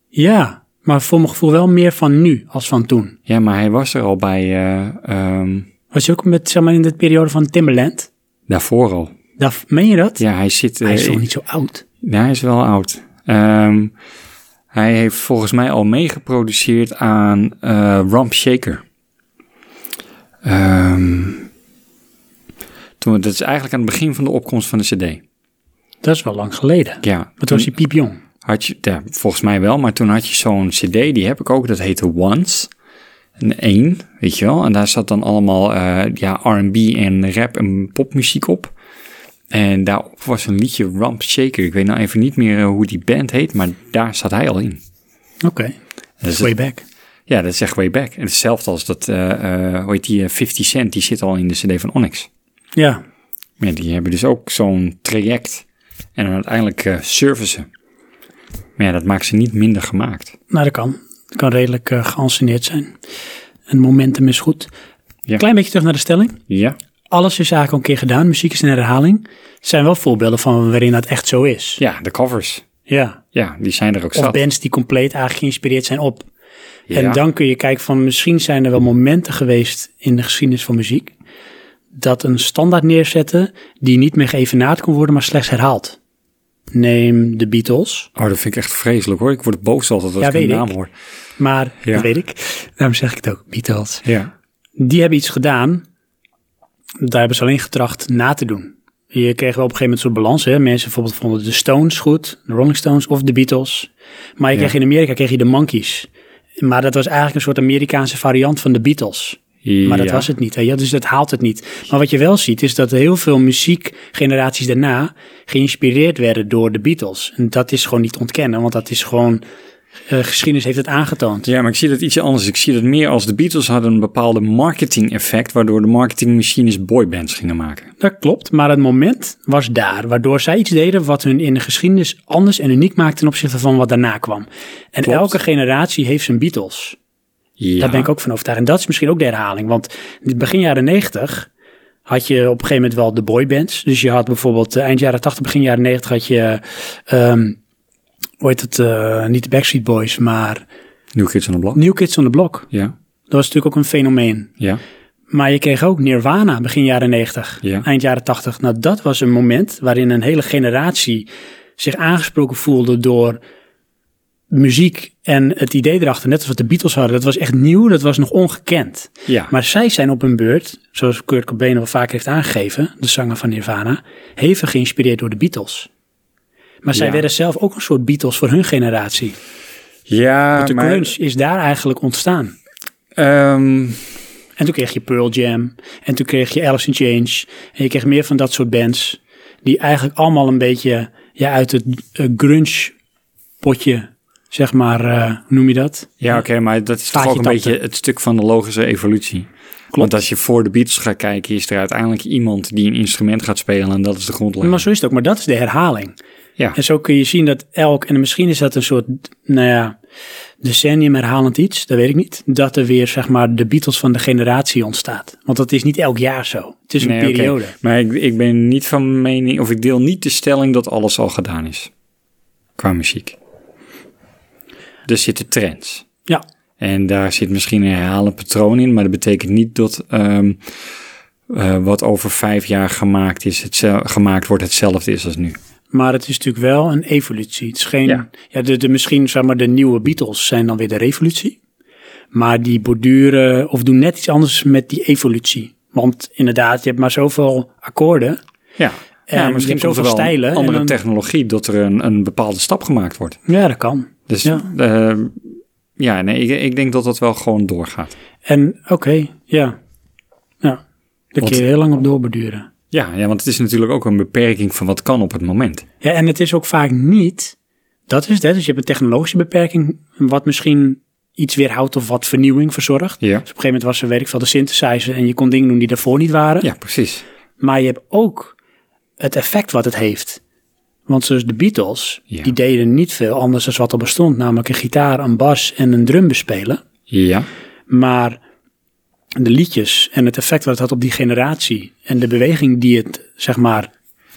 A: Ja, maar voor mijn gevoel wel meer van nu als van toen.
B: Ja, maar hij was er al bij, eh, ehm,
A: Was je ook met, zeg maar, in de periode van Timberland?
B: daarvoor al.
A: Daar, meen je dat?
B: Ja, hij zit... eh,
A: Hij is nog
B: in-
A: niet zo oud.
B: Ja, hij is wel oud. Ehm, hij heeft volgens mij al meegeproduceerd aan eh Rump Shaker. Ehm, toen, dat is eigenlijk aan het begin van de opkomst van de CD.
A: Dat is wel lang geleden.
B: Ja,
A: Maar toen was hij piepjong.
B: Had je, ja, volgens mij wel, maar toen had je zo'n cd, die heb ik ook, dat heette Once. Een één, weet je wel. En daar zat dan allemaal eh, ja, R&B en rap en popmuziek op. En daarop was een liedje Rump Shaker. Ik weet nou even niet meer eh, hoe die band heet, maar daar zat hij al in.
A: Oké,
B: Dat is-
A: way back.
B: ja, dat is echt way back. En hetzelfde als dat, eh, eh, hoe heet die, eh, 50 Cent, die zit al in de cd van Onyx.
A: Ja,
B: Ja, die hebben dus ook zo'n traject. En dan uiteindelijk eh servicen. Maar ja, dat maakt ze niet minder gemaakt.
A: nou dat kan. Dat kan redelijk eh geanceneerd zijn. En momentum is goed.
B: Ja.
A: Klein beetje terug naar de stelling.
B: Ja.
A: Alles is eigenlijk al een keer gedaan. Muziek is een herhaling. Er zijn wel voorbeelden van waarin dat echt zo is.
B: Ja, de covers.
A: ja.
B: Ja, die zijn er ook
A: Of
B: zat.
A: bands die compleet eigenlijk geïnspireerd zijn op. En dan kun je kijken van misschien zijn er wel momenten geweest in de geschiedenis van muziek dat een standaard neerzetten die niet meer geëvenaard kon worden, maar slechts herhaald. Neem de Beatles,
B: Oh, dat vind ik echt vreselijk hoor. Ik word boos altijd als
A: Ja,
B: ik een
A: weet ik.
B: naam hoor.
A: maar
B: Ja.
A: dat weet ik. Daarom zeg ik het ook, Beatles.
B: Ja.
A: Die hebben iets gedaan, daar hebben ze alleen getracht na te doen. Je kreeg wel op een gegeven moment zo'n balans. Hè? Mensen bijvoorbeeld vonden de Stones goed, de Rolling Stones of de Beatles. Maar je kreeg in Amerika kreeg je de Monkeys. Maar dat was eigenlijk een soort Amerikaanse variant van de Beatles. Maar dat
B: Ja.
A: was het niet. Hè? Ja, dus dat haalt het niet. Maar wat je wel ziet, is dat heel veel muziekgeneraties daarna geïnspireerd werden door de Beatles. En dat is gewoon niet te ontkennen, want dat is gewoon. eh, geschiedenis heeft het aangetoond.
B: Ja, maar ik zie dat ietsje anders. Ik zie dat meer als de Beatles hadden een bepaalde marketing effect, waardoor de marketingmachines boybands gingen maken.
A: Dat klopt, maar het moment was daar, waardoor zij iets deden wat hun in de geschiedenis anders en uniek maakte ten opzichte van wat daarna kwam. En
B: Klopt.
A: elke generatie heeft zijn Beatles.
B: Ja.
A: Daar ben ik ook van overtuigd. En dat is misschien ook de herhaling. Want in het begin jaren 90 had je op een gegeven moment wel de boybands. Dus je had bijvoorbeeld eh, eind jaren 80, begin jaren 90 had je... ehm hoe heet het? eh, niet de Backstreet Boys, maar
B: New Kids on the Block.
A: New Kids on the Block.
B: Ja.
A: Dat was natuurlijk ook een fenomeen.
B: Ja.
A: Maar je kreeg ook Nirvana begin jaren 90,
B: Ja.
A: eind jaren 80. Nou, dat was een moment waarin een hele generatie zich aangesproken voelde door muziek en het idee erachter. Net als wat de Beatles hadden. Dat was echt nieuw, dat was nog ongekend.
B: Ja.
A: Maar zij zijn op hun beurt, zoals Kurt Cobain al vaak heeft aangegeven, de zanger van Nirvana, hevig geïnspireerd door de Beatles. Maar zij
B: Ja.
A: werden zelf ook een soort Beatles voor hun generatie.
B: Ja,
A: De
B: maar,
A: grunge is daar eigenlijk ontstaan.
B: ehm,
A: En toen kreeg je Pearl Jam. En toen kreeg je Alice in Chains. En je kreeg meer van dat soort bands. Die eigenlijk allemaal een beetje ja, uit het eh, grunge potje, zeg maar, eh, hoe noem je dat?
B: ja oké, maar dat is toch
A: Staartje
B: ook een
A: tante.
B: beetje het stuk van de logische evolutie. Want als je voor de Beatles gaat kijken, is er uiteindelijk iemand die een instrument gaat spelen en dat is de
A: Maar
B: grondlegger.
A: zo is het ook. Maar dat is de herhaling.
B: Ja.
A: En zo kun je zien dat elk, en misschien is dat een soort, nou ja, decennium herhalend iets, dat weet ik niet. Dat er weer, zeg maar, de Beatles van de generatie ontstaat. Want dat is niet elk jaar zo. Het is een
B: oké.
A: periode.
B: Maar ik, ik ben niet van mening, of ik deel niet de stelling dat alles al gedaan is. Qua muziek. Er zitten trends.
A: Ja,
B: En daar zit misschien een herhalend patroon in, maar dat betekent niet dat ehm, eh, wat over vijf jaar gemaakt, is, hetzel- gemaakt wordt hetzelfde is als nu.
A: Maar het is natuurlijk wel een evolutie. Het is geen, ja.
B: Ja.
A: de, de, misschien zeg maar de nieuwe Beatles zijn dan weer de revolutie. Maar die borduren of doen net iets anders met die evolutie. Want inderdaad, je hebt maar zoveel akkoorden.
B: Ja,
A: En
B: ja
A: je hebt
B: misschien komt
A: zoveel
B: er wel
A: stijlen en
B: een andere
A: dan-
B: technologie dat er een, een bepaalde stap gemaakt wordt.
A: Ja, dat kan.
B: Dus
A: Ja.
B: ja, ja nee, ik, ik denk dat dat wel gewoon doorgaat.
A: En oké, ja. ja. Daar
B: Want-
A: kun je heel lang op doorborduren.
B: Ja, ja, want het is natuurlijk ook een beperking van wat kan op het moment.
A: Ja, en het is ook vaak niet. Dat is het, hè. Dus je hebt een technologische beperking, wat misschien iets weerhoudt of wat vernieuwing verzorgt.
B: Ja.
A: Dus op een gegeven moment was er, weet ik veel, de synthesizer en je kon dingen doen die daarvoor niet waren.
B: Ja, precies.
A: Maar je hebt ook het effect wat het heeft. Want zoals de Beatles,
B: Ja.
A: die deden niet veel anders dan wat er bestond. Namelijk een gitaar, een bas en een drum bespelen.
B: Ja,
A: Maar de liedjes en het effect wat het had op die generatie. En de beweging die het, zeg maar,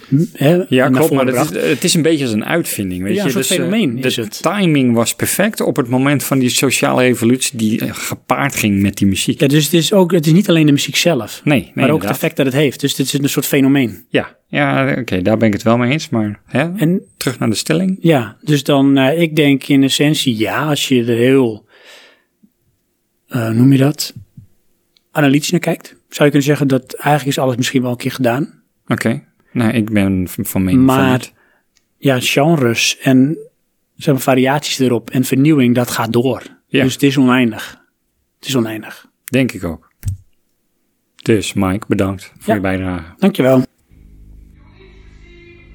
A: m- hè,
B: ja
A: naar
B: klopt.
A: voren
B: Maar dat
A: bracht.
B: is, het is een beetje als een uitvinding. Weet
A: Ja, een
B: je?
A: soort
B: eh,
A: fenomeen
B: de
A: is het.
B: timing was perfect op het moment van die sociale revolutie die eh, gepaard ging met die muziek.
A: Ja, dus het is, ook, het is niet alleen de muziek zelf.
B: Nee, nee,
A: maar ook het
B: inderdaad.
A: effect dat het heeft. Dus dit is een soort fenomeen.
B: Ja, ja oké, daar ben ik het wel mee eens. Maar hè?
A: En
B: terug naar de stelling.
A: Ja, dus dan, eh, ik denk in essentie ja, als je er heel, eh, hoe noem je dat, analytisch naar kijkt, zou je kunnen zeggen dat eigenlijk is alles misschien wel een keer gedaan.
B: Oké, nou ik ben v- van mening van
A: Maar-
B: niet.
A: Ja, genres en zeg maar, variaties erop en vernieuwing, dat gaat door.
B: Ja.
A: Dus het is oneindig. Het is oneindig.
B: Denk ik ook. Dus Mike, bedankt voor
A: Ja.
B: je bijdrage.
A: Dankjewel.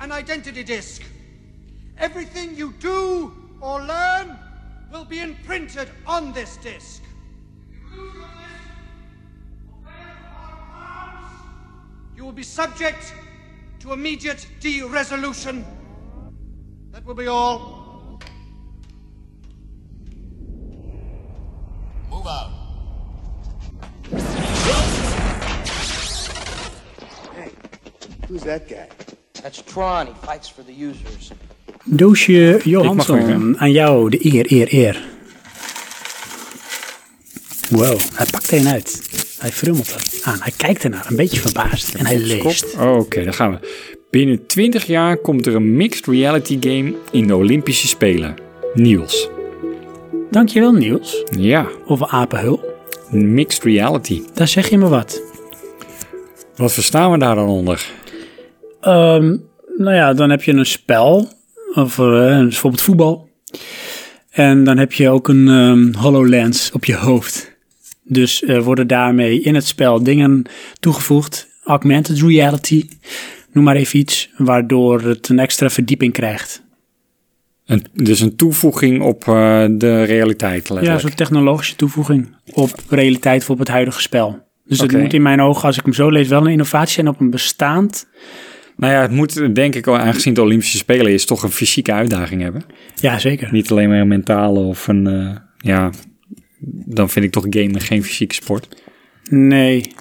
J: an identity disc. Everything you do or learn will be imprinted on this disc. You will be subject to immediate de-resolution. That will be all.
K: That's Tron. He fights for the users.
A: Doosje
B: Ik mag weer,
A: Johansson,
B: hè?
A: aan jou de eer, eer, eer. Wow, hij pakt er een uit. Hij frummelt er aan. Hij kijkt ernaar, een beetje verbaasd. En hij leest.
B: Oh, Oké, daar gaan we. Binnen 20 jaar komt er een mixed reality game in de Olympische Spelen. Niels.
A: Dankjewel, Niels.
B: Ja,
A: Over apenhul.
B: mixed reality.
A: Daar zeg je me wat.
B: Wat verstaan we daar dan onder?
A: Ehm, nou ja, dan heb je een spel, of eh, bijvoorbeeld voetbal. En dan heb je ook een ehm, HoloLens op je hoofd. Dus eh, worden daarmee in het spel dingen toegevoegd, augmented reality, noem maar even iets, waardoor het een extra verdieping krijgt.
B: Een, dus een toevoeging op eh, de realiteit
A: Ja,
B: letterlijk.
A: zo'n technologische toevoeging op realiteit voor op het huidige spel. Dus het
B: Oké.
A: moet in mijn ogen, als ik hem zo lees, wel een innovatie zijn op een bestaand.
B: Nou ja, het moet denk ik, wel, aangezien de Olympische Spelen is, toch een fysieke uitdaging hebben.
A: Ja, zeker.
B: Niet alleen maar een mentale of een... eh, ja, dan vind ik toch gamen geen fysieke sport.
A: Nee,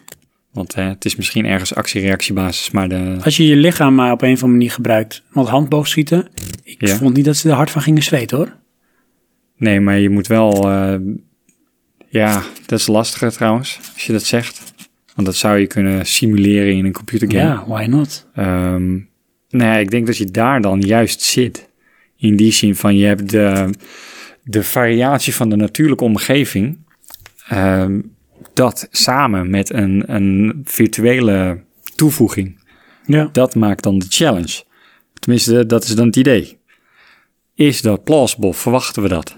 B: Want eh, het is misschien ergens actie-reactiebasis, maar de...
A: Als je je lichaam maar op een of andere manier gebruikt. Want handboogschieten, ik
B: Ja.
A: vond niet dat ze er hard van gingen zweten hoor.
B: Nee, maar je moet wel... eh, ja, dat is lastiger trouwens, als je dat zegt. Want dat zou je kunnen simuleren in een computergame.
A: Ja, why not?
B: Ehm nee, ik denk dat je daar dan juist zit. In die zin van je hebt de, de variatie van de natuurlijke omgeving. ehm, dat samen met een, een virtuele toevoeging.
A: Ja.
B: Dat maakt dan de challenge. Tenminste, dat is dan het idee. Is dat plausible? Verwachten we dat?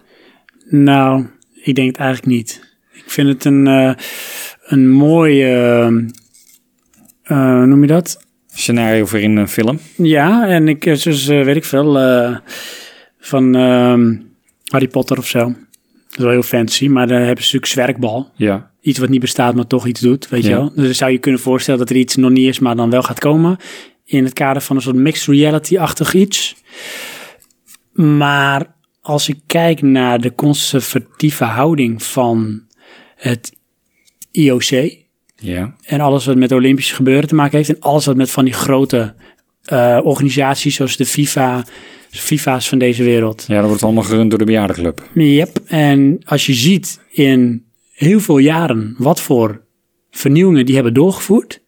A: Nou, ik denk het eigenlijk niet. Ik vind het een, eh, een mooi, eh, eh, noem je dat?
B: Scenario voor in een film.
A: Ja, en ik, eh, dus eh, weet ik veel, eh, van ehm, Harry Potter of zo. Dat is wel heel fancy, maar daar hebben ze natuurlijk zwerkbal.
B: Ja.
A: iets wat niet bestaat, maar toch iets doet, weet je
B: Ja.
A: wel. Dus dan zou je kunnen voorstellen dat er iets nog niet is, maar dan wel gaat komen. In het kader van een soort mixed reality-achtig iets. Maar als ik kijk naar de conservatieve houding van het IOC,
B: Ja.
A: en alles wat met Olympische gebeuren te maken heeft. En alles wat met van die grote eh, organisaties zoals de FIFA, FIFA's van deze wereld.
B: ja, dat wordt allemaal gerund door de bejaardenclub.
A: Yep. En als je ziet in heel veel jaren wat voor vernieuwingen die hebben doorgevoerd.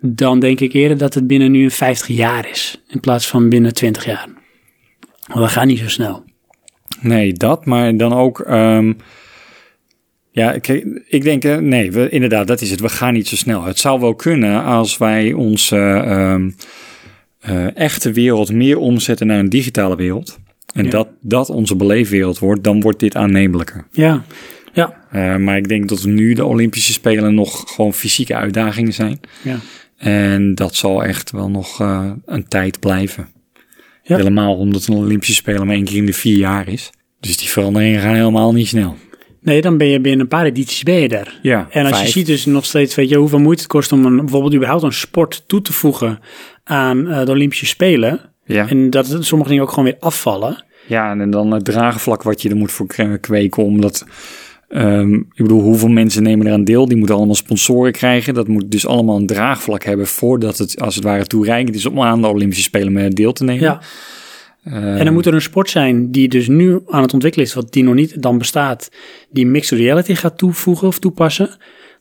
A: Dan denk ik eerder dat het binnen nu een 50 jaar is. In plaats van binnen 20 jaar. Want dat gaat niet zo snel.
B: Nee, dat, maar dan ook. ehm, ja, kijk, ik denk, eh, nee, we, inderdaad, dat is het. We gaan niet zo snel. Het zou wel kunnen als wij onze ehm, eh, echte wereld meer omzetten naar een digitale wereld. En
A: Ja.
B: dat, dat onze beleefwereld wordt, dan wordt dit aannemelijker.
A: Ja. Ja.
B: Eh, maar ik denk dat nu de Olympische Spelen nog gewoon fysieke uitdagingen zijn.
A: Ja.
B: En dat zal echt wel nog eh, een tijd blijven.
A: Ja.
B: Helemaal omdat een Olympische Spelen maar één keer in de vier jaar is. Dus die veranderingen gaan helemaal niet snel.
A: Nee, dan ben je binnen een paar edities ben je er.
B: Ja,
A: En als
B: vijf.
A: je ziet dus nog steeds, weet je, hoeveel moeite het kost om een, bijvoorbeeld überhaupt een sport toe te voegen aan eh, de Olympische Spelen.
B: Ja.
A: En dat het- sommige dingen ook gewoon weer afvallen.
B: Ja, en dan het draagvlak wat je er moet voor kre- kweken. Omdat, ehm, ik bedoel, hoeveel mensen nemen eraan deel? Die moeten allemaal sponsoren krijgen. Dat moet dus allemaal een draagvlak hebben voordat het als het ware toereikend is om aan de Olympische Spelen mee deel te nemen.
A: Ja. en dan moet er een sport zijn die dus nu aan het ontwikkelen is, wat die nog niet dan bestaat, die mixed reality gaat toevoegen of toepassen.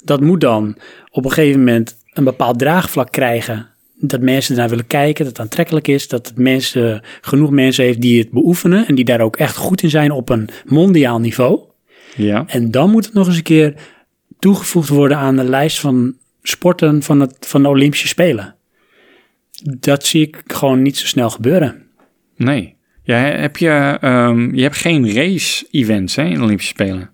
A: Dat moet dan op een gegeven moment een bepaald draagvlak krijgen. Dat mensen naar willen kijken, dat het aantrekkelijk is, dat het mensen, genoeg mensen heeft die het beoefenen en die daar ook echt goed in zijn op een mondiaal niveau.
B: ja.
A: En dan moet het nog eens een keer toegevoegd worden aan de lijst van sporten van, het, van de Olympische Spelen. Dat zie ik gewoon niet zo snel gebeuren.
B: Nee. Ja, heb je, ehm, je hebt geen race-events hè, in de Olympische Spelen.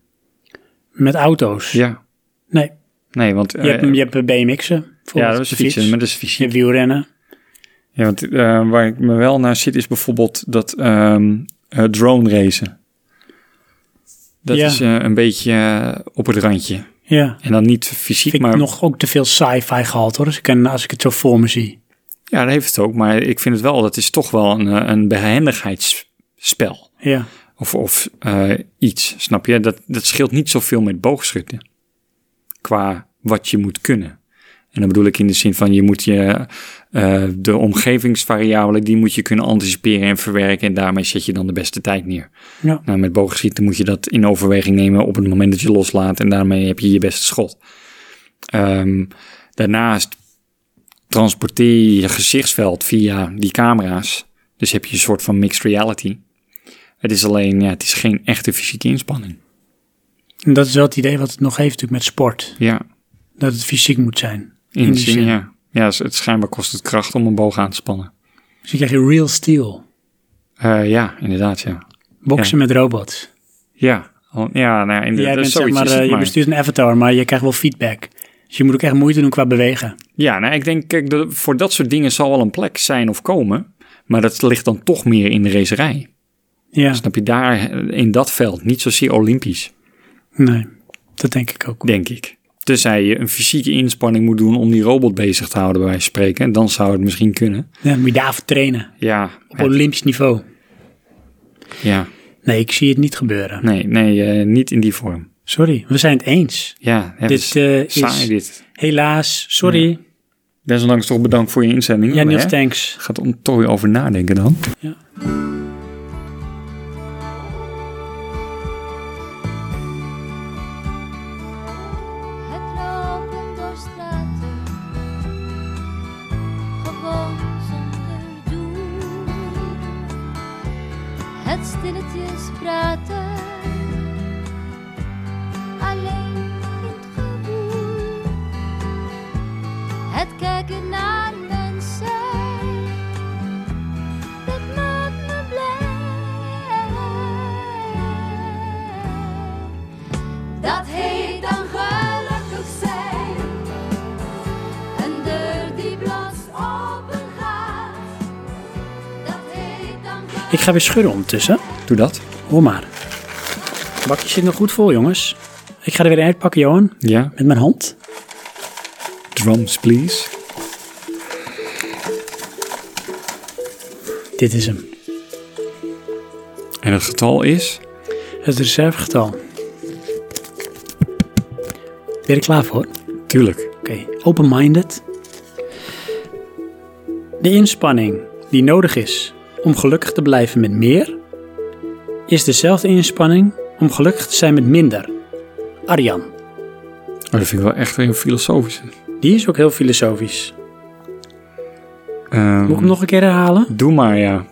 A: Met auto's.
B: Ja.
A: Nee.
B: Nee, want...
A: Je hebt,
B: eh,
A: je hebt BMX'en.
B: ja,
A: bijvoorbeeld,
B: dat is
A: de fiets.
B: fietsen, maar dat is
A: Je
B: fysiek.
A: hebt wielrennen.
B: Ja, want eh, waar ik me wel naar zit is bijvoorbeeld dat ehm, eh, drone racen. Dat
A: Ja.
B: is eh, een beetje eh, op het randje.
A: Ja.
B: En dan niet fysiek,
A: Vind ik
B: maar...
A: nog ook te veel sci-fi gehaald hoor, als ik, als ik het zo voor me zie.
B: Ja, dat heeft het ook. Maar ik vind het wel, dat is toch wel een, eh, een behendigheidsspel.
A: Ja.
B: Of, of eh, iets, snap je? Dat, dat scheelt niet zoveel met boogschutten. Qua wat je moet kunnen. En dan bedoel ik in de zin van je moet je eh, de omgevingsvariabelen, die moet je kunnen anticiperen en verwerken. En daarmee zet je dan de beste tijd neer.
A: Ja.
B: Nou, met boogschieten moet je dat in overweging nemen op het moment dat je loslaat. En daarmee heb je je beste schot. Ehm, daarnaast transporteer je je gezichtsveld via die camera's. Dus heb je een soort van mixed reality. Het is alleen, ja, het is geen echte fysieke inspanning.
A: En dat is wel het idee wat het nog heeft natuurlijk met sport.
B: Ja,
A: Dat het fysiek moet zijn.
B: in, die zin, ja. Ja, het, het schijnbaar kost het kracht om een boog aan te spannen.
A: Dus je krijgt je real steel.
B: Eh, ja, inderdaad, ja.
A: Boksen met robots.
B: Ja, al- ja, nou, in de,
A: Jij bent, zeg
B: zoiets
A: maar,
B: is het
A: eh, je
B: maar.
A: bestuurt een avatar, maar je krijgt wel feedback. Dus je moet ook echt moeite doen qua bewegen.
B: Ja, nou, ik denk, kijk, dat- voor dat soort dingen zal wel een plek zijn of komen. Maar dat ligt dan toch meer in de racerij.
A: Ja,
B: Snap je, daar eh, in dat veld, niet zozeer olympisch,
A: nee, dat denk ik ook.
B: denk ik. Tenzij je een fysieke inspanning moet doen om die robot bezig te houden, bij wijze van spreken. En dan zou het misschien kunnen.
A: Ja, dan moet je daarvoor trainen.
B: Ja,
A: Op olympisch niveau.
B: ja.
A: Nee, ik zie het niet gebeuren.
B: nee, nee eh, niet in die vorm.
A: Sorry, we zijn het eens.
B: Ja, het
A: Dit,
B: is
A: eh, is-
B: saai dit.
A: Helaas, sorry.
B: Desondanks toch bedankt voor je inzending.
A: Ja, Niels,
B: hè?
A: thanks.
B: Gaat om toch weer over nadenken dan.
L: Het lopen door straten, gewoon zonder doel. Het stilletjes praten, alleen in het gewoel. Het kijken naar mensen, dat maakt me blij. Dat heet dan gelukkig zijn. Een deur die plots open gaat. Dat heet dan
A: Ik ga weer schudden ondertussen.
B: Doe dat.
A: Hoor maar. Het bakje zit nog goed vol, jongens. Ik ga er weer een uitpakken, Johan.
B: Ja,
A: Met mijn hand.
B: drums please.
A: Dit is hem.
B: En het getal is?
A: Het reservegetal. Ben je er klaar voor?
B: Tuurlijk.
A: Oké, open-minded. De inspanning die nodig is om gelukkig te blijven met meer, is dezelfde inspanning om gelukkig te zijn met minder. Arjan,
B: Oh, dat vind ik wel echt weer een filosofische.
A: die is ook heel filosofisch.
B: Ehm,
A: Moet ik hem nog een keer herhalen? Eh,
B: Doe maar, ja.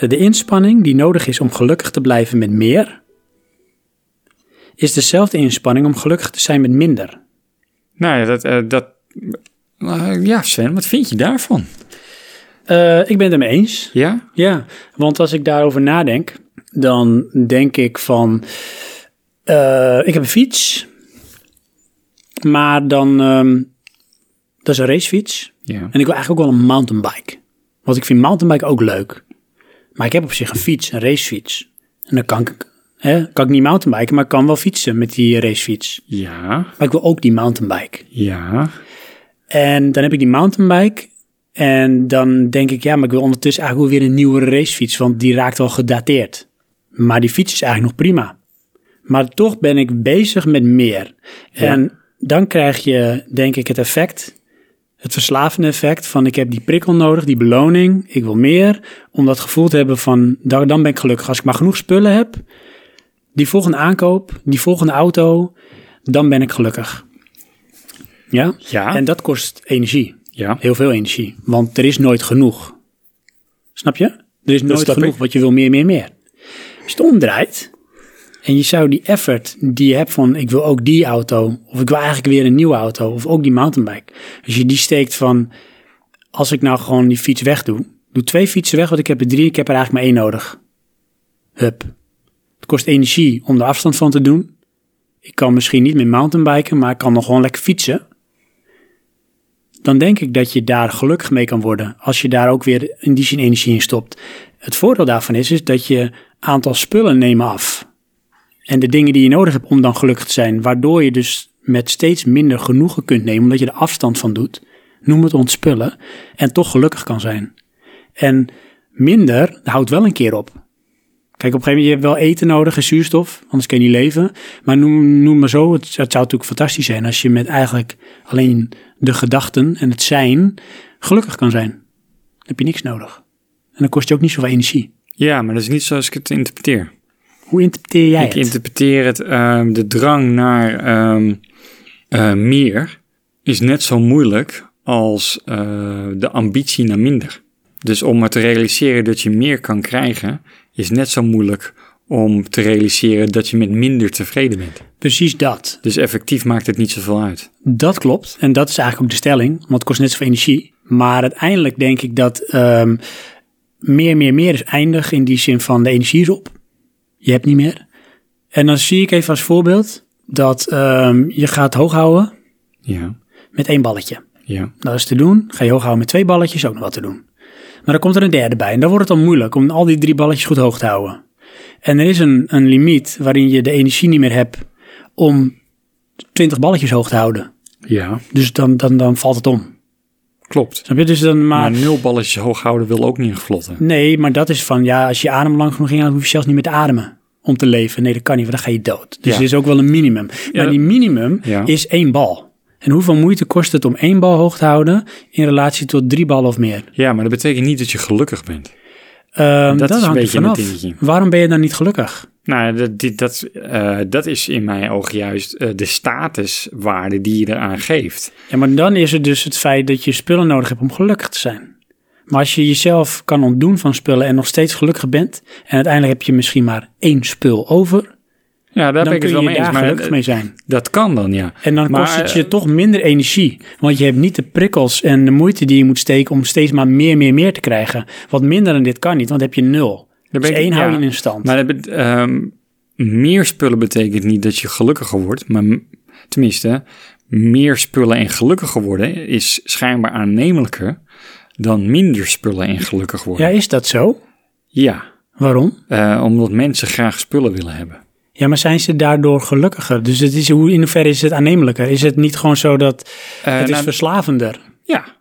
A: De inspanning die nodig is om gelukkig te blijven met meer, is dezelfde inspanning om gelukkig te zijn met minder.
B: Nou ja, dat... eh, dat eh, ja, Sven, wat vind je daarvan?
A: Eh, ik ben het ermee eens.
B: Ja?
A: Ja, want als ik daarover nadenk, dan denk ik van, eh, ik heb een fiets, maar dan, ehm, dat is een racefiets.
B: Ja.
A: En ik wil eigenlijk ook wel een mountainbike. Want ik vind mountainbike ook leuk. Maar ik heb op zich een fiets, een racefiets. En dan kan ik, hè, kan ik niet mountainbiken, maar ik kan wel fietsen met die racefiets.
B: Ja.
A: Maar ik wil ook die mountainbike.
B: Ja.
A: En dan heb ik die mountainbike. En dan denk ik, ja, maar ik wil ondertussen eigenlijk wel weer een nieuwe racefiets, want die raakt al gedateerd. Maar die fiets is eigenlijk nog prima. Maar toch ben ik bezig met meer. En dan krijg je, denk ik, het effect, het verslavende effect van ik heb die prikkel nodig, die beloning, ik wil meer. Om dat gevoel te hebben van, da- dan ben ik gelukkig. Als ik maar genoeg spullen heb, die volgende aankoop, die volgende auto, dan ben ik gelukkig. Ja?
B: Ja.
A: En dat kost energie.
B: Ja.
A: Heel veel energie. Want er is nooit genoeg. Snap je? Er is nooit
B: snap
A: genoeg,
B: ik.
A: want je wil meer, meer, meer. Als je het omdraait en je zou die effort die je hebt van ik wil ook die auto, of ik wil eigenlijk weer een nieuwe auto, of ook die mountainbike. Als je die steekt van als ik nou gewoon die fiets weg doe, doe twee fietsen weg, want ik heb er drie, ik heb er eigenlijk maar één nodig. Hup. Het kost energie om er afstand van te doen. Ik kan misschien niet meer mountainbiken, maar ik kan nog gewoon lekker fietsen dan denk ik dat je daar gelukkig mee kan worden. Als je daar ook weer in die zin energie in stopt. Het voordeel daarvan is, is dat je aantal spullen nemen af. En de dingen die je nodig hebt om dan gelukkig te zijn. Waardoor je dus met steeds minder genoegen kunt nemen. Omdat je er afstand van doet. Noem het ontspullen. En toch gelukkig kan zijn. En minder houdt wel een keer op. Kijk, op een gegeven moment, je hebt wel eten nodig en zuurstof, anders kun je niet leven. Maar noem, noem maar zo, het, het zou natuurlijk fantastisch zijn als je met eigenlijk alleen de gedachten en het zijn gelukkig kan zijn. Dan heb je niks nodig. En dan kost je ook niet zoveel energie.
B: Ja, maar dat is niet zoals ik het interpreteer.
A: Hoe interpreteer jij
B: ik
A: het?
B: interpreteer het, ehm, de drang naar ehm, eh, meer is net zo moeilijk als eh, de ambitie naar minder. Dus om maar te realiseren dat je meer kan krijgen, is net zo moeilijk om te realiseren dat je met minder tevreden bent.
A: Precies dat.
B: Dus effectief maakt het niet zoveel uit.
A: Dat klopt. En dat is eigenlijk ook de stelling, want het kost net zoveel energie. Maar uiteindelijk denk ik dat ehm, meer, meer, meer is eindig in die zin van de energie is op. Je hebt niet meer. En dan zie ik even als voorbeeld dat ehm, je gaat hoog houden
B: Ja,
A: met één balletje.
B: ja.
A: Dat is te doen. Ga je hoog houden met twee balletjes, ook nog wat te doen. Maar dan komt er een derde bij. En dan wordt het dan moeilijk om al die drie balletjes goed hoog te houden. En er is een, een limiet waarin je de energie niet meer hebt om twintig balletjes hoog te houden.
B: Ja,
A: Dus dan, dan, dan valt het om.
B: klopt.
A: Snap je? Dus dan maar...
B: Maar nul balletjes hoog houden wil ook niet een vlotte.
A: Nee, maar dat is van, ja, als je adem lang genoeg inhoudt, hoef je zelfs niet meer te ademen om te leven. Nee, dat kan niet, want dan ga je dood. Dus
B: Ja.
A: er is ook wel een minimum. Maar
B: dat-
A: die minimum
B: Ja.
A: is één bal. En hoeveel moeite kost het om één bal hoog te houden in relatie tot drie ballen of meer?
B: Ja, maar dat betekent niet dat je gelukkig bent.
A: Ehm,
B: Dat
A: dat,
B: is een
A: hangt er
B: beetje een
A: vanaf.
B: dingetje.
A: Waarom ben je dan niet gelukkig?
B: Nou, dat, dit, dat, eh, dat is in mijn ogen juist eh, de statuswaarde die je eraan geeft.
A: Ja, maar dan is het dus het feit dat je spullen nodig hebt om gelukkig te zijn. Maar als je jezelf kan ontdoen van spullen en nog steeds gelukkig bent, en uiteindelijk heb je misschien maar één spul over,
B: Ja, daar ben
A: dan
B: ik
A: kun
B: het
A: je
B: wel mee eens.
A: daar
B: maar
A: gelukkig
B: dat-
A: mee zijn.
B: Dat kan dan, ja.
A: En dan
B: Maar,
A: kost het
B: eh,
A: je toch minder energie. Want je hebt niet de prikkels en de moeite die je moet steken om steeds maar meer, meer, meer te krijgen. Want minder dan dit kan niet, want dan heb je nul.
B: daar
A: Dus
B: ben ik-
A: één
B: ja.
A: hou je in stand.
B: Maar dat bet- ehm, meer spullen betekent niet dat je gelukkiger wordt. Maar m- tenminste, meer spullen en gelukkiger worden is schijnbaar aannemelijker dan minder spullen en gelukkig
A: ja,
B: worden.
A: is dat zo?
B: Ja,
A: Waarom?
B: eh, omdat mensen graag spullen willen hebben.
A: Ja, maar zijn ze daardoor gelukkiger? Dus het is, hoe, in hoeverre is het aannemelijker? Is het niet gewoon zo dat
B: Eh,
A: het is
B: nou,
A: verslavender?
B: Ja.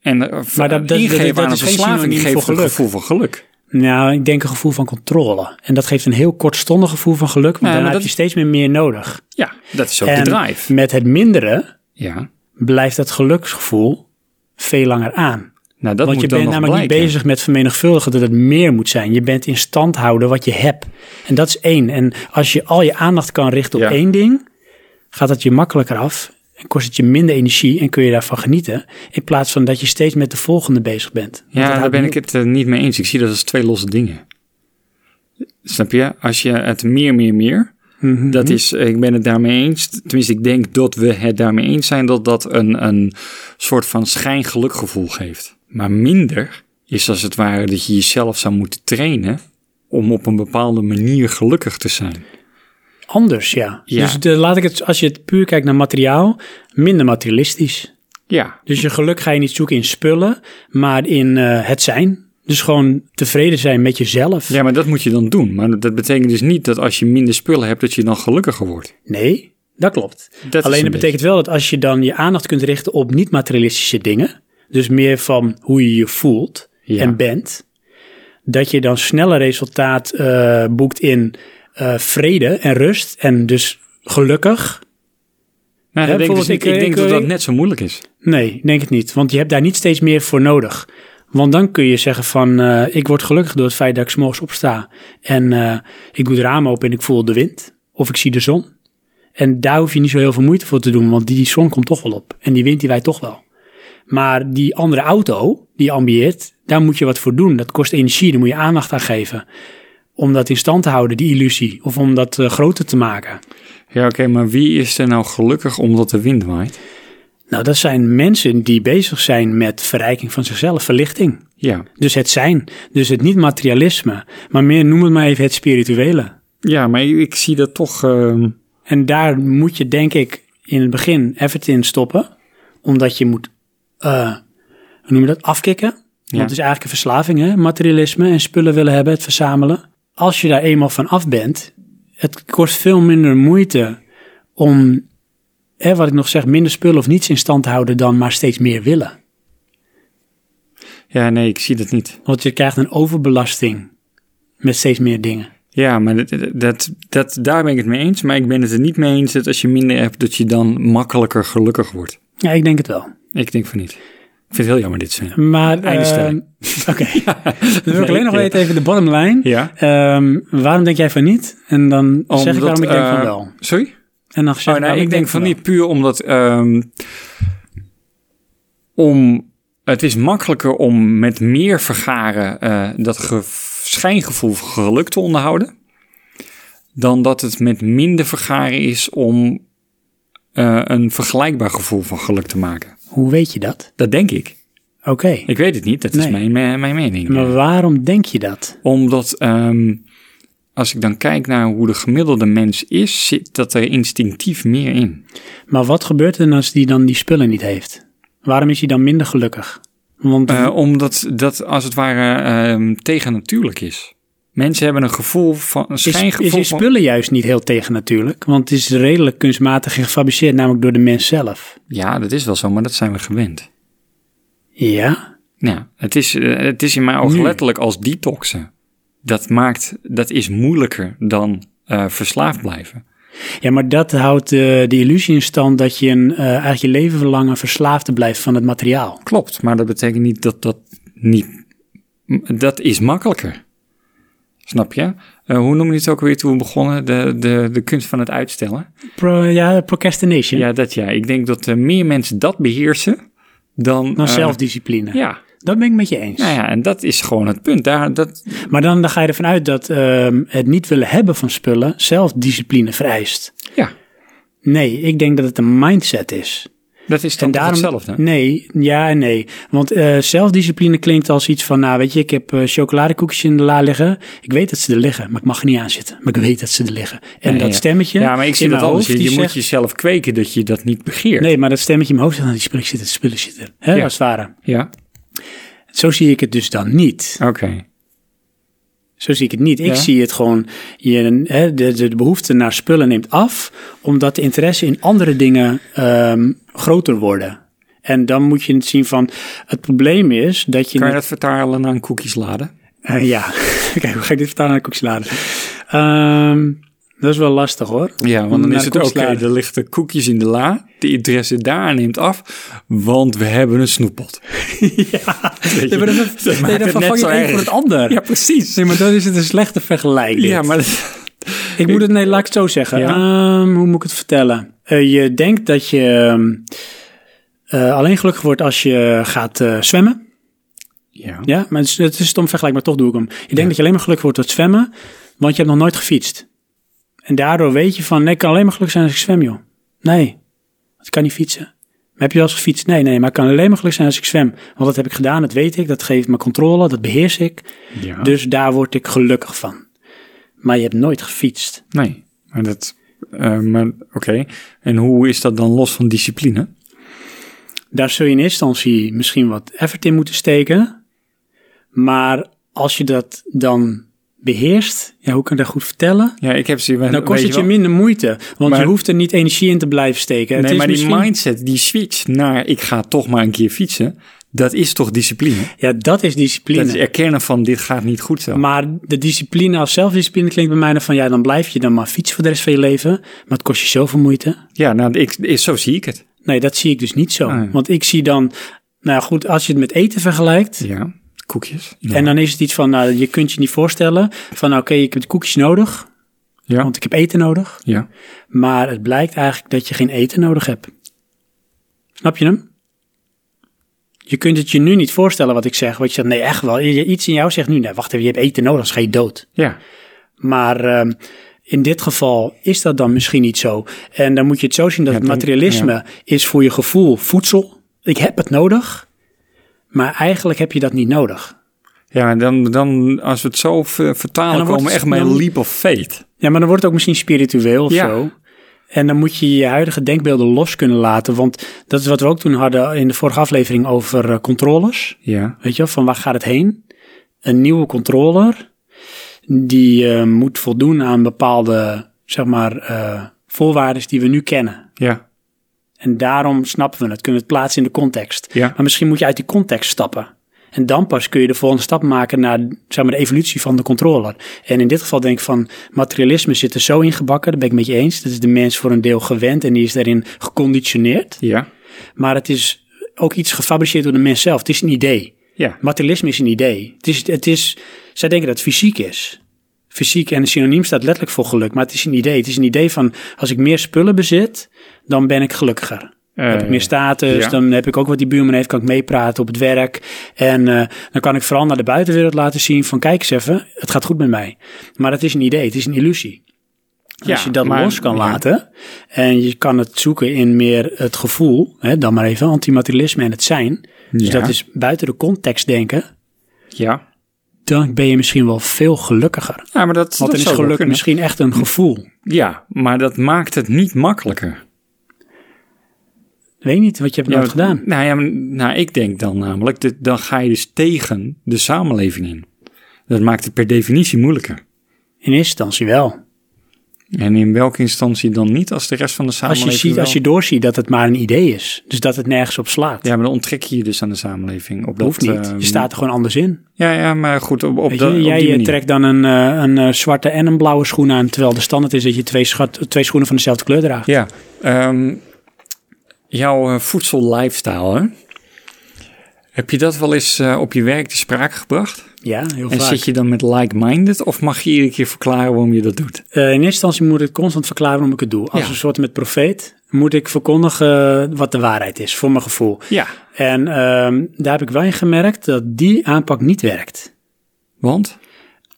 B: En eh, v-
A: Maar dat- dat-
B: ingeven
A: dat- dat
B: aan
A: is
B: een
A: geen
B: verslaving
A: synoniem
B: geeft
A: voor
B: een
A: geluk.
B: gevoel van geluk.
A: Nou, ik denk een gevoel van controle. En dat geeft een heel kortstondig gevoel van geluk, want
B: maar
A: daarna
B: dat-
A: heb je steeds meer, meer nodig.
B: Ja, dat is ook
A: en
B: de drive.
A: met het mindere
B: Ja.
A: blijft dat geluksgevoel veel langer aan.
B: Nou, dat
A: Want
B: moet
A: je
B: dan
A: bent
B: nog
A: namelijk
B: blijken.
A: niet bezig met vermenigvuldigen dat het meer moet zijn. Je bent in stand houden wat je hebt. En dat is één. En als je al je aandacht kan richten op
B: Ja.
A: één ding, gaat dat je makkelijker af. En kost het je minder energie en kun je daarvan genieten. In plaats van dat je steeds met de volgende bezig bent. Want dat
B: Ja, daar
A: houdt
B: ben
A: niet
B: ik het eh, niet mee eens. Ik zie dat als twee losse dingen. Snap je? Als je het meer, meer, meer.
A: Mhm.
B: Dat is, eh, ik ben het daarmee eens. Tenminste, ik denk dat we het daarmee eens zijn dat dat een, een soort van schijngelukgevoel geeft. Maar minder is als het ware dat je jezelf zou moeten trainen om op een bepaalde manier gelukkig te zijn.
A: op. Anders, ja.
B: Ja.
A: Dus de- laat ik het, als je het puur kijkt naar materiaal, minder materialistisch.
B: Ja,
A: Dus je geluk ga je niet zoeken in spullen, maar in eh, het zijn. Dus gewoon tevreden zijn met jezelf.
B: Ja, maar dat moet je dan doen. Maar dat betekent dus niet dat als je minder spullen hebt, dat je dan gelukkiger wordt.
A: Nee, dat klopt.
B: Dat is
A: Alleen
B: een
A: dat betekent wel dat als je dan je aandacht kunt richten op niet-materialistische dingen, dus meer van hoe je je voelt
B: Ja.
A: en bent, dat je dan sneller resultaat eh, boekt in eh, vrede en rust en dus gelukkig.
B: Nou,
A: Ja,
B: dat denk ik, dus
A: bijvoorbeeld,
B: niet.
A: ik,
B: ik
A: eh,
B: denk
A: ik,
B: dat
A: eh,
B: dat net zo moeilijk is.
A: Nee, ik denk het niet, want je hebt daar niet steeds meer voor nodig. Want dan kun je zeggen van, eh, ik word gelukkig door het feit dat ik 's morgens opsta en eh, ik doe de ramen open en ik voel de wind of ik zie de zon. En daar hoef je niet zo heel veel moeite voor te doen, want die, die zon komt toch wel op en die wind die wij toch wel. Maar die andere auto die je ambieert, daar moet je wat voor doen. Dat kost energie, daar moet je aandacht aan geven. Om dat in stand te houden, die illusie, of om dat eh, groter te maken.
B: Ja, oké, maar wie is er nou gelukkig omdat de wind waait?
A: Nou, dat zijn mensen die bezig zijn met verrijking van zichzelf, verlichting.
B: Ja,
A: Dus het zijn, dus het niet-materialisme, maar meer noem het maar even het spirituele.
B: ja maar ik, ik zie dat toch... ehm,
A: En daar moet je denk ik in het begin effort in stoppen, omdat je moet, eh, hoe noem je dat, afkicken. Want het is eigenlijk een verslaving, hè? materialisme en spullen willen hebben, het verzamelen. Als je daar eenmaal van af bent, het kost veel minder moeite om, hè, wat ik nog zeg, minder spullen of niets in stand te houden dan maar steeds meer willen.
B: ja, nee, ik zie dat niet.
A: Want je krijgt een overbelasting met steeds meer dingen.
B: Ja, maar dat, dat, dat, daar ben ik het mee eens. Maar ik ben het er niet mee eens dat als je minder hebt, dat je dan makkelijker gelukkig wordt.
A: Ja, ik denk het wel.
B: Ik denk van niet. Ik vind het heel jammer dit zijn.
A: Maar,
B: Einde stelling.
A: eh, Oké. Dan wil ik alleen nog weten even de bottom line.
B: Ja.
A: Ehm, waarom denk jij van niet? En dan zeg ik
B: Omdat,
A: waarom ik denk van
B: eh,
A: wel.
B: Sorry?
A: En dan zeg
B: Oh,
A: ik
B: nee,
A: waarom
B: ik denk van niet puur omdat... ehm, om, het is makkelijker om met meer vergaren eh, dat ge- schijngevoel van geluk te onderhouden. Dan dat het met minder vergaren is om eh, een vergelijkbaar gevoel van geluk te maken.
A: Hoe weet je dat?
B: Dat denk ik.
A: Oké.
B: Ik weet het niet, dat is
A: Nee.
B: mijn, mijn, mijn mening.
A: Maar waarom denk je dat?
B: Omdat ehm, als ik dan kijk naar hoe de gemiddelde mens is, zit dat er instinctief meer in.
A: Maar wat gebeurt er als die dan die spullen niet heeft? Waarom is hij dan minder gelukkig? Want
B: Eh, omdat dat als het ware ehm, tegennatuurlijk is. Mensen hebben een gevoel van een
A: is,
B: schijngevoel
A: is in
B: van-
A: spullen juist niet heel tegen natuurlijk? Want het is redelijk kunstmatig gefabriceerd, namelijk door de mens zelf.
B: Ja, dat is wel zo, maar dat zijn we gewend.
A: Ja?
B: Ja, het is, eh, het is in mijn ogen
A: Nu.
B: letterlijk als detoxen. Dat maakt, dat is moeilijker dan eh, verslaafd blijven.
A: Ja, maar dat houdt eh, de illusie in stand dat je een, eh, eigenlijk je leven verlangen verslaafd blijft van het materiaal.
B: Klopt, maar dat betekent niet dat dat niet. m- Dat is makkelijker. Snap je? Eh, hoe noem je het ook weer toen we begonnen? De, de, de kunst van het uitstellen.
A: Pro- ja, procrastination.
B: Ja, dat ja. Ik denk dat eh, meer mensen dat beheersen dan.
A: Dan
B: eh,
A: zelfdiscipline.
B: Ja.
A: Dat ben ik met je eens.
B: Nou ja, en dat is gewoon het punt. Daar, dat,
A: Maar dan, dan ga je ervan uit dat ehm, het niet willen hebben van spullen zelfdiscipline vereist.
B: Ja.
A: Nee, ik denk dat het een mindset is.
B: dat is dan toch hetzelfde.
A: Nee, ja en nee. Want eh, zelfdiscipline klinkt als iets van, nou weet je, ik heb eh, chocoladekoekjes in de la liggen. Ik weet dat ze er liggen, maar ik mag er niet aan zitten. Maar ik weet dat ze er liggen. En
B: Nee,
A: dat
B: ja.
A: stemmetje
B: Ja, maar ik zie
A: in
B: dat
A: mijn
B: alles.
A: hoofd,
B: Je,
A: die
B: je moet
A: zegt-
B: jezelf kweken dat je dat niet begeert.
A: Nee, maar dat stemmetje in mijn hoofd zegt, nou, die spullen zitten, die spullen zitten. Hè,
B: Ja.
A: Als het ware.
B: Ja,
A: Zo zie ik het dus dan niet.
B: oké.
A: Zo zie ik het niet. Ik
B: Ja.
A: zie het gewoon, je, hè, de, de, de behoefte naar spullen neemt af, omdat de interesse in andere dingen ehm, groter worden. En dan moet je het zien van, het probleem is dat je...
B: Kan je
A: net-
B: dat vertalen naar een cookies laden?
A: Eh, ja, kijk, hoe ga ik dit vertalen naar koeksladen? Ehm dat is wel lastig hoor.
B: Ja, want dan
A: Naar
B: is
A: de
B: het oké,
A: koekslader.
B: er lichten koekjes in de la. De interesse daar neemt af, want we hebben een snoeppot. ja,
A: Nee, maar dat, nee,
B: maakt
A: dan
B: het net
A: vervang je
B: zo
A: het een
B: erg.
A: voor het ander.
B: Ja, precies.
A: Nee, maar dan is het een slechte vergelijking.
B: Ja, maar
A: Ik moet het, nee, laat ik het zo zeggen.
B: Ja.
A: Ehm, hoe moet ik het vertellen? Eh, je denkt dat je ehm, eh, alleen gelukkig wordt als je gaat eh, zwemmen.
B: ja.
A: Ja, maar het is, het is stom vergelijk, maar toch doe ik hem. Je denkt dat je alleen maar gelukkig wordt door het zwemmen, want je hebt nog nooit gefietst. En daardoor weet je van, nee, ik kan alleen maar gelukkig zijn als ik zwem, joh. Nee, want ik kan niet fietsen. Maar heb je wel eens gefietst? Nee, nee, maar ik kan alleen maar gelukkig zijn als ik zwem. Want dat heb ik gedaan, dat weet ik, dat geeft me controle, dat beheers ik.
B: Ja.
A: Dus daar word ik gelukkig van. Maar je hebt nooit gefietst.
B: Nee, maar dat... eh, maar oké, en hoe is dat dan los van discipline?
A: Daar zul je in eerste instantie misschien wat effort in moeten steken. Maar als je dat dan beheerst, ja, hoe kan ik dat goed vertellen?
B: Ja, ik heb ze...
A: Dan Nou, kost het je
B: meer.
A: minder moeite, want
B: Maar-
A: je hoeft er niet energie in te blijven steken. het
B: Nee,
A: is
B: maar die
A: misschien-
B: mindset, die switch naar ik ga toch maar een keer fietsen, dat is toch discipline?
A: Ja, dat is discipline.
B: Dat is erkennen van dit gaat niet goed zo.
A: Maar de discipline als zelfdiscipline klinkt bij mij dan van... ja, dan blijf je dan maar fietsen voor de rest van je leven. Maar het kost je zoveel moeite.
B: ja, nou, ik, ik- zo zie ik het.
A: Nee, dat zie ik dus niet zo.
B: Nee.
A: Want ik zie dan... Nou ja, goed, als je het met eten vergelijkt...
B: Ja, koekjes.
A: en dan is het iets van... nou, je kunt je niet voorstellen van... nou, oké, ik heb koekjes nodig,
B: ja,
A: want ik heb eten nodig.
B: ja.
A: Maar het blijkt eigenlijk dat je geen eten nodig hebt. Snap je hem? Je kunt het je nu niet voorstellen wat ik zeg. Want je zegt, nee, echt wel. Je- Iets in jou zegt nu, nee, wacht even, je hebt eten nodig, anders ga je dood.
B: ja.
A: Maar ehm, in dit geval is dat dan misschien niet zo. En dan moet je het zo zien dat
B: Ja,
A: het
B: denk-
A: materialisme
B: ja.
A: is voor je gevoel voedsel. Ik heb het nodig, maar eigenlijk heb je dat niet nodig.
B: Ja, dan, dan als we het zo ver-
A: En
B: vertalen,
A: dan wordt
B: komen we echt
A: het-
B: bij een
A: dan-
B: leap of fate.
A: Ja, maar dan wordt het ook misschien spiritueel of
B: Ja.
A: zo. En dan moet je je huidige denkbeelden los kunnen laten. Want dat is wat we ook toen hadden in de vorige aflevering over eh, controllers.
B: Ja.
A: Weet je, wel, van waar gaat het heen? Een nieuwe controller, die eh, moet voldoen aan bepaalde, zeg maar, eh, voorwaarden die we nu kennen.
B: Ja.
A: En daarom snappen we het, kunnen we het plaatsen in de context.
B: Ja.
A: Maar misschien moet je uit die context stappen. En dan pas kun je de volgende stap maken naar zeg maar, de evolutie van de controller. En in dit geval denk ik van materialisme zit er zo ingebakken, daar ben ik met je eens. Dat is de mens voor een deel gewend en die is daarin geconditioneerd.
B: Ja.
A: Maar het is ook iets gefabriceerd door de mens zelf. Het is een idee.
B: Ja.
A: Materialisme is een idee. Het is, het is, zij denken dat het fysiek is. Fysiek en synoniem staat letterlijk voor geluk, maar het is een idee. Het is een idee van als ik meer spullen bezit, dan ben ik gelukkiger. Dan heb ik meer status,
B: Eh, ja.
A: dan heb ik ook wat die buurman heeft, kan ik meepraten op het werk. En eh, dan kan ik vooral naar de buitenwereld laten zien van kijk eens even, het gaat goed met mij. Maar het is een idee, het is een illusie. En
B: Ja,
A: als je dat
B: maar-
A: los kan
B: ja.
A: laten en je kan het zoeken in meer het gevoel, hè, dan maar even antimaterialisme en het zijn. Dus
B: Ja.
A: dat is buiten de context denken,
B: Ja.
A: dan ben je misschien wel veel gelukkiger.
B: Ja, maar
A: Want
B: dat, dat
A: dan is
B: zou wel
A: geluk
B: kunnen.
A: misschien echt een gevoel.
B: Ja, maar dat maakt het niet makkelijker.
A: Weet niet, wat je hebt
B: Ja,
A: nooit
B: maar-
A: gedaan.
B: Nou ja, maar- nou, ik denk dan namelijk, dat- dan ga je dus tegen de samenleving in. Dat maakt het per definitie moeilijker.
A: In eerste instantie wel.
B: En in welke instantie dan niet, als de rest van de
A: Als je,
B: samenleving
A: ziet,
B: wel-
A: als je doorziet dat het maar een idee is. Dus dat het nergens op slaat.
B: Ja, maar dan onttrek je je dus aan de samenleving. Op dat,
A: hoeft niet.
B: eh,
A: je staat er gewoon anders in.
B: Ja, ja, maar goed, op, op,
A: Weet
B: de-
A: je,
B: op
A: jij
B: die
A: eh,
B: manier.
A: trekt dan een, eh, een eh, zwarte en een blauwe schoen aan. Terwijl de standaard is dat je twee, schat- twee schoenen van dezelfde kleur draagt.
B: Ja, ehm, jouw eh, voedsel lifestyle, hè? Heb je dat wel eens eh, op je werk te sprake gebracht?
A: Ja, heel
B: en
A: vaak.
B: zit je dan met like-minded of mag je iedere keer verklaren waarom je dat doet?
A: Eh, in eerste instantie moet ik constant verklaren waarom ik het doe. Als
B: Ja.
A: een soort met profeet moet ik verkondigen wat de waarheid is, voor mijn gevoel.
B: Ja.
A: En ehm, daar heb ik wel in gemerkt dat die aanpak niet werkt.
B: Want?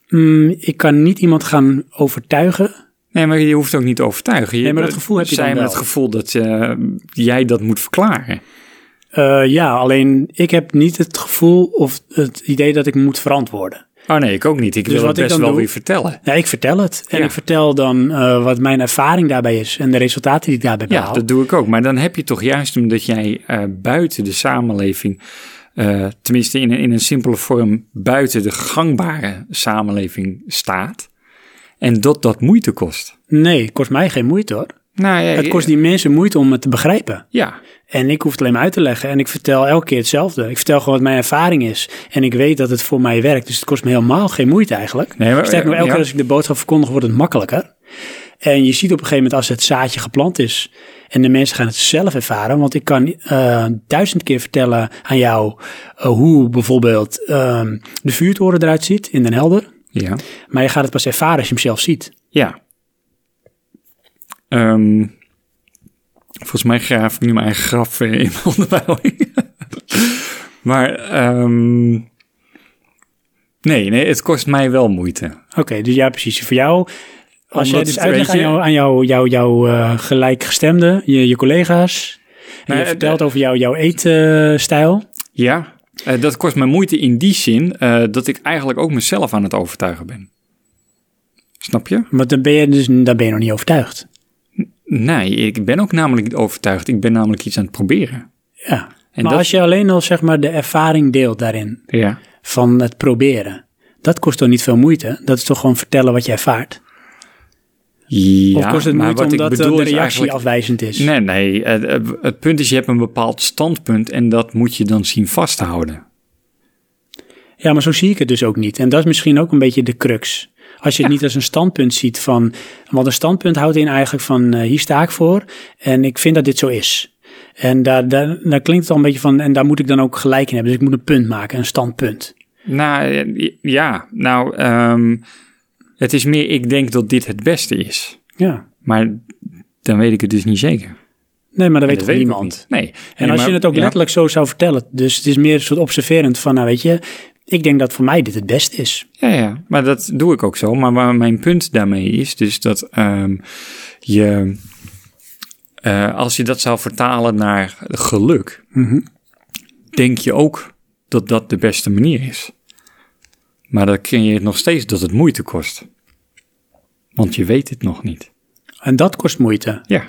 A: Mm, ik kan niet iemand gaan overtuigen.
B: Nee, maar je hoeft ook niet te overtuigen. Je,
A: Nee, maar dat gevoel heb je
B: zij
A: dan
B: hebben
A: wel.
B: het gevoel dat eh, jij dat moet verklaren.
A: Eh, ja, alleen ik heb niet het gevoel of het idee dat ik moet verantwoorden.
B: Oh nee, ik ook niet. Ik
A: Dus
B: wil
A: wat
B: het
A: ik
B: best
A: dan
B: wel
A: doe-
B: weer vertellen.
A: Ja, ik vertel het. En
B: Ja.
A: ik vertel dan eh, wat mijn ervaring daarbij is en de resultaten die ik daarbij
B: Ja,
A: behaal.
B: dat doe ik ook. Maar dan heb je toch juist omdat jij eh, buiten de samenleving, eh, tenminste in een, in een simpele vorm, buiten de gangbare samenleving staat. En dat dat moeite kost.
A: Nee, het kost mij geen moeite hoor.
B: Nou, ja,
A: het kost die mensen moeite om het te begrijpen.
B: Ja,
A: En ik hoef het alleen maar uit te leggen. En ik vertel elke keer hetzelfde. Ik vertel gewoon wat mijn ervaring is. En ik weet dat het voor mij werkt. Dus het kost me helemaal geen moeite eigenlijk.
B: Nee, maar- eh,
A: Sterker nog, elke
B: ja.
A: keer als ik de boodschap verkondig, wordt het makkelijker. En je ziet op een gegeven moment als het zaadje geplant is. En de mensen gaan het zelf ervaren. Want ik kan eh, duizend keer vertellen aan jou eh, hoe bijvoorbeeld ehm, de vuurtoren eruit ziet in Den Helder.
B: ja,
A: Maar je gaat het pas ervaren als je hem zelf ziet.
B: ja. Ehm, volgens mij graaf ik nu mijn eigen graf eh, in mijn onderbouwing. maar ehm, nee, nee, het kost mij wel moeite.
A: Oké, dus ja, precies. Voor jou, als jij
B: Omdat
A: dus
B: het,
A: uitlegt
B: weet
A: aan
B: je-
A: jouw aan jou, jou, jou, eh, gelijkgestemden, je, je collega's, en
B: Nou,
A: je
B: eh,
A: vertelt over jou, jouw eetstijl.
B: Ja, eh, dat kost me moeite in die zin eh, dat ik eigenlijk ook mezelf aan het overtuigen ben. Snap je?
A: maar dan ben je dus dan ben je nog niet overtuigd.
B: Nee, ik ben ook namelijk niet overtuigd. Ik ben namelijk iets aan het proberen.
A: Ja.
B: En
A: maar
B: dat-
A: als je alleen al zeg maar, de ervaring deelt daarin,
B: Ja.
A: van het proberen, dat kost toch niet veel moeite? Dat is toch gewoon vertellen wat je ervaart?
B: ja
A: of kost het
B: maar
A: moeite
B: wat
A: omdat
B: ik
A: eh,
B: bedoel
A: de
B: is
A: reactie
B: eigenlijk-
A: afwijzend is?
B: Nee, nee. eh, eh, Het punt is, je hebt een bepaald standpunt en dat moet je dan zien vasthouden.
A: Ja, maar zo zie ik het dus ook niet. En dat is misschien ook een beetje de crux. Als je het niet als een standpunt ziet van... Want een standpunt houdt in eigenlijk van... eh, hier sta ik voor en ik vind dat dit zo is. En daar, daar, daar klinkt het al een beetje van... En daar moet ik dan ook gelijk in hebben. Dus ik moet een punt maken, een standpunt.
B: Nou, eh, ja. Nou, ehm, het is meer, ik denk dat dit het beste is.
A: Ja.
B: Maar dan weet ik het dus niet zeker.
A: Nee, maar dat weet
B: En ik
A: toch
B: ook
A: niemand?
B: niet. Nee.
A: En als je het ook letterlijk zo zou vertellen... Dus het is meer een soort observerend van... Nou weet je, ik denk dat voor mij dit het beste is.
B: Ja, ja, maar dat doe ik ook zo. Maar waar mijn punt daarmee is, dus dat ehm, je, eh, als je dat zou vertalen naar geluk,
A: Mhm.
B: denk je ook dat dat de beste manier is. Maar dan creëert nog steeds dat het moeite kost. Want je weet het nog niet.
A: En dat kost moeite.
B: Ja.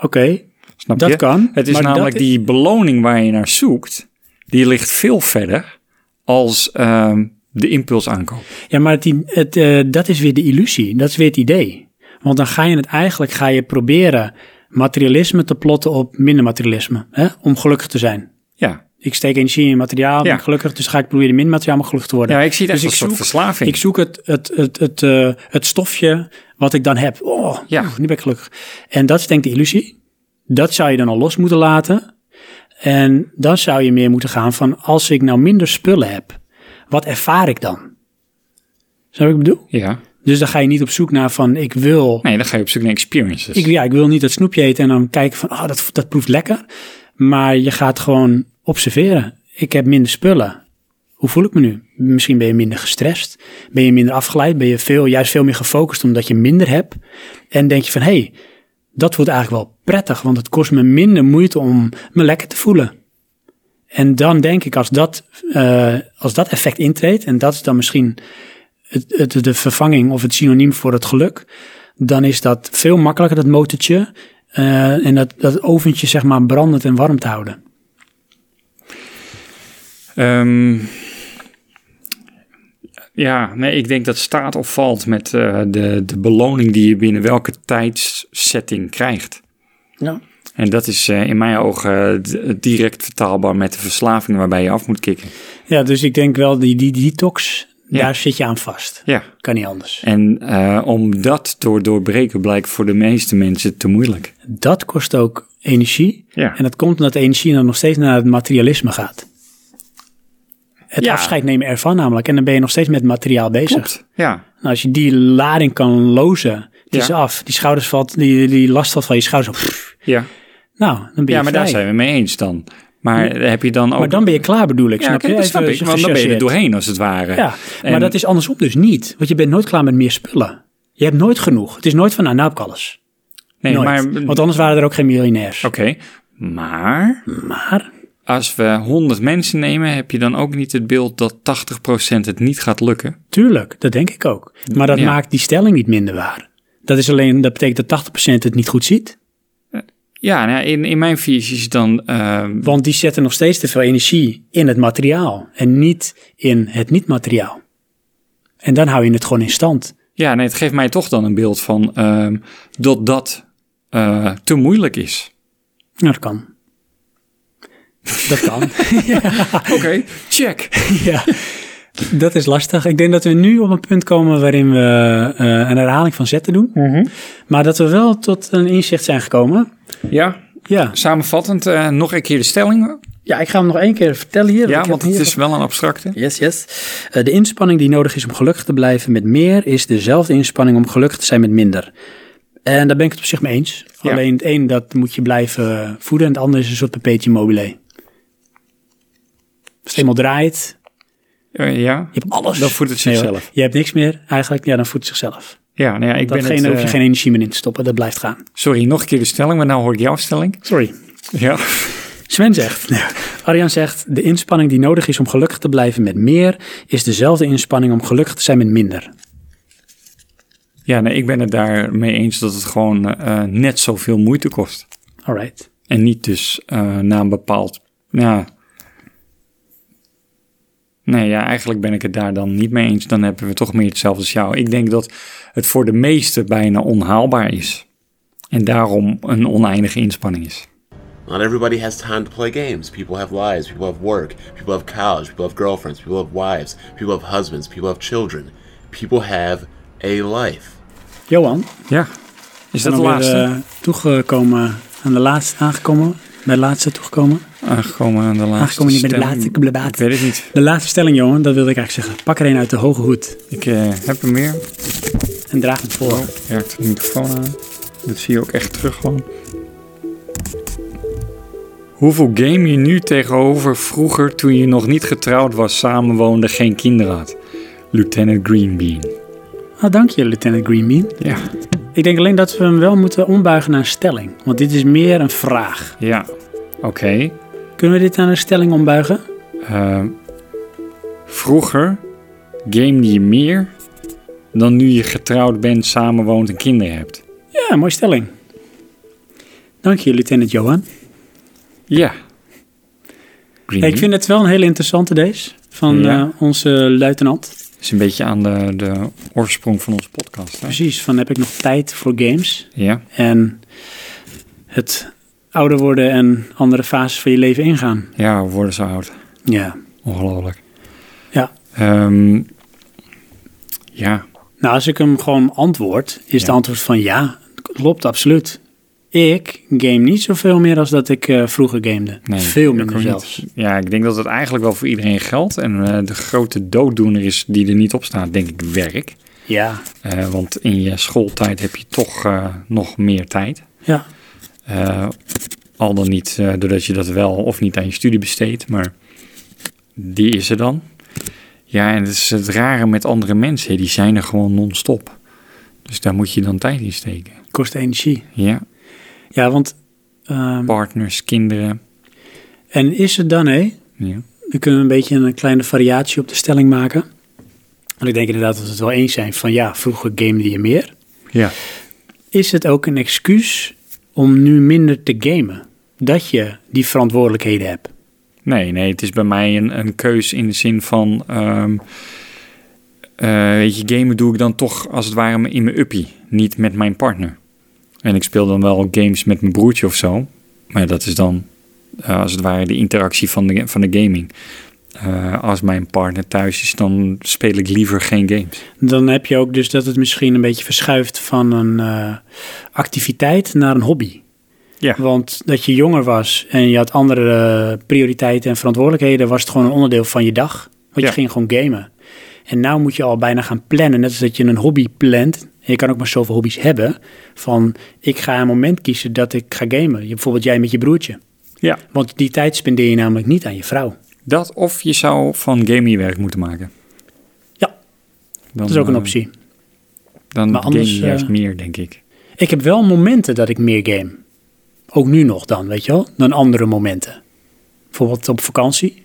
A: Oké,
B: Snap
A: Dat
B: je?
A: kan,
B: Het is
A: maar dat
B: namelijk
A: is-
B: die beloning waar je naar zoekt, die ligt veel verder als ehm, de impuls aankoop.
A: Ja, maar het, i- het, eh, dat is weer de illusie. Dat is weer het idee. Want dan ga je het eigenlijk ga je proberen materialisme te plotten op minder materialisme. Hè? Om gelukkig te zijn.
B: Ja,
A: Ik steek energie in materiaal, ben
B: Ja.
A: ik gelukkig, dus ga ik proberen min materiaal mogelijk gelukkig te worden.
B: Ja, ik zie het
A: dus
B: echt als een soort verslaving.
A: Ik zoek het, het, het, het, eh, het stofje wat ik dan heb. Oh, oeh, nu ben ik gelukkig. En dat is denk ik de illusie. Dat zou je dan al los moeten laten. En dan zou je meer moeten gaan van, als ik nou minder spullen heb, wat ervaar ik dan? Snap je wat ik bedoel?
B: Ja.
A: Dus dan ga je niet op zoek naar van, ik wil...
B: Nee, dan ga je op zoek naar experiences.
A: Ik, ja, ik wil niet dat snoepje eten en dan kijken van, ah, dat, dat proeft lekker. Maar je gaat gewoon observeren. Ik heb minder spullen. Hoe voel ik me nu? Misschien ben je minder gestrest. Ben je minder afgeleid? Ben je veel, juist veel meer gefocust omdat je minder hebt? En denk je van, hé, hey, dat wordt eigenlijk wel prettig, want het kost me minder moeite om me lekker te voelen. En dan denk ik, als dat, eh, als dat effect intreedt, en dat is dan misschien het, het, de vervanging of het synoniem voor het geluk, dan is dat veel makkelijker, dat motortje, eh, en dat, dat oventje, zeg maar, brandend en warm te houden.
B: Ehm, ja, nee, ik denk dat staat of valt met eh, de, de beloning die je binnen welke tijdssetting krijgt.
A: Ja.
B: En dat is eh, in mijn ogen eh, d- direct vertaalbaar met de verslaving waarbij je af moet kicken.
A: Ja, dus ik denk wel, die, die detox,
B: Ja.
A: daar zit je aan vast.
B: Ja.
A: Kan niet anders.
B: En eh, om dat door doorbreken blijkt voor de meeste mensen te moeilijk.
A: Dat kost ook energie.
B: Ja.
A: En dat komt omdat de energie dan nog steeds naar het materialisme gaat. Het
B: Ja.
A: afscheid nemen ervan namelijk. En dan ben je nog steeds met materiaal bezig.
B: Ja,
A: Nou, als je die lading kan lozen, het is
B: Ja.
A: af. Die, schouders valt, die, die last valt van je schouders. zo, pff.
B: ja.
A: Nou, dan ben je
B: ja maar daar
A: vrij.
B: zijn we mee eens dan. Maar heb je dan ook...
A: Maar dan ben je klaar bedoel ik,
B: Ja,
A: snap
B: kijk,
A: je?
B: dat snap
A: Even
B: ik, want dan ben je er
A: gechargeerd.
B: doorheen als het ware.
A: Ja, maar
B: En-
A: dat is andersom dus niet. Want je bent nooit klaar met meer spullen. Je hebt nooit genoeg. Het is nooit van, nou, nou heb ik alles.
B: Nee,
A: Nooit.
B: maar-
A: Want anders waren er ook geen miljonairs.
B: Oké, maar...
A: Maar?
B: Als we 100 mensen nemen, heb je dan ook niet het beeld dat 80% het niet gaat lukken?
A: Tuurlijk, dat denk ik ook. Maar dat
B: Ja.
A: maakt die stelling niet minder waar. Dat is alleen, dat betekent dat 80% het niet goed ziet.
B: Ja, nou, in, in mijn visie is dan... eh,
A: Want die zetten nog steeds te veel energie in het materiaal en niet in het niet-materiaal. En dan hou je het gewoon in stand.
B: ja, nee, het geeft mij toch dan een beeld van ehm, dat dat eh, te moeilijk is.
A: Nou, dat kan. Dat kan.
B: Oké, check.
A: ja, dat is lastig. Ik denk dat we nu op een punt komen waarin we eh, een herhaling van zetten doen. Maar dat we wel tot een inzicht zijn gekomen.
B: Ja,
A: ja.
B: samenvattend eh, nog een keer de stelling.
A: Ja, ik ga hem nog één keer vertellen hier.
B: Ja,
A: ik
B: want
A: heb
B: het
A: hier-
B: is wel een abstracte.
A: Yes, yes. Eh, de inspanning die nodig is om gelukkig te blijven met meer is dezelfde inspanning om gelukkig te zijn met minder. En daar ben ik het op zich mee eens.
B: Ja.
A: Alleen het een, dat moet je blijven voeden en het ander is een soort perpetuum mobile. Als het eenmaal draait,
B: Eh, ja,
A: je hebt alles.
B: dan voedt het
A: Nee, hoor.
B: zichzelf.
A: je hebt niks meer eigenlijk, ja, dan voedt het zichzelf.
B: ja, nou ja, ik ben
A: Datgene
B: het,
A: hoef je
B: eh,
A: geen energie meer in te stoppen, dat blijft gaan.
B: Sorry, nog een keer de stelling, maar nou hoor ik jouw stelling.
A: Sorry.
B: Ja.
A: Sven zegt, nee, Arjan zegt, de inspanning die nodig is om gelukkig te blijven met meer is dezelfde inspanning om gelukkig te zijn met minder.
B: Ja, nee, ik ben het daarmee eens dat het gewoon eh, net zoveel moeite kost.
A: Alright.
B: En niet dus eh na een bepaald. Ja. Nee, ja, eigenlijk ben ik het daar dan niet mee eens. Dan hebben we toch meer hetzelfde als jou. Ik denk dat het voor de meesten bijna onhaalbaar is. En daarom een oneindige inspanning is.
M: Not everybody has time to play games. People have lives, people have work, people have college, people have girlfriends, people have wives, people have husbands, people have children. People have a life.
A: Johan,
B: Ja. Is dat
A: Dan
B: de
A: weer,
B: laatste?
A: eh, toegekomen aan de laatste, aangekomen. Bij de laatste toegekomen.
B: Aangekomen Ah, aan de laatste.
A: eh, Aangekomen niet bij de
B: stelling.
A: laatste. blablabla.
B: Ik weet het niet.
A: De laatste stelling, Johan, dat wilde ik eigenlijk zeggen. Pak er een uit de hoge hoed
B: Ik eh, heb er meer.
A: en draag hem voor.
B: Oh, werkt de microfoon aan. Dat zie je ook echt terug gewoon. Hoeveel game je nu tegenover vroeger toen je nog niet getrouwd was, samenwoonde, geen kinderen had? Lieutenant Greenbean.
A: Ah, dank je, Lieutenant Greenbean.
B: Ja.
A: Ik denk alleen dat we hem wel moeten ombuigen naar een stelling. Want dit is meer een vraag.
B: Ja, oké.
A: Kunnen we dit naar een stelling ombuigen?
B: Ehm, vroeger game je meer dan nu je getrouwd bent, samenwoont en kinderen hebt.
A: Ja, mooie stelling. Dank je, Lieutenant Johan.
B: Ja.
A: Hey, ik vind het wel een hele interessante deze van
B: Ja.
A: eh, onze luitenant.
B: is een beetje aan de, de oorsprong van onze podcast. Hè?
A: Precies, van heb ik nog tijd voor games?
B: Ja.
A: En het ouder worden en andere fases van je leven ingaan.
B: Ja, we worden zo oud.
A: Ja.
B: Ongelooflijk.
A: Ja.
B: Ehm, ja.
A: Nou, als ik hem gewoon antwoord, is de antwoord van ja, klopt absoluut. Ik game niet zoveel meer als dat ik eh, vroeger gamede.
B: Nee,
A: Veel
B: ik
A: minder
B: ook niet.
A: zelfs.
B: Ja, ik denk dat het eigenlijk wel voor iedereen geldt. En eh, de grote dooddoener is die er niet op staat, denk ik, werk.
A: Ja.
B: Eh, want in je schooltijd heb je toch eh, nog meer tijd.
A: Ja.
B: Eh, al dan niet eh, doordat je dat wel of niet aan je studie besteedt, maar die is er dan. Ja, en het is het rare met andere mensen, die zijn er gewoon non-stop. Dus daar moet je dan tijd in steken.
A: Kost energie.
B: Ja,
A: Ja, want... ehm,
B: partners, kinderen.
A: en is het dan, hé?
B: Ja.
A: Dan kunnen we een beetje een kleine variatie op de stelling maken. Want ik denk inderdaad dat we het wel eens zijn van ja, vroeger gamede je meer.
B: Ja.
A: Is het ook een excuus om nu minder te gamen? Dat je die verantwoordelijkheden hebt.
B: Nee, nee, het is bij mij een, een keus in de zin van... ehm, eh, weet je, gamen doe ik dan toch als het ware in mijn uppie, niet met mijn partner. En ik speel dan wel games met mijn broertje of zo. Maar dat is dan eh, als het ware de interactie van de, van de gaming. Eh, als mijn partner thuis is, dan speel ik liever geen games.
A: Dan heb je ook dus dat het misschien een beetje verschuift van een eh, activiteit naar een hobby.
B: Ja.
A: Want dat je jonger was en je had andere eh, prioriteiten en verantwoordelijkheden, was het gewoon een onderdeel van je dag. Want
B: Ja.
A: je ging gewoon gamen. En nou moet je al bijna gaan plannen. Net als dat je een hobby plant. En je kan ook maar zoveel hobby's hebben. Van ik ga een moment kiezen dat ik ga gamen. Je, bijvoorbeeld jij met je broertje.
B: Ja.
A: Want die tijd spendeer je namelijk niet aan je vrouw.
B: Dat of je zou van gaming werk moeten maken.
A: Ja.
B: Dan,
A: dat is ook een
B: eh,
A: optie.
B: Dan
A: Maar anders,
B: game je juist
A: eh,
B: meer, denk ik.
A: Ik heb wel momenten dat ik meer game. Ook nu nog dan, weet je wel, dan andere momenten. Bijvoorbeeld op vakantie. Dan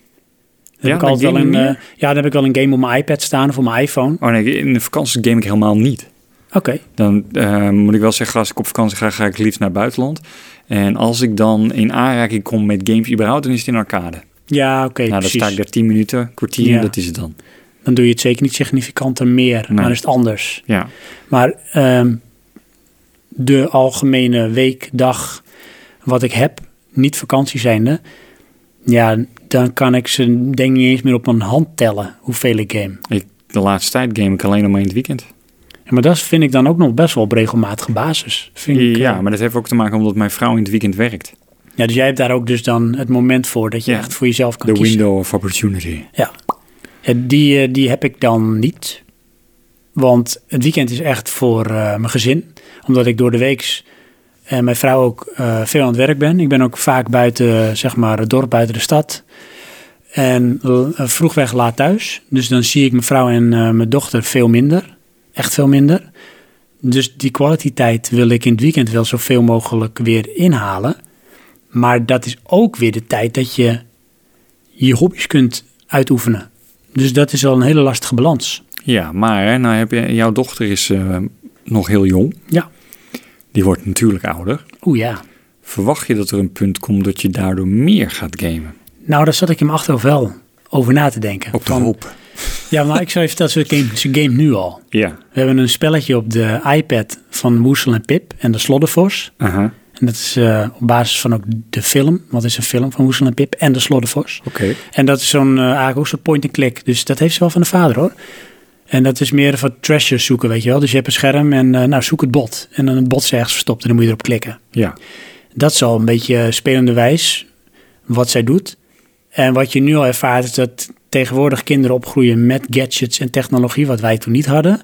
B: Ja,
A: heb ik
B: dan
A: altijd wel
B: game
A: een,
B: je
A: eh,
B: meer?
A: ja, dan heb ik wel een game op mijn iPad staan of op mijn iPhone.
B: Oh nee, in de vakantie game ik helemaal niet.
A: Oké,
B: Dan eh, moet ik wel zeggen, als ik op vakantie ga, ga ik liefst naar het buitenland. En als ik dan in aanraking kom met games überhaupt, dan is het in arcade.
A: ja, oké,
B: nou, dan
A: precies.
B: sta ik daar 10 minuten, kwartier,
A: Ja.
B: dat is het dan.
A: Dan doe je het zeker niet significanter meer, maar dan is het anders.
B: Ja,
A: Maar ehm, de algemene week, dag, wat ik heb, niet vakantie zijnde... Ja, dan kan ik ze denk ik niet eens meer op mijn hand tellen hoeveel ik game.
B: ik, de laatste tijd game ik alleen nog maar in het weekend.
A: Ja, maar dat vind ik dan ook nog best wel op regelmatige basis. Vind ik,
B: ja,
A: eh,
B: maar dat heeft ook te maken omdat mijn vrouw in het weekend werkt.
A: ja, dus jij hebt daar ook dus dan het moment voor dat je echt voor jezelf kan
B: The
A: kiezen.
B: window of opportunity.
A: Ja, ja die, eh, die heb ik dan niet. Want het weekend is echt voor eh, mijn gezin. Omdat ik door de weeks en mijn vrouw ook eh, veel aan het werk ben. Ik ben ook vaak buiten, zeg maar, het dorp, buiten de stad. En l- eh, vroeg weg, laat thuis. Dus dan zie ik mijn vrouw en eh, mijn dochter veel minder. Echt veel minder. Dus die quality tijd wil ik in het weekend wel zoveel mogelijk weer inhalen. Maar dat is ook weer de tijd dat je je hobby's kunt uitoefenen. Dus dat is al een hele lastige balans.
B: Ja, maar hè, nou heb je, jouw dochter is eh, nog heel jong.
A: Ja.
B: Die wordt natuurlijk ouder.
A: Oeh ja.
B: Verwacht je dat er een punt komt dat je daardoor meer gaat gamen?
A: Nou, daar zat ik in mijn achterhoofd wel over na te denken.
B: Op de
A: Van-
B: hoop.
A: Ja, maar ik zou je vertellen, ze game, ze game nu al.
B: Ja.
A: We hebben een spelletje op de iPad van Woesel en Pip en de Sloddervors.
B: Aha.
A: En dat is eh, op basis van ook de film. Want het is een film van Woesel en Pip en de Sloddervors.
B: Oké.
A: En dat is zo'n eh, eigenlijk ook zo'n point-and-click. Dus dat heeft ze wel van de vader hoor. En dat is meer van treasure zoeken, weet je wel. Dus je hebt een scherm en eh, nou zoek het bot. En dan het bot is ergens verstopt en dan moet je erop klikken.
B: Ja.
A: Dat is al een beetje spelende wijs wat zij doet. En wat je nu al ervaart is dat tegenwoordig kinderen opgroeien met gadgets en technologie, wat wij toen niet hadden.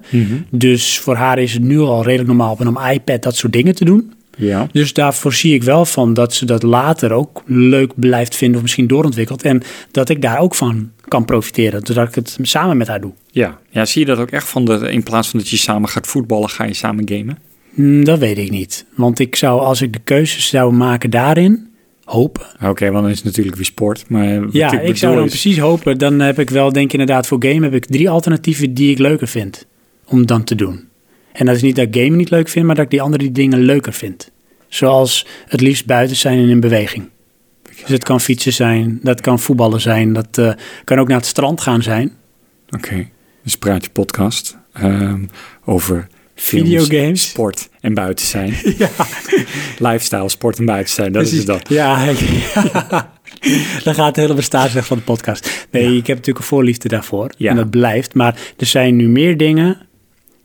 A: Dus voor haar is het nu al redelijk normaal om op een iPad dat soort dingen te doen.
B: Ja.
A: Dus daarvoor zie ik wel van dat ze dat later ook leuk blijft vinden of misschien doorontwikkelt. En dat ik daar ook van kan profiteren, doordat ik het samen met haar doe.
B: Ja. ja, zie je dat ook echt van de, in plaats van dat je samen gaat voetballen, ga je samen gamen?
A: Hmm, dat weet ik niet. Want ik zou, als ik de keuzes zou maken daarin, hopen
B: Oké, want dan is het natuurlijk weer sport. Maar wat
A: Ja, ik,
B: bedoel
A: zou dan
B: is-
A: precies hopen. Dan heb ik wel, denk ik inderdaad, voor game heb ik drie alternatieven die ik leuker vind om dan te doen. En dat is niet dat ik gamen niet leuk vind, maar dat ik die andere dingen leuker vind. Zoals het liefst buiten zijn en in beweging. Dus het kan fietsen zijn, dat kan voetballen zijn, dat eh, kan ook naar het strand gaan zijn.
B: Oké, dus praat je podcast ehm, over films,
A: Videogames.
B: sport en buiten zijn. Lifestyle, sport en buiten zijn, dat is
A: Precies.
B: het dan.
A: Ja, dan gaat het hele bestaan weg van de podcast. Nee, ik heb natuurlijk een voorliefde daarvoor. En dat blijft. Maar er zijn nu meer dingen.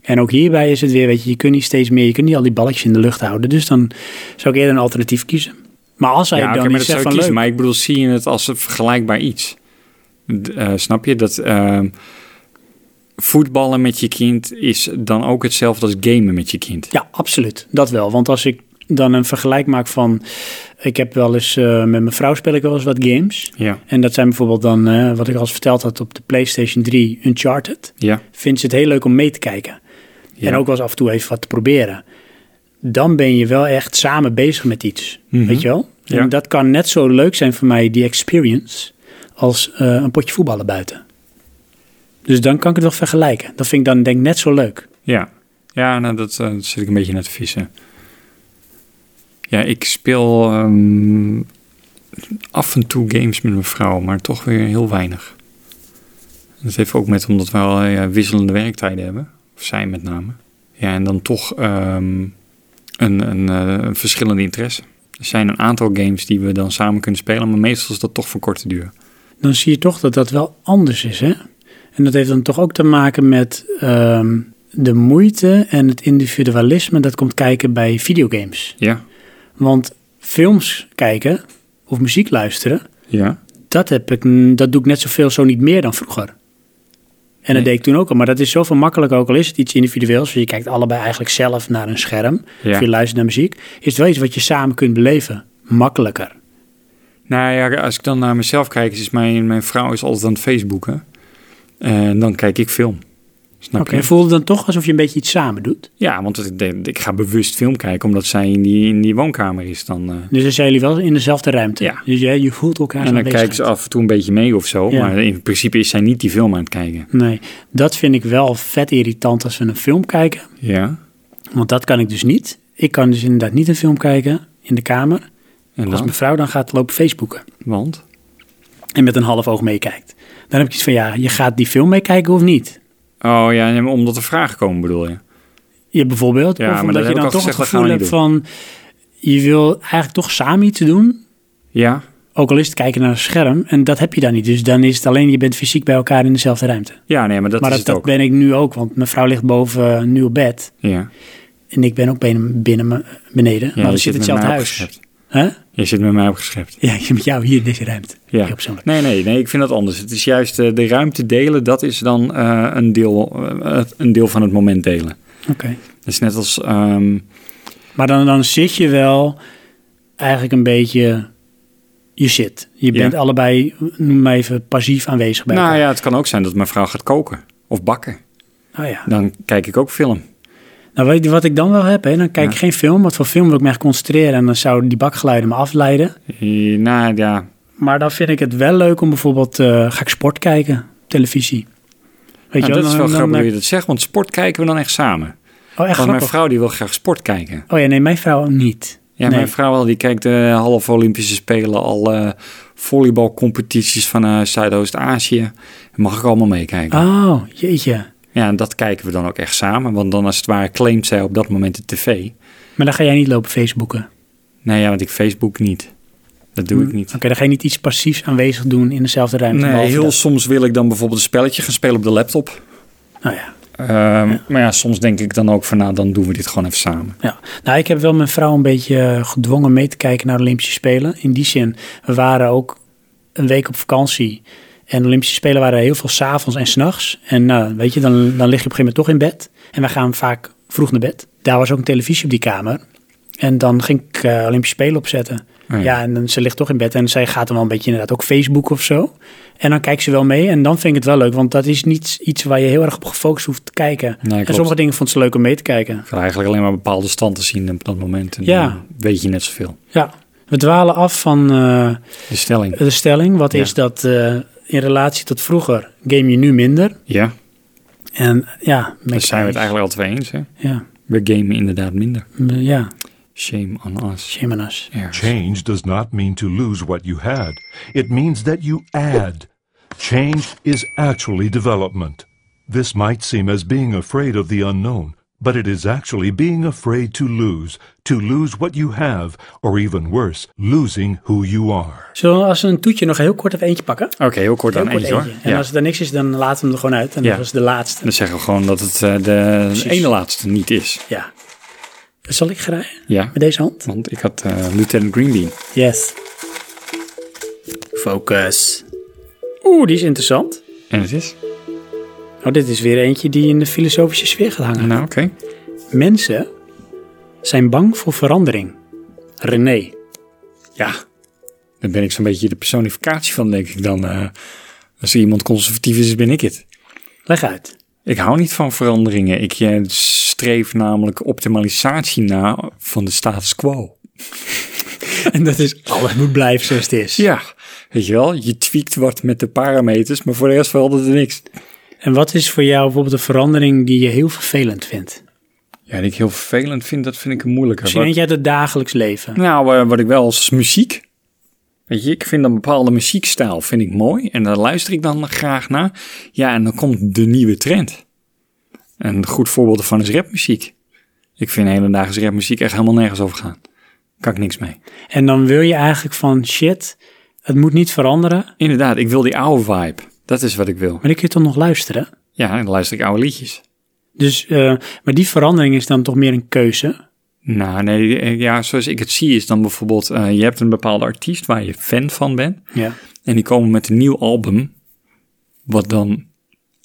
A: En ook hierbij is het weer, weet je, je kunt niet steeds meer, je kunt niet al die balletjes in de lucht houden. Dus dan zou ik eerder een alternatief kiezen. Maar als hij
B: Ja, oké,
A: dan
B: maar
A: iets
B: dat zou
A: zegt van
B: ik kiezen.
A: leuk,
B: Maar ik bedoel, zie je het als een vergelijkbaar iets? D- eh, snap je? Dat ehm, voetballen met je kind is dan ook hetzelfde als gamen met je kind.
A: Ja, absoluut. Dat wel. Want als ik dan een vergelijk maak van... Ik heb wel eens eh, met mijn vrouw speel ik wel eens wat games.
B: Ja.
A: En dat zijn bijvoorbeeld dan, eh, wat ik al eens verteld had op de PlayStation 3, Uncharted.
B: Ja.
A: Vindt ze het heel leuk om mee te kijken.
B: Ja.
A: En ook wel eens af en toe even wat te proberen. Dan ben je wel echt samen bezig met iets.
B: Mhm.
A: Weet je wel?
B: Ja.
A: En dat kan net zo leuk zijn voor mij, die experience, als eh, een potje voetballen buiten. Dus dan kan ik het wel vergelijken. Dat vind ik dan denk ik net zo leuk.
B: Ja, ja nou, dat eh, zit ik een beetje naar te vissen. Ja, ik speel ehm, af en toe games met mijn vrouw, maar toch weer heel weinig. Dat heeft ook met omdat we al eh, wisselende werktijden hebben. Of zij met name. Ja, en dan toch ehm, een, een, eh, een verschillende interesse. Er zijn een aantal games die we dan samen kunnen spelen, maar meestal is dat toch van korte duur.
A: dan zie je toch dat dat wel anders is. Hè? En dat heeft dan toch ook te maken met ehm, de moeite en het individualisme dat komt kijken bij videogames.
B: Ja,
A: Want films kijken of muziek luisteren,
B: ja.
A: dat, heb ik, n- dat doe ik net zoveel zo niet meer dan vroeger. En dat
B: Nee.
A: deed ik toen ook al. Maar dat is zoveel makkelijker, ook al is het iets individueels. Je kijkt allebei eigenlijk zelf naar een scherm.
B: Ja.
A: Of je luistert naar muziek. Is het wel iets wat je samen kunt beleven. Makkelijker.
B: Nou ja, als ik dan naar mezelf kijk, is mijn, mijn vrouw is altijd aan het Facebooken. En dan kijk ik film. Snap
A: Oké,
B: je?
A: voelde het dan toch alsof je een beetje iets samen doet?
B: Ja, want het- ik, ik ga bewust film kijken, omdat zij in die, in die woonkamer is dan. eh.
A: Dus dan zijn jullie wel in dezelfde ruimte.
B: Ja.
A: Dus je, je voelt elkaar
B: en dan kijkt ze af en toe een beetje mee of zo.
A: Ja.
B: Maar in principe is zij niet die film aan het kijken.
A: Nee, dat vind ik wel vet irritant als we een film kijken.
B: Ja.
A: Want dat kan ik dus niet. Ik kan dus inderdaad niet een film kijken in de kamer.
B: En
A: Als
B: dan?
A: mijn vrouw dan gaat lopen Facebooken
B: Want?
A: en met een half oog meekijkt. Dan heb ik iets van, ja, je gaat die film meekijken of niet?
B: Oh ja, nee, maar omdat er vragen komen bedoel je.
A: Je bijvoorbeeld,
B: Ja, maar
A: of
B: dat
A: omdat
B: heb
A: je
B: ik
A: dan
B: al
A: toch
B: gezegd,
A: het
B: dat gaan
A: gevoel
B: we
A: hebt van... je wil eigenlijk toch samen iets doen,
B: Ja.
A: ook al is het kijken naar een scherm. En dat heb je dan niet. Dus dan is het alleen, je bent fysiek bij elkaar in dezelfde ruimte.
B: Ja, nee, maar dat
A: maar
B: is
A: dat,
B: het
A: dat
B: ook.
A: ben ik nu ook, want mijn vrouw ligt boven eh, nu op bed.
B: Ja.
A: En ik ben ook binnen, binnen me- beneden.
B: Ja,
A: maar
B: je
A: we
B: zit
A: zitten in
B: met
A: hetzelfde
B: mij
A: huis.
B: opgeschept.
A: Huh?
B: Je zit met mij opgeschept.
A: Ja, ik zit met jou hier in deze ruimte.
B: Ja.
A: Heel persoonlijk.
B: Nee, nee, nee, ik vind dat anders. Het is juist eh, de ruimte delen, dat is dan eh, een, deel, eh, een deel van het moment delen.
A: Oké.
B: Dat is net als. ehm,
A: Maar dan, dan zit je wel eigenlijk een beetje... Je zit. Je
B: Ja.
A: bent allebei, noem maar even, passief aanwezig bij
B: nou
A: elkaar.
B: ja, het kan ook zijn dat mijn vrouw gaat koken of bakken.
A: Oh ja.
B: Dan kijk ik ook film.
A: Nou, weet je wat ik dan wel heb? Hè? Dan kijk ik geen film, want voor film wil ik me echt concentreren... en dan zouden die bakgeluiden me afleiden.
B: Eh, nou ja,
A: Maar dan vind ik het wel leuk om bijvoorbeeld... eh, ga ik sport kijken op televisie? Weet
B: nou,
A: je
B: dat is wel
A: dan-
B: grappig
A: dan-
B: dat je dat zegt, want sport kijken we dan echt samen.
A: Oh, echt
B: want mijn
A: grappig.
B: vrouw die wil graag sport kijken.
A: Oh ja, nee, mijn vrouw niet.
B: Ja,
A: nee.
B: mijn vrouw wel, die kijkt de halve Olympische Spelen, al eh, volleybalcompetities van eh, Zuidoost-Azië. Mag ik allemaal meekijken.
A: Oh, jeetje.
B: Ja, en dat kijken we dan ook echt samen. Want dan als het ware claimt zij op dat moment de tv.
A: Maar dan ga jij niet lopen Facebooken.
B: Nee, ja, want ik Facebook niet. Dat doe ik niet.
A: Oké, dan ga je niet iets passiefs aanwezig doen in dezelfde ruimte.
B: Nee,
A: behalve
B: heel
A: dat.
B: soms wil ik dan bijvoorbeeld een spelletje gaan spelen op de laptop.
A: Nou ja.
B: Ehm, Maar ja, soms denk ik dan ook van nou, dan doen we dit gewoon even samen.
A: ja. Nou, ik heb wel mijn vrouw een beetje eh, gedwongen mee te kijken naar de Olympische Spelen. In die zin, we waren ook een week op vakantie. En de Olympische Spelen waren heel veel s'avonds en s'nachts. En nou, weet je, dan, dan lig je op een gegeven moment toch in bed. En wij gaan vaak vroeg naar bed. Daar was ook een televisie op die kamer. En dan ging ik eh, Olympische Spelen opzetten.
B: Oh ja.
A: ja. en dan, ze ligt toch in bed en zij gaat dan wel een beetje inderdaad ook Facebook of zo. En dan kijkt ze wel mee en dan vind ik het wel leuk. Want dat is niet iets waar je heel erg op gefocust hoeft te kijken. en
B: klopt.
A: sommige dingen vond ze leuk om mee te kijken.
B: Ik wil eigenlijk alleen maar bepaalde standen zien op dat moment. En
A: Ja.
B: dan weet je net zoveel.
A: Ja, we dwalen af van eh,
B: De stelling.
A: de stelling. Wat
B: Ja.
A: is dat eh, in relatie tot vroeger game je nu minder?
B: Ja,
A: En ja,
B: daar
A: met-
B: zijn we het eigenlijk al twee eens. Hè?
A: Ja,
B: We gamen inderdaad minder.
A: m- ja,
B: Shame on us.
A: shame on us.
B: Ja.
N: Change does not mean to lose what you had. It means that you add. Change is actually development. This might seem as being afraid of the unknown, but it is actually being afraid to lose, to lose what you have, or even worse, losing who you are.
A: Zullen we als we een toetje nog heel kort even eentje pakken?
B: Oké, heel kort
A: Heel
B: aan eentje hoor.
A: En als het er niks is, dan laten we hem er gewoon uit. En
B: Ja.
A: dat was de laatste.
B: Dan zeggen we gewoon dat het eh, de
A: Precies.
B: ene laatste niet is.
A: Ja. Zal ik graaien?
B: Ja. Met
A: deze hand?
B: Want ik had eh, Lieutenant Greenbean.
A: Yes. Focus. Oeh, die is interessant.
B: En het is?
A: Nou, dit is weer eentje die in de filosofische sfeer gaat hangen.
B: Nou, oké.
A: Mensen zijn bang voor verandering. René.
B: Ja. Dan ben ik zo'n beetje de personificatie van, denk ik dan. eh, als er iemand conservatief is, ben ik het.
A: Leg uit.
B: Ik hou niet van veranderingen. Ik eh, streef namelijk optimalisatie na van de status quo.
A: En dat is, alles moet blijven zoals het is.
B: Ja, weet je wel, je tweakt wat met de parameters, maar voor de rest verandert er niks.
A: En wat is voor jou bijvoorbeeld een verandering die je heel vervelend vindt?
B: Ja, die ik heel vervelend vind, dat vind ik een moeilijker.
A: Misschien eentje uit het dagelijks leven.
B: Nou, eh, wat ik wel als muziek. Weet je, ik vind een bepaalde muziekstijl vind ik mooi. En daar luister ik dan graag naar. Ja, en dan komt de nieuwe trend. En een goed voorbeeld daarvan is rapmuziek. Ik vind hedendaags rapmuziek echt helemaal nergens over gaan. Kan ik niks mee.
A: En dan wil je eigenlijk van shit, het moet niet veranderen,
B: Inderdaad, ik wil die oude vibe. Dat is wat ik wil.
A: maar ik kun je toch nog luisteren?
B: Ja, en dan luister ik oude liedjes.
A: Dus, eh, maar die verandering is dan toch meer een keuze.
B: Nou, nee, eh, ja, zoals ik het zie is dan bijvoorbeeld... eh, je hebt een bepaalde artiest waar je fan van bent.
A: Ja.
B: En die komen met een nieuw album, wat dan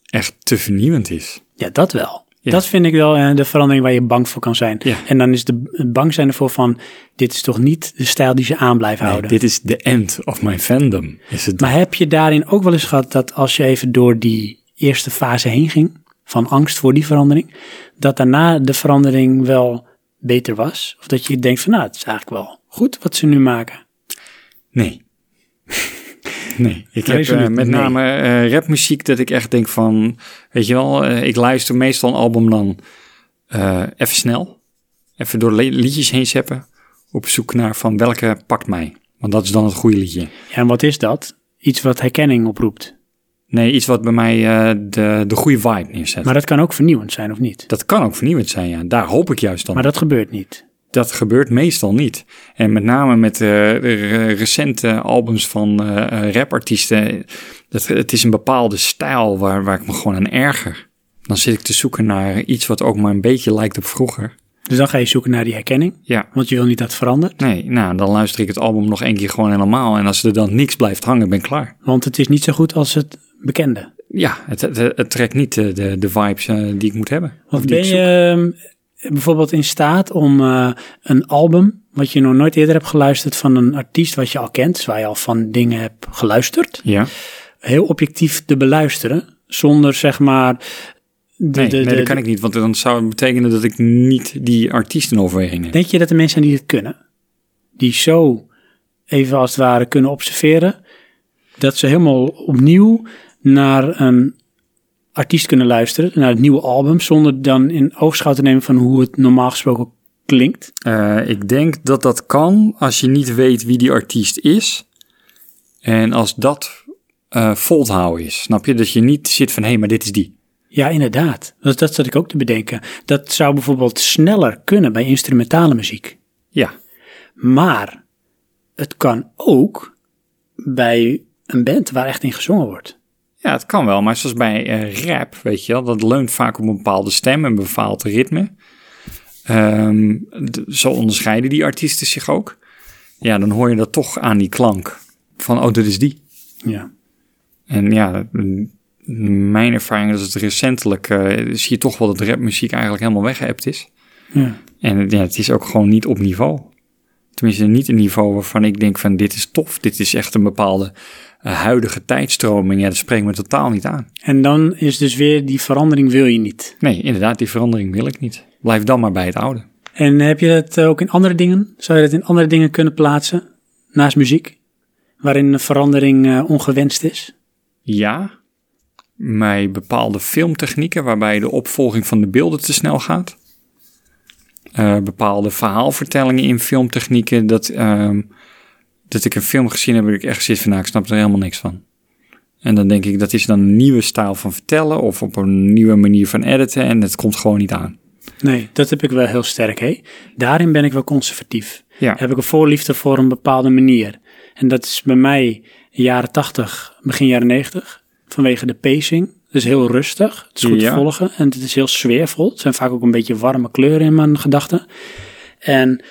B: echt te vernieuwend is.
A: Ja, dat wel. Dat vind ik wel eh, de verandering waar je bang voor kan zijn. En dan is de het bang zijn ervoor van, dit is toch niet de stijl die ze aan blijven
B: Nee,
A: houden.
B: dit is de end of my fandom. Is het
A: Maar heb je daarin ook wel eens gehad dat als je even door die eerste fase heen ging, van angst voor die verandering, dat daarna de verandering wel beter was? Of dat je denkt van, nou, het is eigenlijk wel goed wat ze nu maken.
B: Nee. nee. Ik
A: Nee,
B: heb
A: zo niet.
B: eh, met
A: Nee.
B: name eh, rapmuziek dat ik echt denk van... Weet je wel, eh, ik luister meestal een album dan eh, even snel. Even door le- liedjes heen zeppen. Op zoek naar van welke pakt mij. Want dat is dan het goede liedje.
A: Ja, en wat is dat? Iets wat herkenning oproept.
B: Nee, iets wat bij mij eh, de, de goede vibe neerzet.
A: Maar dat kan ook vernieuwend zijn, of niet?
B: Dat kan ook vernieuwend zijn, ja. Daar hoop ik juist dan.
A: Maar dat gebeurt niet.
B: dat gebeurt meestal niet. En met name met eh, re- recente albums van eh, eh, rapartiesten. Dat, het is een bepaalde stijl waar, waar ik me gewoon aan erger. Dan zit ik te zoeken naar iets wat ook maar een beetje lijkt op vroeger.
A: Dus dan ga je zoeken naar die herkenning,
B: Ja.
A: want je wil niet dat het verandert.
B: Nee, nou, dan luister ik het album nog één keer gewoon helemaal. En als er dan niks blijft hangen, ben ik klaar.
A: Want het is niet zo goed als het bekende.
B: Ja, het, het, het trekt niet de, de, de vibes eh, die ik moet hebben. Of
A: Want
B: die ik
A: ben
B: zoek.
A: je ehm, bijvoorbeeld in staat om eh, een album, wat je nog nooit eerder hebt geluisterd, van een artiest wat je al kent, dus waar je al van dingen hebt geluisterd,
B: Ja.
A: heel objectief te beluisteren, zonder zeg maar... De,
B: Nee,
A: de-
B: nee,
A: de-
B: dat kan ik niet. Want dan zou het betekenen dat ik niet die artiest in overweging heb.
A: Denk je dat er mensen zijn die het kunnen? Die zo, even als het ware, kunnen observeren, dat ze helemaal opnieuw naar een artiest kunnen luisteren, naar het nieuwe album, zonder dan in oogschouw te nemen van hoe het normaal gesproken klinkt?
B: Eh, ik denk dat dat kan als je niet weet wie die artiest is. En als dat eh vol te houden is. Snap je? Dat je niet zit van, hé, maar dit is die.
A: Ja, inderdaad. Dat, dat zat ik ook te bedenken. Dat zou bijvoorbeeld sneller kunnen bij instrumentale muziek.
B: Ja.
A: Maar het kan ook bij een band waar echt in gezongen wordt.
B: Ja, het kan wel. Maar zoals bij eh, rap, weet je wel. Dat leunt vaak op een bepaalde stem en een bepaald ritme. Ehm, d- zo onderscheiden die artiesten zich ook. Ja, dan hoor je dat toch aan die klank. Van, oh, dit is die.
A: Ja.
B: En ja, m- mijn ervaring is dat recentelijk eh, zie je toch wel dat rapmuziek eigenlijk helemaal weggeëpt is.
A: Ja.
B: En het- ja, het is ook gewoon niet op niveau. Tenminste, niet een niveau waarvan ik denk van dit is tof. Dit is echt een bepaalde eh, huidige tijdstroming. Ja, dat spreekt me totaal niet aan.
A: En dan is dus weer die verandering wil je niet.
B: Nee, inderdaad, die verandering wil ik niet. Blijf dan maar bij het oude.
A: En heb je dat eh, ook in andere dingen? Zou je dat in andere dingen kunnen plaatsen? Naast muziek? Waarin een verandering eh, ongewenst is?
B: Ja, bij bepaalde filmtechnieken waarbij de opvolging van de beelden te snel gaat. Eh, bepaalde verhaalvertellingen in filmtechnieken. Dat, ehm, dat ik een film gezien heb, waar ik echt zit van, nou, ik snap er helemaal niks van. En dan denk ik, dat is dan een nieuwe stijl van vertellen of op een nieuwe manier van editen en het komt gewoon niet aan.
A: Nee, dat heb ik wel heel sterk. Hé. Daarin ben ik wel conservatief.
B: Ja.
A: Heb ik een voorliefde voor een bepaalde manier. En dat is bij mij jaren 80, begin jaren 90, vanwege de pacing. Het is heel rustig, het is goed
B: Ja.
A: te volgen en het is heel sfeervol. Het zijn vaak ook een beetje warme kleuren in mijn gedachten. En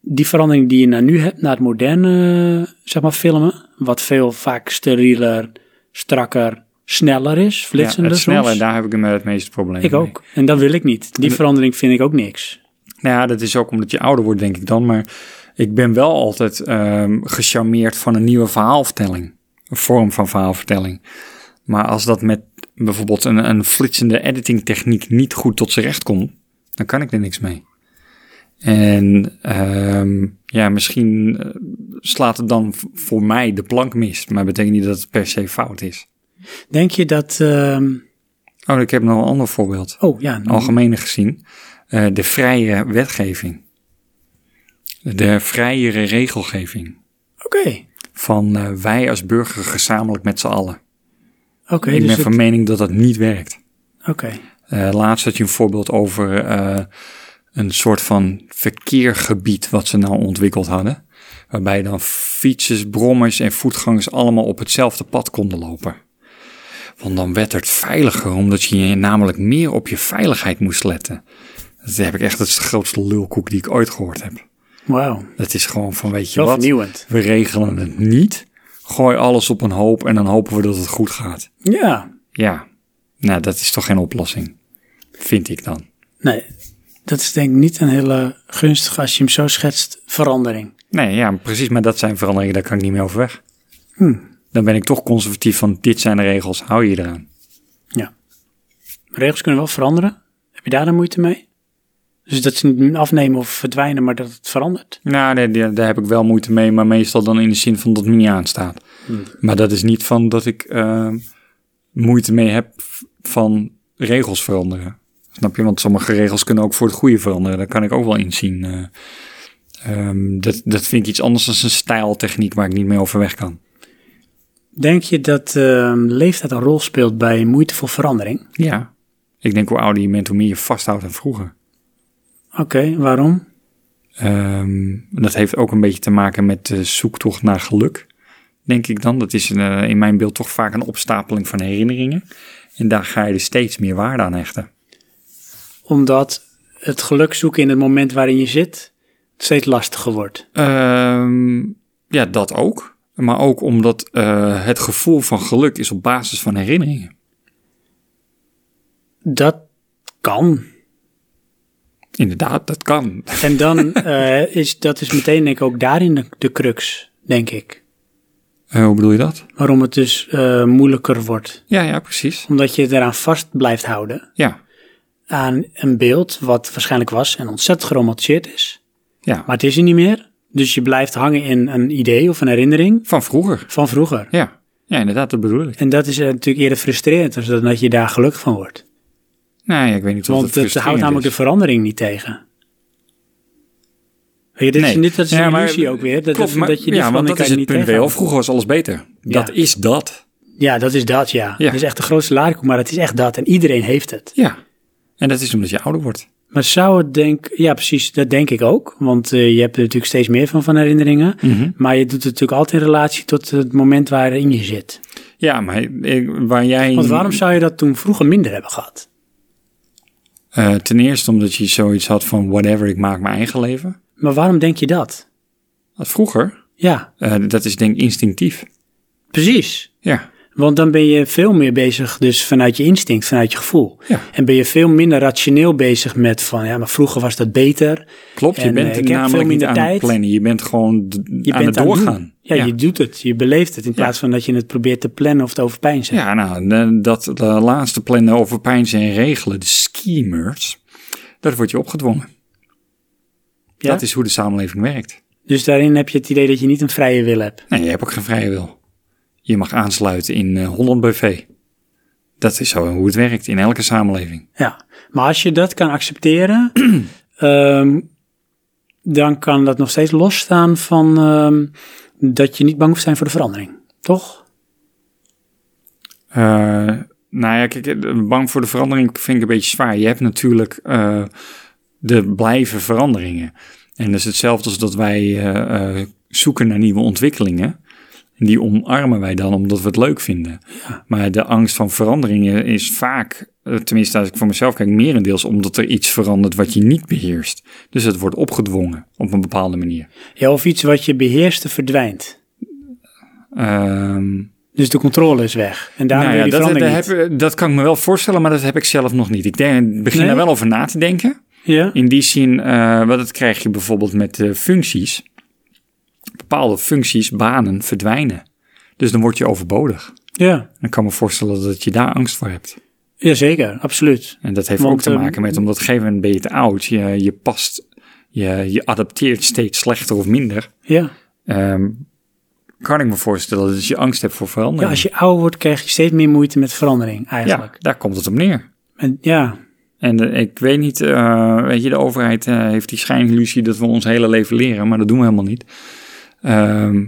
A: die verandering die je naar nu hebt, naar het moderne zeg maar, filmen, wat veel vaak sterieler, strakker, sneller is, flitsender
B: het
A: soms.
B: snelle, daar heb ik hem het meeste probleem
A: Ik
B: mee.
A: ook. En dat wil ik niet. Die
B: En-
A: verandering vind ik ook niks.
B: Nou ja, dat is ook omdat je ouder wordt, denk ik dan. Maar ik ben wel altijd ehm, gecharmeerd van een nieuwe verhaalvertelling. Een vorm van verhaalvertelling. Maar als dat met bijvoorbeeld een, een flitsende editingtechniek niet goed tot zijn recht komt, dan kan ik er niks mee. En ehm, ja, misschien eh, slaat het dan v- voor mij de plank mis. Maar betekent niet dat het per se fout is.
A: Denk je dat... ehm,
B: Oh, ik heb nog een ander voorbeeld.
A: Oh, ja.
B: Algemene gezien. eh, de vrije wetgeving. De vrijere regelgeving.
A: Oké.
B: Van eh, wij als burger gezamenlijk met z'n allen.
A: Oké,
B: ik
A: dus
B: ben
A: het-
B: van mening dat dat niet werkt.
A: Oké.
B: Eh, laatst had je een voorbeeld over eh, een soort van verkeergebied wat ze nou ontwikkeld hadden. Waarbij dan fietsers, brommers en voetgangers allemaal op hetzelfde pad konden lopen. Want dan werd het veiliger, omdat je namelijk meer op je veiligheid moest letten. Dat heb ik echt, dat is de grootste lulkoek die ik ooit gehoord heb.
A: Wauw.
B: Dat is gewoon van, weet je
A: Wel
B: wat,
A: vernieuwend.
B: we regelen het niet. Gooi alles op een hoop en dan hopen we dat het goed gaat.
A: Ja.
B: Ja, nou dat is toch geen oplossing, vind ik dan.
A: Nee, dat is denk ik niet een hele gunstige, als je hem zo schetst, verandering.
B: Nee, ja, precies, maar dat zijn veranderingen, daar kan ik niet meer over weg.
A: Hm.
B: Dan ben ik toch conservatief van, dit zijn de regels, hou je eraan.
A: Regels kunnen wel veranderen. Heb je daar dan moeite mee? Dus dat ze niet afnemen of verdwijnen, maar dat het verandert.
B: Nou, nee, daar, daar heb ik wel moeite mee, maar meestal dan in de zin van dat het me niet aanstaat.
A: Hm.
B: Maar dat is niet van dat ik eh, moeite mee heb van regels veranderen. Snap je? Want sommige regels kunnen ook voor het goede veranderen. Daar kan ik ook wel inzien. eh. Ehm, dat, dat vind ik iets anders dan een stijltechniek waar ik niet mee overweg kan.
A: Denk je dat ehm, leeftijd een rol speelt bij moeite voor verandering?
B: Ja. Ik denk hoe ouder je bent, hoe meer je vasthoudt aan vroeger.
A: Oké, waarom?
B: Ehm, dat heeft ook een beetje te maken met de zoektocht naar geluk, denk ik dan. Dat is eh, in mijn beeld toch vaak een opstapeling van herinneringen. En daar ga je dus steeds meer waarde aan hechten.
A: Omdat het geluk zoeken in het moment waarin je zit steeds lastiger wordt.
B: Ehm, ja, dat ook. Maar ook omdat eh, het gevoel van geluk is op basis van herinneringen.
A: Dat kan.
B: Inderdaad, dat kan.
A: En dan eh, is dat is meteen denk ik ook daarin de, de crux, denk ik.
B: Eh, hoe bedoel je dat?
A: Waarom het dus eh, moeilijker wordt.
B: Ja, ja, precies.
A: Omdat je het eraan vast blijft houden.
B: Ja.
A: Aan een beeld wat waarschijnlijk was en ontzettend geromantiseerd is.
B: Ja.
A: Maar het is er niet meer. Dus je blijft hangen in een idee of een herinnering.
B: Van vroeger.
A: Van vroeger.
B: Ja, ja inderdaad, dat bedoel ik.
A: En dat is eh, natuurlijk eerder frustrerend dus dan dat je daar gelukkig van wordt.
B: Nou ja, ik weet niet of
A: Want
B: dat
A: het houdt namelijk de verandering niet tegen. Weet je, dit is,
B: Nee.
A: dit, dat is
B: Ja,
A: een
B: maar-
A: illusie ook weer. Dat,
B: Klopt,
A: dat-
B: maar-
A: dat je die
B: ja, want
A: verandering kan
B: dat is
A: je
B: het
A: niet
B: punt
A: tegenhouden.
B: wel. Vroeger was alles beter. Dat is dat.
A: Ja, dat is dat, ja.
B: Ja.
A: Dat is echt de grootste laarkoek, maar het is echt dat. En iedereen heeft het.
B: Ja, en dat is omdat je ouder wordt.
A: Maar zou het denk... Ja, precies, dat denk ik ook. Want eh, je hebt er natuurlijk steeds meer van, van herinneringen.
B: Mhm.
A: Maar je doet het natuurlijk altijd in relatie tot het moment waarin je zit.
B: Ja, maar ik- waar jij...
A: Want waarom zou je dat toen vroeger minder hebben gehad?
B: Eh, ten eerste omdat je zoiets had van whatever, ik maak mijn eigen leven.
A: Maar waarom denk je dat?
B: Dat vroeger,
A: Ja,
B: eh, dat is denk ik instinctief.
A: precies.
B: Ja,
A: Want dan ben je veel meer bezig dus vanuit je instinct, vanuit je gevoel.
B: Ja.
A: En ben je veel minder rationeel bezig met van... Ja, maar vroeger was dat beter.
B: klopt. je
A: En,
B: bent
A: eh,
B: er
A: ik heb
B: namelijk
A: veel
B: niet
A: minder
B: aan
A: tijd.
B: het plannen. Je bent gewoon d- aan het
A: doen.
B: doorgaan.
A: ja, je doet het. Je beleeft het in plaats van dat je het probeert te plannen of te overpeinzen.
B: Ja, nou, de- dat de laatste plannen over pijnsen en regelen, de schemers, dat wordt je opgedwongen.
A: Ja?
B: Dat is hoe de samenleving werkt.
A: Dus daarin heb je het idee dat je niet een vrije wil hebt.
B: Nee, je hebt ook geen vrije wil. Je mag aansluiten in eh, Holland Buffet. Dat is zo hoe het werkt in elke samenleving.
A: Ja. Maar als je dat kan accepteren, ehm, dan kan dat nog steeds losstaan van ehm, dat je niet bang hoeft te zijn voor de verandering. Toch?
B: Eh, Nou ja, kijk, bang voor de verandering vind ik een beetje zwaar. Je hebt natuurlijk eh, de blijven veranderingen. En dat is hetzelfde als dat wij eh, eh, zoeken naar nieuwe ontwikkelingen. En die omarmen wij dan omdat we het leuk vinden. Maar de angst van veranderingen is vaak, eh, tenminste als ik voor mezelf kijk, merendeels omdat er iets verandert wat je niet beheerst. Dus het wordt opgedwongen op een bepaalde manier.
A: Ja, of iets wat je beheerste verdwijnt.
B: Ehm,
A: Dus de controle is weg. En daarom
B: nou
A: wil je die
B: ja, dat,
A: verandering
B: dat, heb- dat kan ik me wel voorstellen, maar dat heb ik zelf nog niet. Ik denk, begin
A: Nee?
B: daar wel over na te denken.
A: Ja.
B: In die zin, eh, wat dat krijg je bijvoorbeeld met eh, functies. Bepaalde functies, banen verdwijnen. Dus dan word je overbodig.
A: niet. Ja,
B: Dan kan ik me voorstellen dat je daar angst voor hebt.
A: jazeker, absoluut.
B: En dat heeft
A: Want,
B: ook te
A: ehm,
B: maken met, omdat op een gegeven moment ben je te oud. Je, je past, je, je adapteert steeds slechter of minder.
A: Ja.
B: Ehm, kan ik me voorstellen dat je angst hebt voor verandering.
A: Ja, als je ouder wordt, krijg je steeds meer moeite met verandering eigenlijk.
B: Ja, daar komt het op neer.
A: En, ja,
B: En eh, ik weet niet, eh, weet je, de overheid eh, heeft die schijnillusie dat we ons hele leven leren, maar dat doen we helemaal niet. Ehm,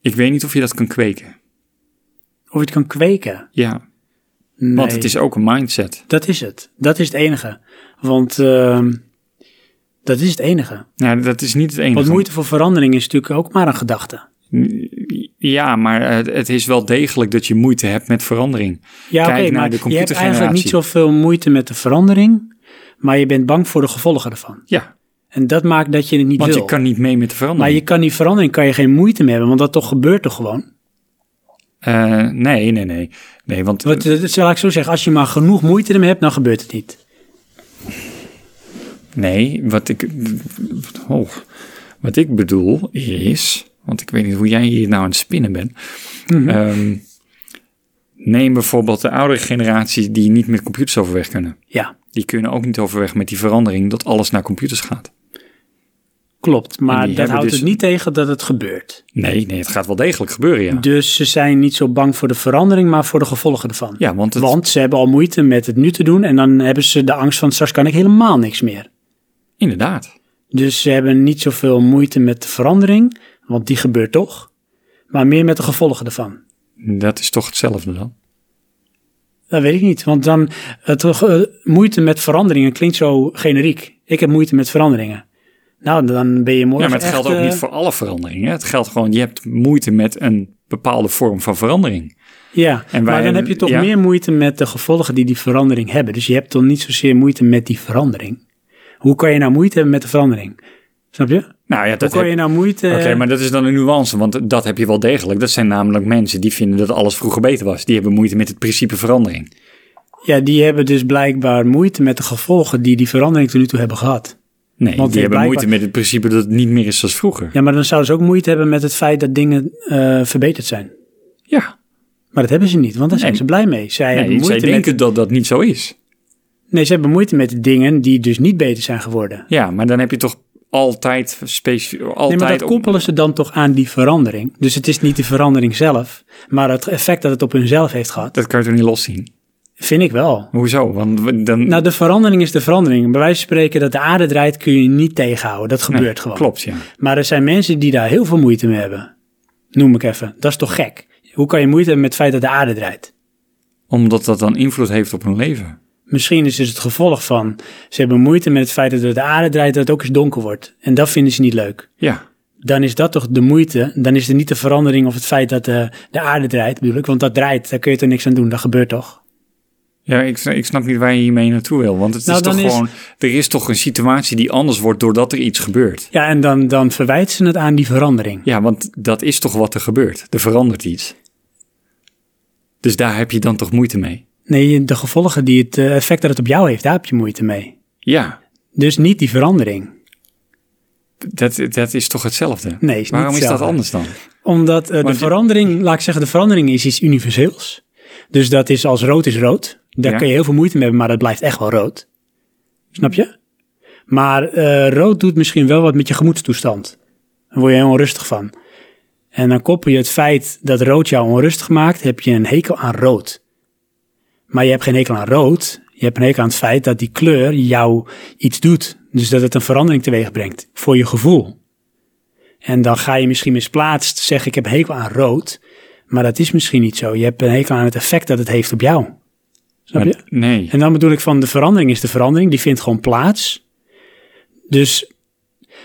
B: ik weet niet of je dat kan kweken.
A: of je het kan kweken.
B: Ja,
A: Nee.
B: want het is ook een mindset.
A: Dat is het. Dat is het enige. Want ehm, dat is het enige.
B: Nou, dat is niet het enige.
A: Want moeite voor verandering is natuurlijk ook maar een gedachte.
B: Ja, maar eh, het, is wel degelijk dat je moeite hebt met verandering.
A: Ja, oké,
B: Kijk naar
A: maar
B: de
A: je hebt
B: computergeneratie.
A: eigenlijk niet zoveel moeite met de verandering, maar je bent bang voor de gevolgen ervan.
B: Ja,
A: En dat maakt dat je het niet
B: want
A: wil.
B: je kan niet mee met de
A: Maar
B: verandering.
A: je kan die verandering kan je geen moeite mee hebben, want dat toch gebeurt toch gewoon?
B: Eh, nee, nee, nee. Nee, want
A: Want, eh, dat zal ik zo zeggen, als je maar genoeg moeite ermee hebt, dan gebeurt het niet.
B: Nee, wat ik, oh, wat ik bedoel is, want ik weet niet hoe jij hier nou aan het spinnen bent.
A: Mhm.
B: Ehm, neem bijvoorbeeld de oudere generatie die niet met computers overweg kunnen.
A: Ja,
B: Die kunnen ook niet overweg met die verandering dat alles naar computers gaat.
A: klopt.
B: En
A: Maar
B: die
A: dat
B: hebben
A: houdt
B: dus-
A: het niet tegen dat het gebeurt.
B: Nee, nee, het gaat wel degelijk gebeuren, ja.
A: Dus ze zijn niet zo bang voor de verandering, maar voor de gevolgen ervan.
B: Ja, want het-
A: Want ze hebben al moeite met het nu te doen en dan hebben ze de angst van straks kan ik helemaal niks meer.
B: Inderdaad.
A: Dus ze hebben niet zoveel moeite met de verandering, want die gebeurt toch. Maar meer met de gevolgen ervan.
B: Dat is toch hetzelfde dan?
A: Dat weet ik niet, want dan het, eh, moeite met veranderingen klinkt zo generiek. Ik heb moeite met veranderingen. Nou, dan ben je
B: Ja,
A: morgen.
B: maar het
A: echt,
B: geldt ook
A: eh,
B: niet voor alle veranderingen. Het geldt gewoon, je hebt moeite met een bepaalde vorm van verandering.
A: Ja,
B: En
A: maar
B: wij-
A: dan heb je toch
B: ja.
A: meer moeite met de gevolgen die die verandering hebben. Dus je hebt dan niet zozeer moeite met die verandering. Hoe kan je nou moeite hebben met de verandering? Snap je?
B: Nou ja, dat
A: Hoe kan
B: heb-
A: je nou moeite...
B: Oké, maar dat is dan een nuance, want dat heb je wel degelijk. Dat zijn namelijk mensen die vinden dat alles vroeger beter was. Die hebben moeite met het principe verandering.
A: Ja, die hebben dus blijkbaar moeite met de gevolgen die die verandering tot nu toe hebben gehad.
B: Nee,
A: Want
B: die hebben
A: blijkbaar-
B: moeite met het principe dat het niet meer is als vroeger.
A: Ja, maar dan zouden ze ook moeite hebben met het feit dat dingen eh, verbeterd zijn.
B: Ja.
A: Maar dat hebben ze niet, want daar zijn
B: Nee.
A: ze blij mee. Zij hebben
B: nee, zij
A: moeite
B: denken
A: met...
B: dat dat niet zo is.
A: Nee, ze hebben moeite met de dingen die dus niet beter zijn geworden.
B: Ja, maar dan heb je toch altijd specifiek... Altijd
A: nee, maar dat
B: op-
A: koppelen ze dan toch aan die verandering. Dus het is niet de verandering zelf, maar het effect dat het op hunzelf heeft gehad,
B: dat kan je toch niet loszien?
A: vind ik wel.
B: Hoezo? Want we- dan...
A: Nou, de verandering is de verandering. Bij wijze van spreken dat de aarde draait kun je niet tegenhouden. Dat
B: Nee,
A: gebeurt gewoon.
B: Klopt, ja.
A: Maar er zijn mensen die daar heel veel moeite mee hebben. Noem ik even. Dat is toch gek? Hoe kan je moeite hebben met het feit dat de aarde draait?
B: Omdat dat dan invloed heeft op hun leven.
A: Misschien is het het gevolg van ze hebben moeite met het feit dat de aarde draait dat het ook eens donker wordt. En dat vinden ze niet leuk.
B: Ja.
A: Dan is dat toch de moeite. Dan is er niet de verandering of het feit dat de, de aarde draait, bedoel ik. Want dat draait, daar kun je toch niks aan doen. Dat gebeurt toch?
B: Ja, ik, ik snap niet waar je hiermee naartoe wil. Want het
A: Nou,
B: is toch
A: dan is-
B: gewoon... Er is toch een situatie die anders wordt doordat er iets gebeurt.
A: Ja, en dan, dan verwijten ze het aan die verandering.
B: Ja, want dat is toch wat er gebeurt. Er verandert iets. Dus daar heb je dan toch moeite mee?
A: Nee, de gevolgen die het eh, effect dat het op jou heeft, daar heb je moeite mee.
B: Ja,
A: Dus niet die verandering.
B: dat, dat is toch hetzelfde?
A: Nee, is niet
B: Waarom is dat
A: hetzelfde.
B: anders dan?
A: Omdat eh, de
B: Want je-
A: verandering, laat ik zeggen, de verandering is iets universeels. Dus dat is als rood is rood. Daar
B: Ja.
A: kun je heel veel moeite mee hebben, maar dat blijft echt wel rood. Snap je? Maar eh, rood doet misschien wel wat met je gemoedstoestand. Daar word je heel onrustig van. En dan koppel je het feit dat rood jou onrustig maakt, heb je een hekel aan rood. Maar je hebt geen hekel aan rood, je hebt een hekel aan het feit dat die kleur jou iets doet. Dus dat het een verandering teweeg brengt voor je gevoel. En dan ga je misschien misplaatst zeggen: Ik heb hekel aan rood. Maar dat is misschien niet zo. Je hebt een hekel aan het effect dat het heeft op jou. Snap
B: Maar-
A: je?
B: nee.
A: En dan bedoel ik van de verandering is de verandering. Die vindt gewoon plaats. Dus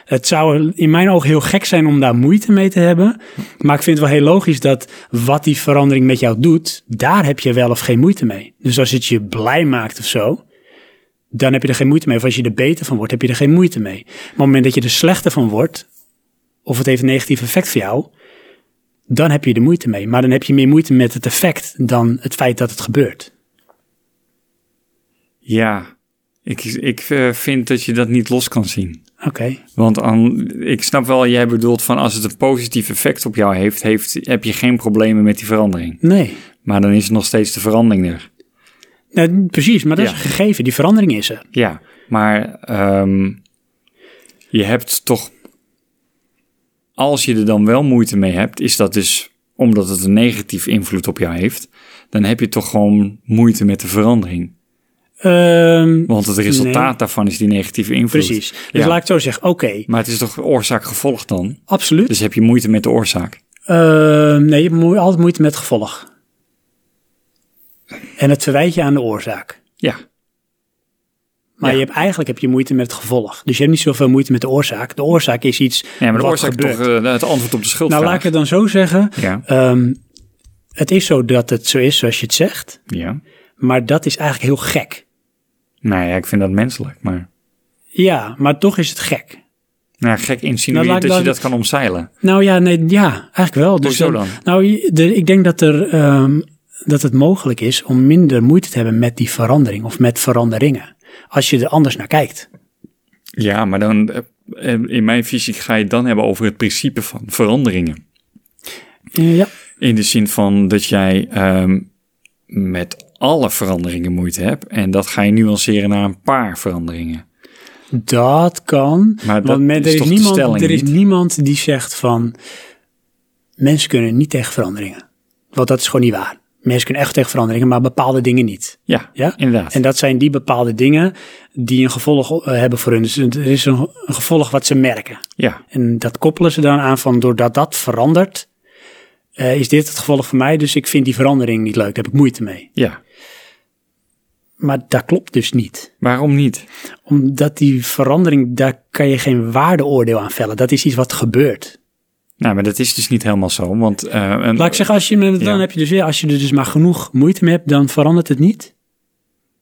A: het zou in mijn ogen heel gek zijn om daar moeite mee te hebben. Maar ik vind het wel heel logisch dat wat die verandering met jou doet, daar heb je wel of geen moeite mee. Dus als het je blij maakt of zo, dan heb je er geen moeite mee. Of als je er beter van wordt, heb je er geen moeite mee. Maar op het moment dat je er slechter van wordt, of het heeft een negatief effect voor jou, dan heb je er moeite mee. Maar dan heb je meer moeite met het effect dan het feit dat het gebeurt.
B: Ja, ik, ik eh, vind dat je dat niet los kan zien.
A: Oké.
B: Want aan, ik snap wel, jij bedoelt van als het een positief effect op jou heeft, heeft heb je geen problemen met die verandering.
A: Nee.
B: Maar dan is het nog steeds de verandering er.
A: Nou, precies, maar dat
B: Ja.
A: is een gegeven. Die verandering is er.
B: Ja, maar ehm, je hebt toch, als je er dan wel moeite mee hebt, is dat dus omdat het een negatief invloed op jou heeft, dan heb je toch gewoon moeite met de verandering.
A: Ehm,
B: Want het resultaat
A: nee.
B: daarvan is die negatieve invloed.
A: Precies. Dus
B: Ja.
A: laat ik het zo zeggen, oké,
B: Maar het is toch oorzaak-gevolg dan?
A: absoluut.
B: Dus heb je moeite met de oorzaak?
A: Ehm, nee, je hebt moe- altijd moeite met gevolg. En het verwijt je aan de oorzaak.
B: Ja.
A: Maar je hebt, eigenlijk heb je moeite met het gevolg. Dus je hebt niet zoveel moeite met de oorzaak. De oorzaak is iets
B: Ja, maar de
A: wat
B: oorzaak is
A: gebeurt.
B: toch eh, het antwoord op de schuldvraag?
A: nou, laat ik het dan zo zeggen.
B: Ja.
A: Ehm, het is zo dat het zo is zoals je het zegt.
B: Ja.
A: Maar dat is eigenlijk heel gek.
B: Nou ja, ik vind dat menselijk, maar...
A: Ja, maar toch is het gek.
B: Nou, ja, gek
A: Nou,
B: insinueert
A: laat ik
B: dat je
A: dan-
B: dat kan omzeilen.
A: Nou ja, nee, ja eigenlijk wel. Dus
B: Hoezo dan?
A: Nou, je- de, ik denk dat, er, ehm, dat het mogelijk is om minder moeite te hebben met die verandering of met veranderingen. Als je er anders naar kijkt.
B: Ja, maar dan... eh, In mijn visie ga je het dan hebben over het principe van veranderingen.
A: Eh, ja,
B: In de zin van dat jij ehm, met alle veranderingen moeite hebt. En dat ga je nuanceren naar een paar veranderingen.
A: dat kan.
B: Maar dat
A: want men-
B: is
A: er,
B: toch
A: is
B: de
A: niemand,
B: stelling
A: er is
B: niet?
A: niemand die zegt van mensen kunnen niet tegen veranderingen. Want dat is gewoon niet waar. Mensen kunnen echt tegen veranderingen, maar bepaalde dingen niet.
B: Ja,
A: Ja?
B: inderdaad.
A: En dat zijn die bepaalde dingen die een gevolg eh, hebben voor hun. Dus er is een, een gevolg wat ze merken.
B: Ja,
A: En dat koppelen ze dan aan van doordat dat verandert, eh, is dit het gevolg voor mij. Dus ik vind die verandering niet leuk, daar heb ik moeite mee.
B: ja.
A: Maar dat klopt dus niet.
B: Waarom niet?
A: Omdat die verandering, daar kan je geen waardeoordeel aan vellen. Dat is iets wat gebeurt.
B: Nou, maar dat is dus niet helemaal zo, want... eh, een-
A: Laat ik zeggen, als je, me- dan
B: Ja.
A: heb je dus, ja, als je er dus maar genoeg moeite mee hebt, dan verandert het niet.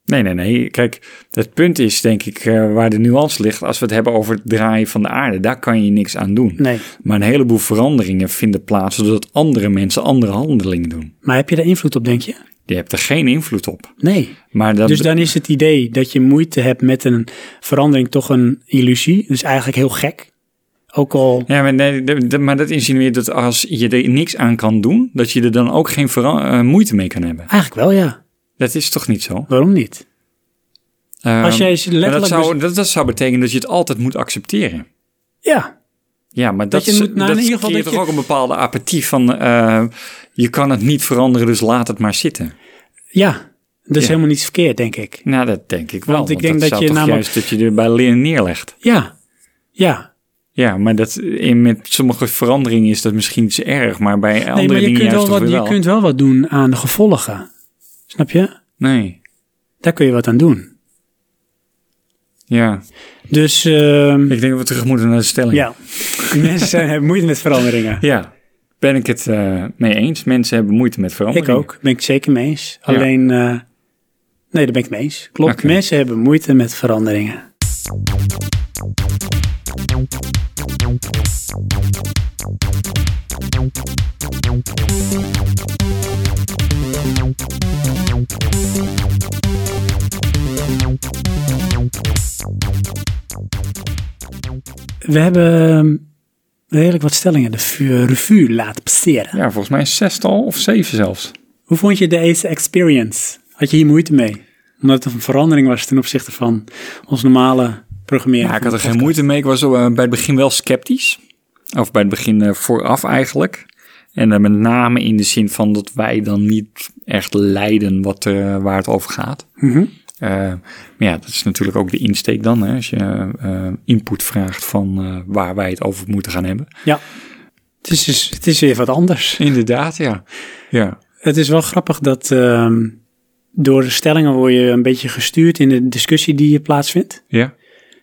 B: Nee, nee, nee. Kijk, het punt is denk ik eh, waar de nuance ligt. Als we het hebben over het draaien van de aarde, daar kan je niks aan doen.
A: Nee.
B: Maar een heleboel veranderingen vinden plaats doordat andere mensen andere handelingen doen.
A: Maar heb je daar invloed op, denk je?
B: Je hebt er geen invloed op.
A: Nee.
B: Maar dat
A: Dus dan is het idee dat je moeite hebt met een verandering toch een illusie. Dus eigenlijk heel gek. Ook al
B: Ja, maar, nee, de- de- maar dat insinueert dat als je er niks aan kan doen, dat je er dan ook geen vera- eh, moeite mee kan hebben.
A: Eigenlijk wel, ja.
B: Dat is toch niet zo?
A: Waarom niet?
B: Ehm,
A: Als jij
B: maar
A: letterlijk dus-
B: dat, zou,
A: bes-
B: dat, dat zou betekenen dat je het altijd moet accepteren.
A: Ja.
B: Ja, maar dat,
A: je
B: is-
A: moet- nou,
B: dat
A: in ieder geval
B: creëert
A: dat
B: toch
A: je-
B: ook een bepaalde apathie van... eh, je kan het niet veranderen, dus laat het maar zitten.
A: Ja. Dat is
B: Ja.
A: helemaal niet verkeerd, denk ik.
B: Nou, dat denk ik wel.
A: Want ik denk dat
B: zou
A: je
B: toch
A: namelijk-
B: juist dat je er bij leren neerlegt.
A: Ja. Ja.
B: Ja, maar dat, in, met sommige veranderingen is dat misschien iets erg, maar bij andere
A: Nee, maar je
B: dingen
A: kunt,
B: juist
A: wel
B: toch
A: wat,
B: weer
A: je
B: wel.
A: kunt wel wat doen aan de gevolgen. Snap je?
B: Nee,
A: Daar kun je wat aan doen.
B: ja.
A: Dus ehm,
B: Ik denk dat we terug moeten naar de stelling.
A: ja, mensen zijn, hebben moeite met veranderingen.
B: Ja. Ben ik het eh, mee eens? Mensen hebben moeite met
A: Ik
B: veranderingen.
A: ook, ben ik zeker mee eens.
B: Ja.
A: Alleen, eh, nee, daar ben ik mee eens. Klopt,
B: Oké.
A: mensen hebben moeite met veranderingen. We hebben ehm, redelijk wat stellingen de vu- revue laten passeren.
B: Ja, volgens mij zestal of zeven zelfs.
A: Hoe vond je deze experience? Had je hier moeite mee? Omdat het een verandering was ten opzichte van ons normale programmeren.
B: Ja, ik
A: van
B: had er
A: de
B: geen moeite mee. Ik was zo, eh, bij het begin wel sceptisch. Of bij het begin eh, vooraf eigenlijk. En dan met name in de zin van dat wij dan niet echt leiden wat, eh, waar het over gaat.
A: Mhm.
B: Eh, maar ja, dat is natuurlijk ook de insteek dan. Hè, als je eh, input vraagt van eh, waar wij het over moeten gaan hebben.
A: Ja. Het is, dus- het is weer wat anders.
B: Inderdaad, ja. ja.
A: Het is wel grappig dat ehm, door de stellingen word je een beetje gestuurd in de discussie die je plaatsvindt.
B: Ja.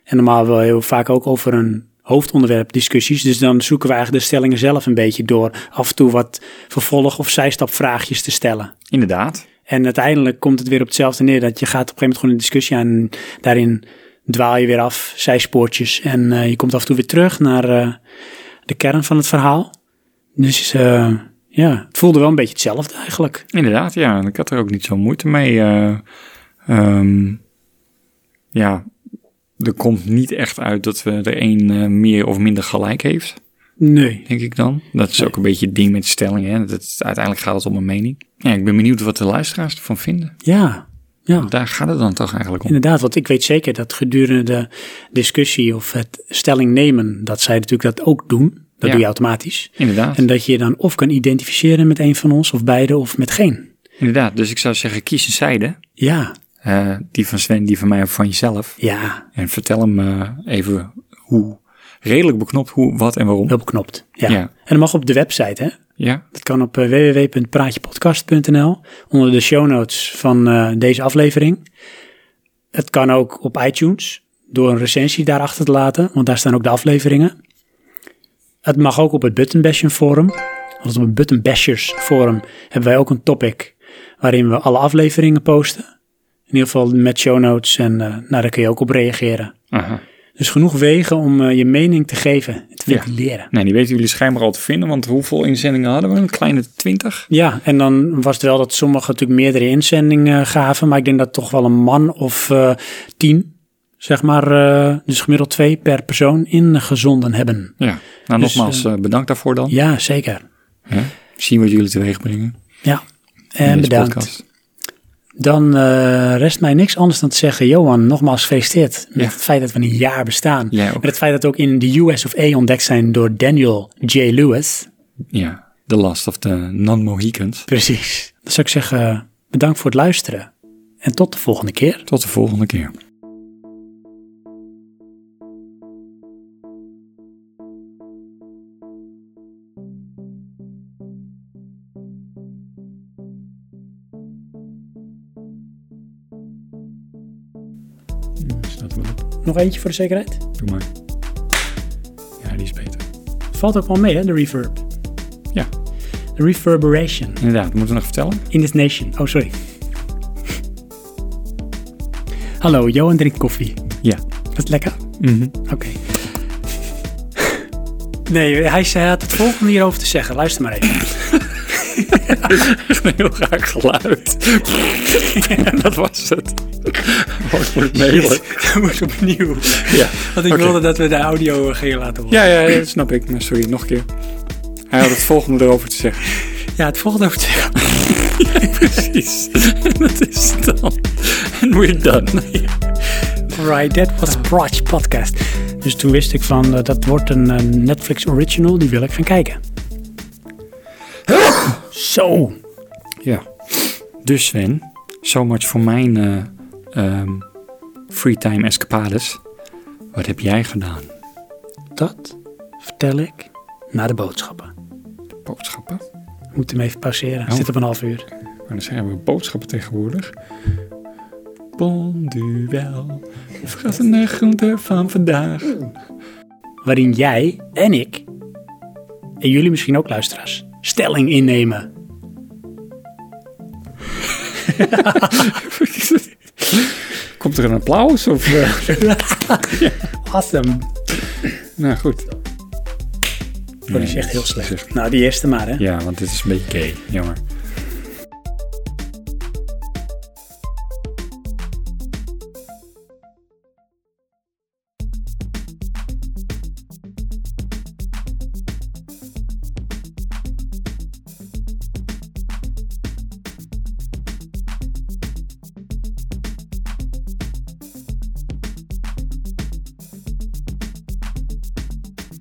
A: En normaal wel heel vaak ook over een hoofdonderwerp discussies. Dus dan zoeken we eigenlijk de stellingen zelf een beetje door af en toe wat vervolg- of zijstapvraagjes te stellen.
B: Inderdaad.
A: En uiteindelijk komt het weer op hetzelfde neer. Dat je gaat op een gegeven moment gewoon een discussie aan. En daarin dwaal je weer af, zijspoortjes. En eh, je komt af en toe weer terug naar eh, de kern van het verhaal. Dus eh, ja, het voelde wel een beetje hetzelfde eigenlijk.
B: Inderdaad, ja. En ik had er ook niet zo moeite mee. eh, ehm, ja, er komt niet echt uit dat we er één eh, meer of minder gelijk heeft.
A: Nee.
B: Denk ik dan. Dat is ook een beetje het ding met stellingen. Hè? Dat, het- uiteindelijk gaat het om een mening. Ja, ik ben benieuwd wat de luisteraars ervan vinden.
A: Ja, ja.
B: Daar gaat het dan toch eigenlijk om.
A: Inderdaad, want ik weet zeker dat gedurende de discussie of het stelling nemen, dat zij natuurlijk dat ook doen. Dat
B: Ja.
A: doe je automatisch.
B: Inderdaad.
A: En dat je je dan of kan identificeren met een van ons, of beide, of met geen.
B: Inderdaad, dus ik zou zeggen, kies een zijde.
A: Ja,
B: Eh, die van Sven, die van mij of van jezelf.
A: Ja.
B: En vertel hem eh, even hoe, redelijk beknopt, hoe, wat en waarom.
A: Heel beknopt, ja.
B: Ja.
A: En dat mag op de website, hè?
B: Ja.
A: Dat kan op eh, www.praatjepodcast.nl, onder de show notes van eh, deze aflevering. Het kan ook op iTunes, door een recensie daarachter te laten, want daar staan ook de afleveringen. Het mag ook op het Button Basher forum. Want op het Button Bashers forum hebben wij ook een topic waarin we alle afleveringen posten. In ieder geval met show notes en eh, nou, daar kun je ook op reageren.
B: Aha.
A: Dus genoeg wegen om eh, je mening te geven, te ventileren.
B: Nee, die weten jullie schijnbaar al te vinden, want hoeveel inzendingen hadden we? Een kleine twintig?
A: Ja, en dan was het wel dat sommigen natuurlijk meerdere inzendingen eh, gaven, maar ik denk dat toch wel een man of eh, tien, zeg maar, eh, dus gemiddeld twee per persoon ingezonden hebben.
B: Ja. Nou,
A: Dus,
B: nogmaals,
A: eh,
B: eh, bedankt daarvoor dan.
A: Ja, zeker.
B: Hè? Zien wat jullie teweeg brengen.
A: Ja,
B: in
A: en
B: deze
A: bedankt.
B: podcast.
A: Dan eh, rest mij niks anders dan te zeggen, Johan, nogmaals gefeliciteerd met
B: Ja.
A: het feit dat we een jaar bestaan.
B: Jij ook.
A: Met het feit dat we ook in de US of A ontdekt zijn door Daniel J. Lewis.
B: Ja, The Last of the Non-Mohicans.
A: Precies. Dan zou ik zeggen, bedankt voor het luisteren en tot de volgende keer.
B: Tot de volgende keer. Staat er wel op.
A: Nog eentje voor de zekerheid?
B: Doe maar. Ja, die is beter.
A: Valt ook wel mee, hè, de reverb.
B: Ja.
A: De reverberation
B: Inderdaad, moeten we nog vertellen?
A: in this nation. Oh, sorry. Hallo, Johan drinkt koffie.
B: Ja.
A: Dat is lekker.
B: Mhm.
A: Oké. Nee, hij zei- hij had het volgende hierover te zeggen. Luister maar even.
B: Een heel raar geluid. dat was het. Wat moet ik mailen?
A: Dat moet opnieuw.
B: Ja,
A: Want ik
B: oké.
A: wilde dat we de audio eh, gingen laten horen.
B: Ja, ja, ja, dat snap ik. Maar sorry, nog een keer. Hij had het volgende erover te zeggen.
A: Ja, het volgende over te zeggen.
B: Precies. dat is het dan. And we're done.
A: Alright, that was Proj Podcast. Dus toen wist ik van, eh, dat wordt een eh, Netflix original. Die wil ik gaan kijken. Zo.
B: Ja. Dus Sven, so much voor mijn eh, ehm, free time escapades. Wat heb jij gedaan?
A: Dat vertel ik na de boodschappen.
B: Boodschappen?
A: Moet hem even passeren.
B: Oh.
A: Zit op een half uur.
B: Maar dan zijn we boodschappen tegenwoordig. Bonduel. Verrassende groente van vandaag.
A: Waarin jij en ik, en jullie misschien ook luisteraars, stelling innemen.
B: Komt er een applaus? Of, eh?
A: Awesome.
B: Nou goed.
A: Oh, die is echt heel slecht. Nou, die eerste maar, hè.
B: Ja, want dit is een beetje gay. Jammer.